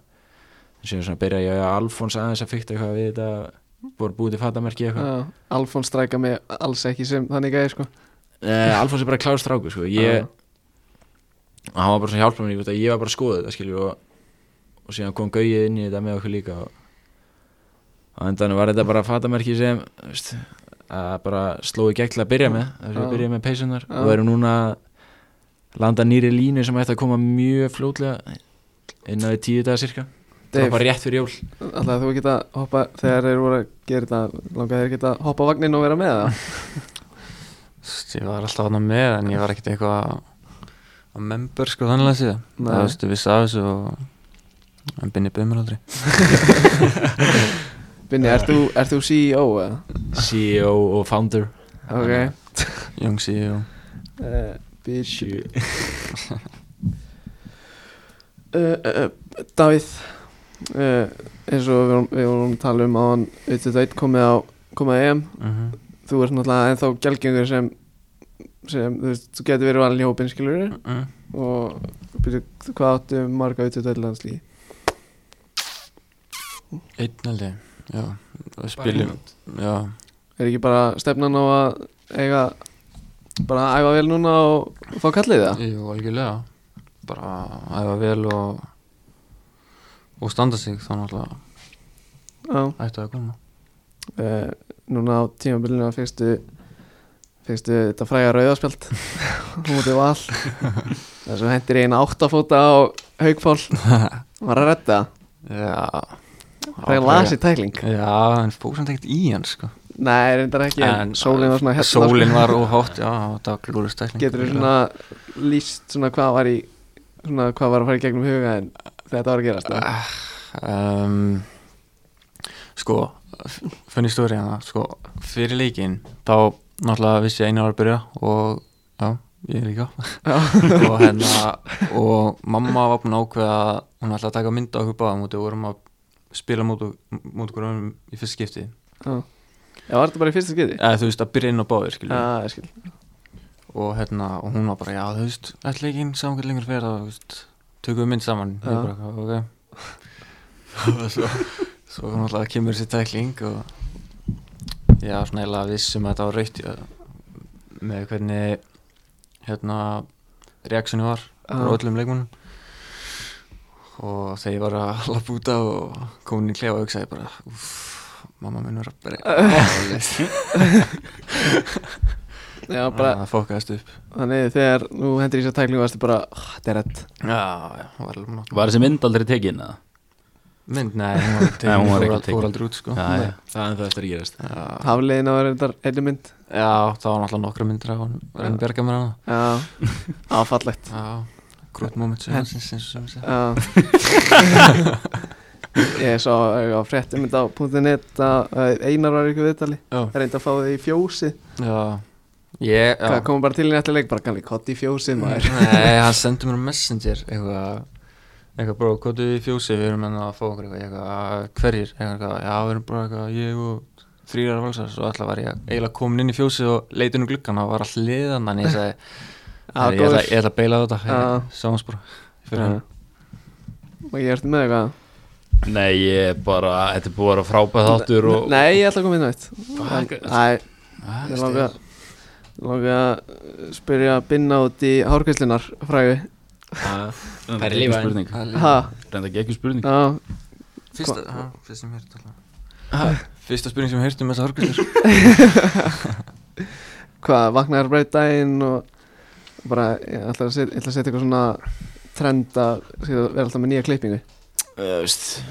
en síðan svona byrja ég að Alfons aðeins að fykta eitthvað við þetta voru búið til fatamerki eitthvað
já Alfons stræka mig alls ekki sem þannig gæði sko
Nei, Eh, Alfons er bara klár stráku sko.
Já.
ég, og hann var bara svona hjálpa mér ég, veit að ég var bara að skoða þetta skilur, og, og síðan kom Gauji inn í þetta með okkur líka og, og endan var þetta bara fatamerki sem veist, að bara sló í gegn til að byrja með þess að
Já.
við byrjaði með peysunar
Já.
og erum núna að landa nýri línu sem ætti að koma mjög fljótlega inn á því tíu daga cirka það
Dave,
var bara rétt fyrir jól
alltaf þú geta hoppa þegar þeir voru að gera þetta langaði þeir geta hoppa á vagninn og vera með það
Sst, Ég var alltaf hann með en ég var ekkert eitthvað að member sko þannig að síðan
Nei.
Það veistu vissi af þessu og en binni bauð mér aldrei
Binni, ert þú, ert þú CEO eða?
CEO E og founder
Ok
Young E CEO
Uh, bitch uh, uh, uh, Davíð uh, eins og við vorum, við vorum að tala um á hann auðvitað komið á komið að EM
mm -hmm.
þú ert náttúrulega ennþá gjaldgengur sem sem þú, veist, þú getur verið valin í hópin skilur
Mm-hmm.
og byrju, hvað áttu marga auðvitað landslíði
Einn held ég Já, og spilum Já,
er ekki bara stefnan á að eiga bara að æfa vel núna og fá kallið það
jú, algjörlega Bara æfa vel og og standa sig þá náttúrulega
já
ætti að koma
uh, núna á tímabilinu fyrstu, fyrstu þetta fræga rauðaspjald mútið val þar sem hendir eina áttafóta á haugfól var að redda
Já
fræga lasi tækling
Já, en fór samt ekkert í hann sko eh,
nei, reyndar ekki, en sólin var svona hérna
uh, Sólin var óhátt, já, þetta var glúri stækning
getur þú svona líst svona hvað var í svona hvað var að fara í gegnum huga en þetta var að gerast eða?
Uh. um, Sko Funni stóri hérna Sko, fyrir leikinn Þá náttúrulega vissi ég einu var að byrja Og já, ég líka Og hérna Og mamma var búin að ákveða að Hún ætlaði að taka mynda okkur báðum út og við vorum að spila mót mót okkur um í fyrst skipti
já, Já, var þetta bara í fyrsta skiti?
eða þú veist að byrja inn á báðir
Já,
skilja
ég skil
og hérna og hún var bara já þú veist ætla ekki inn saman hvernig lengur fyrir það þú veist tökum við mynd saman ég
Já.
bara ok og svo svo hún alltaf kemur sér tækling og já svona eiginlega vissum að þetta var rautt já, með hvernig hérna reaksjoni var frá
Já.
öllum leikmunum og þegar ég var að lappa út af og kom hún í klefa og hugsaði bara uff mamma minn var að breyta
Já, bara,
það fókaðist upp
þannig þegar þú hendur í þessa tæklingu varstu bara, "Ah, þetta er redd
Já, já, hún var alveg nátt
Var þessi mynd aldrei tekin eða?
Mynd, nei, hún var ekki
Nei, hún var
tekin,
ekki
fór,
tekin.
fór aldrei út sko
Já,
Nei.
já.
það er ennþá eftir að gerast
Já,
Hafliðin á reyndar einu mynd
já það var náttúrulega nokkra myndir af hann Renn bjarga mér hana
Já, áfallegt
Já, grútt moment sem hans eins og sem ég
Já
segi
Ég sá á fréttum þetta á .net að að Einar var í ykkur viðtali
Já,
reyndi að fá þið í fjósi
já Ég,
Það
já Mm.
kom bara til í nættileg, bara kannski kott í fjósi maður
Nei, hann sendi mér á messenger eitthvað Eitthvað, bró, hvað er í fjósi, við erum enn að fá okkur eitthvað, eitthvað, hverjir, eitthvað, já, við erum bara eitthvað, ég og þrýrar valsar, svo alltaf var ég eiginlega komin inn í fjósi og leitin um gluggan og var alltaf liðan, en ég sagði,
Já,
ég ætla
góður.
ég ætla að beila á þetta,
Já.
ég sáum bara, fyrir hann.
Já. Og ég ertu með eitthvað
Nei, ég er bara, þetta er búið að vera frábæð þáttur og
Nei, ég ætla að koma inn á eitt
Fuck.
Nei, ég langa Langa að spyrja að binna út í hárkvæslinar frægu
það
Reyndar
er
geggjum
lífa
spurning
Mm.
Ha,
Reynda geggjum spurning
já,
Fyrsta, ha, fyrsta sem hérst alltaf Fyrsta spurning sem hérst um þessa hörguldur
hvað, vaknaður breyt daginn og bara, ég ætla að setja, ætla að setja eitthvað svona trend að setja- vera alltaf með nýja klippingu
Eh, Þú veist,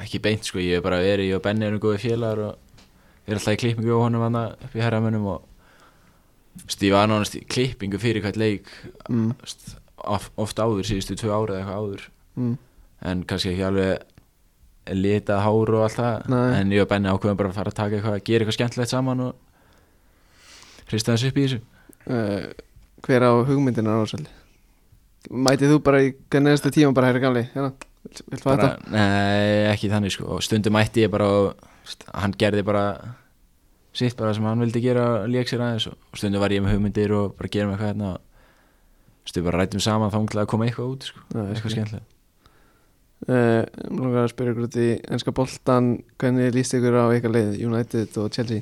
ekki beint sko ég hef bara verið, ég og Benni erum góði félagar og við erum alltaf í klippingu og honum vanna upp í herramönnum og þú veist, ég var nánast í klippingu fyrir hvert leik
mm,
þú veist, of, oft áður, síðustu tvö árið eitthvað áður
mm,
en kannski ekki alveg litað hár og allt það
Nei.
en ég og Benni ákveðum bara að fara að taka eitthvað gera eitthvað skemmtilegt saman og hrista þessu upp í þessu
uh, Hver á hugmyndina ásvöldi? Mætið þú bara í hvernig næsta tíma bara hægri gamli, hérna, vill- vill fá
bara,
þetta?
nei, ekki þannig sko og stundum mætti ég bara og st- hann gerði bara sitt bara sem hann vildi gera og lék sér aðeins og og stundum var ég með hugmyndir og bara gerum eitthvað hérna og stundum bara rættum saman þá til að koma eitthvað út sko,
Já, ég skil.
eitthvað skemmtilega
Uh, Langa að spyrja ykkur út í ennska boltan, hvernig líst ykkur á ykkar leið, United og Chelsea?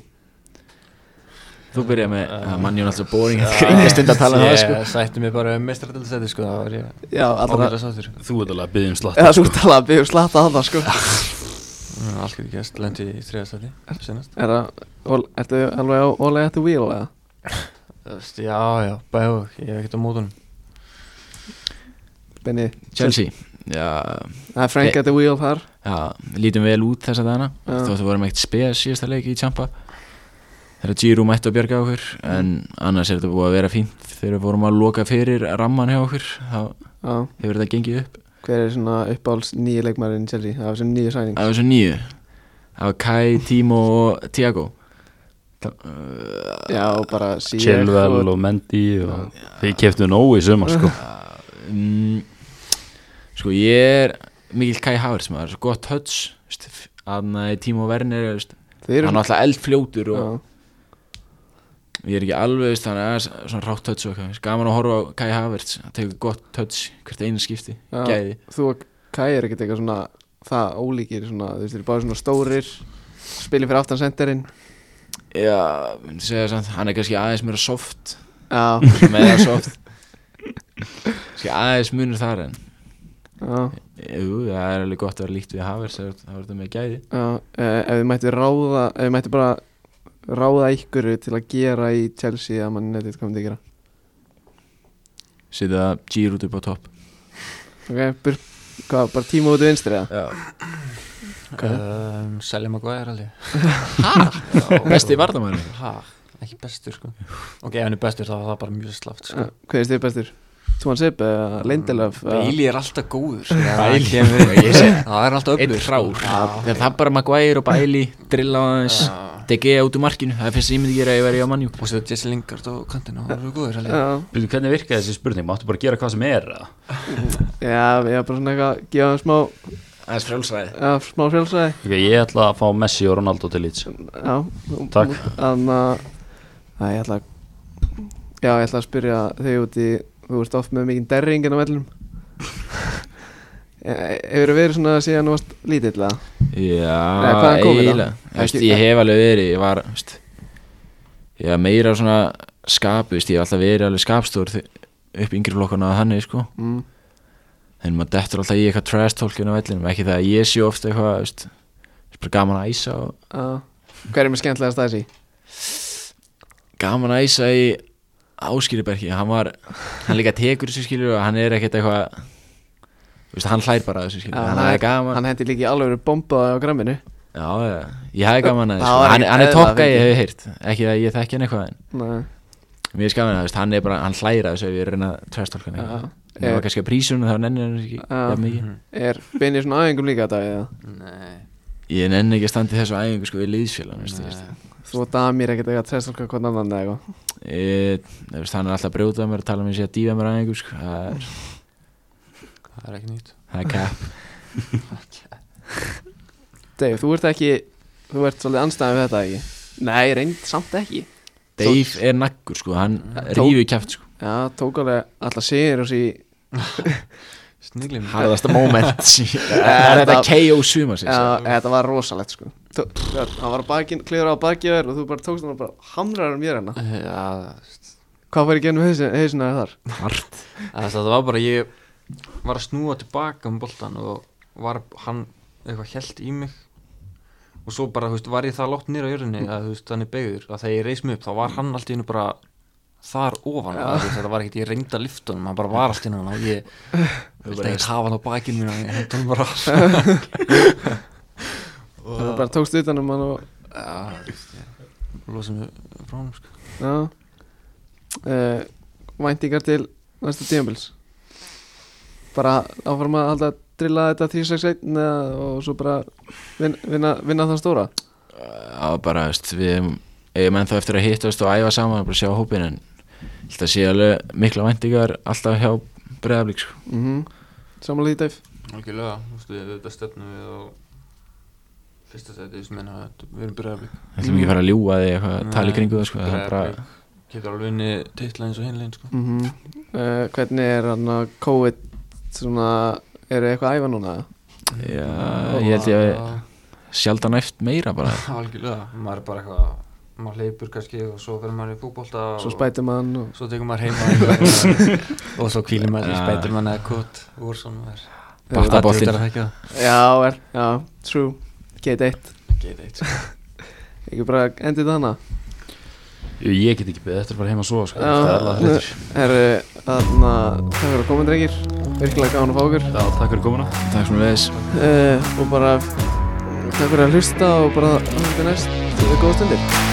þú byrjaði með, uh, mann ég er alltaf boring að greina stund að tala um það sko
Ég sætti mig bara um mestradelsæti sko Það var ég
Já, allra,
ágætlega sáttur
Þú ert alveg að byggja um slatt
eða svo talað að byggja slata að það sko
Mm, Allt getur gæst, lendi í þriðastæti Senast
Er það, ol- ertu alveg á all at the wheel eða?
Já, já, bæðu, ég hef ekkert á mótunum
Benni,
Chelsea, já,
það er Frank at the wheel þar
já lítum vel út þess að dana
Já.
þó að þú vorum eitt spes síðasta leiki í Champa þegar Giro mætti að bjarga okkur en annars er þetta búið að vera fínt þegar við vorum að loka fyrir ramman hjá okkur þá
Já,
hefur þetta gengið upp
hver er svona uppáhalds nýju leikmærin Chelsea, af þessum nýju sæning
það var svo nýju það var Kai, Timo og Tiago
Já, og bara síðan
Chilwell og Mendy og Við keftum nógu í sumar sko
mm, sko ég er mikill Kai Havertz maður, svo gott höts að Timo Werner þú veist,
Þeir
hann er
eru
alltaf eldfljótur og
Já,
ég er ekki alveg veist, hann er aðeins svona rátt touch og eitthvað gaman að horfa á Kai Havertz hann tekur gott touch hvert einu skipti
Já.
gæði
Þú og Kai er ekkert eitthvað svona það ólíkir svona, þú veist, þeir eru bara svona stórir spilið fyrir aftan senderinn
já, myndi segja samt, hann er kannski aðeins meira soft
Já,
meira soft kannski aðeins munur þar en
já,
jú, það er alveg gott að vera líkt við Havertz þá er þá er þetta með gæði
já Eh, Ef þið mættu ráða, ef þið mættu bara ráða ykkur til að gera í Chelsea að mann netið komið að gera
setja gýr út upp á topp
Ok, byr, hvað, bara tíma út í vinstri eða?
já.
um, Selja Maguire alveg
besti varnamæður
Ha, ekki bestur sko Ok, ef hann er bestur þá er það bara mjög slaft sko
Uh, Hvað er stið bestur? Tvan Sip eða Lindelöf?
Bailey er alltaf góður sko.
Bailey,
Það kemur-
ég sé.
Það er alltaf
einn
öflur
hrár það það er bara Maguire og Bailey drilla á aðeins DG út úr markinu það er fyrst sem ég myndi gera ef ég veri á mannjú
Og svo Jesse Lingard og kantinu Það eru góður alveg
Já,
Býtum, Hvernig virkaði þessi spurning? Máttu bara gera hvað sem er eða?
já, ég er bara svona eitthvað að gefa þeim smá,
aðeins frjálsræði
já, smá frjálsæði
Ok, Ég ætla að fá Messi og Ronaldo til lít
Já, þú-
Takk.
þú- Þannig að Æ, ég ætla að Já, ég ætla að spyrja þig út í Þú ert oft með mikið derring en á mellum Hefur þú verið svona síðan þú varst lítill eða? Nei,
Já,
hvaðan kom þetta?
eiginlega Þú veist,
Ekki-
Ég hef alveg verið, ég var þú veist, Ég var meira svona skapu, veist, ég hef alltaf verið alveg skapstór þi- upp í yngri flokkana að þannig sko.
Mm.
en maður dettur alltaf í eitthvað trash talkin á vellinum, ekki það að ég sé ofta eitthvað þú veist, það er bara gaman að æsa og
Já. Hver er mér skemmtilegast að þessi?
gaman að æsa í Áskýribergi, hann var hann líka tekur þessu skilur og hann er ekkert eitthvað þú veist, hann hlær bara að þessu skilur, hann er gaman
Hann hendi líki alveg bombaði á gramminu
Já, já, ég hafði gaman að
Það
þessu
var
hann,
ekki
hann er
eðlilega
tokka, ég
fyndið.
hef heyrt ekki að ég þekki hann eitthvað en
Nei,
Mér er skafin að þú veist, hann er bara, hann hlæra þessu ef ég reyna að trestálka
já. Eh.
hann Það var kannski að prísunum þá nennir hann ekki
Já.
jafn mikið
Er Benni svona aðengum líka þetta eða?
Nei
Ég nenni ekki að standa í þessu æfingu sko við liðsfélag
Þú og Damir ekkert eitthvað að tresta okkar hvort annan eða eitthvað
Hann er alltaf að brjóta mér og tala mér sér að dýfa mér æfingu sko. það, er,
Það er ekki nýtt
það er cap
Dave, þú ert ekki Þú ert svolítið anstæðan við þetta ekki Nei, reynd samt ekki
Dave er nakkur sko, hann
Tó-
rífi kæft sko
Já, tók alveg alltaf sigur og sí
Sniglim
Harðasta moment Er þetta KO suma sér
Já, þetta var rosalegt sko Þú- já, hann var á bakinn, klifur á bakið á þér og þú bara tókst hann og bara hamrar um mér hérna
Já,
hvað var í genum heisina þar?
hart
það, það var bara ég var að snúa tilbaka um boltan og var hann eitthvað held í mig og svo bara, þú veist, var ég það látt nýra á jörðinni að þú veist, þannig beigður að þegar ég reis mig upp þá var hann allt í hennu bara þar ofan ja. veist, þetta var ekkert, ég reynda liftunum hann bara var allt í hennu og ég vildi ekkert hafa hann á bakinn mín og ég hendur hann bara
Þú bara tókst utan um hann og
Já, þú veist, ég losa mig frá hann sko.
já uh, væntingar til næsta tímabils bara áfram að halda að drilla þetta 361 eða- og svo bara vin, vinna, vinna þann stóra
Já, bara, veist, við eigum- eigum ennþá eftir að hittast og æfa saman og bara sjá hópin en ég held að sé alveg mikla væntingar alltaf hjá breðablík sko.
mm -hmm. samanlega í dæf
Algjörlega, þú veist, við þetta stefnum við og fyrsta sæti, þú veist, menna, við erum bregðarblik
Við ætlum ekki að fara að ljúga því eitthvað að tala í
Nei,
kringu það sko, það er bara
Breiðablik getur alveg unni titla eins og hinlegin sko.
mm hvernig er hann að COVID svona, eru eitthvað að æfa núna?
já, ég held ég að sjaldan æft meira bara
algjörlega, maður er bara eitthvað maður leipur kannski og svo verður maður í fútbolta
svo
og
spætum hann og
svo tekur maður heima og svo kvílir maður í
Já.
spætumann eða kott úr svona
Batta boltinn.
já, er, já, true gate 1,
geit eitt sko.
ekki bara endið þannig
Ég get ekki beðið eftir að fara heim að sofa sko.
Já.
Það er alveg hlutur
Herru, eh, þarna, það fyrir að koma drengir Virkilega gáðan að fá okkur Eh,
Já, takk fyrir komuna
takk sem við þess
uh, Og bara, takk fyrir að hlusta og bara, þetta næst, þetta er góð stundir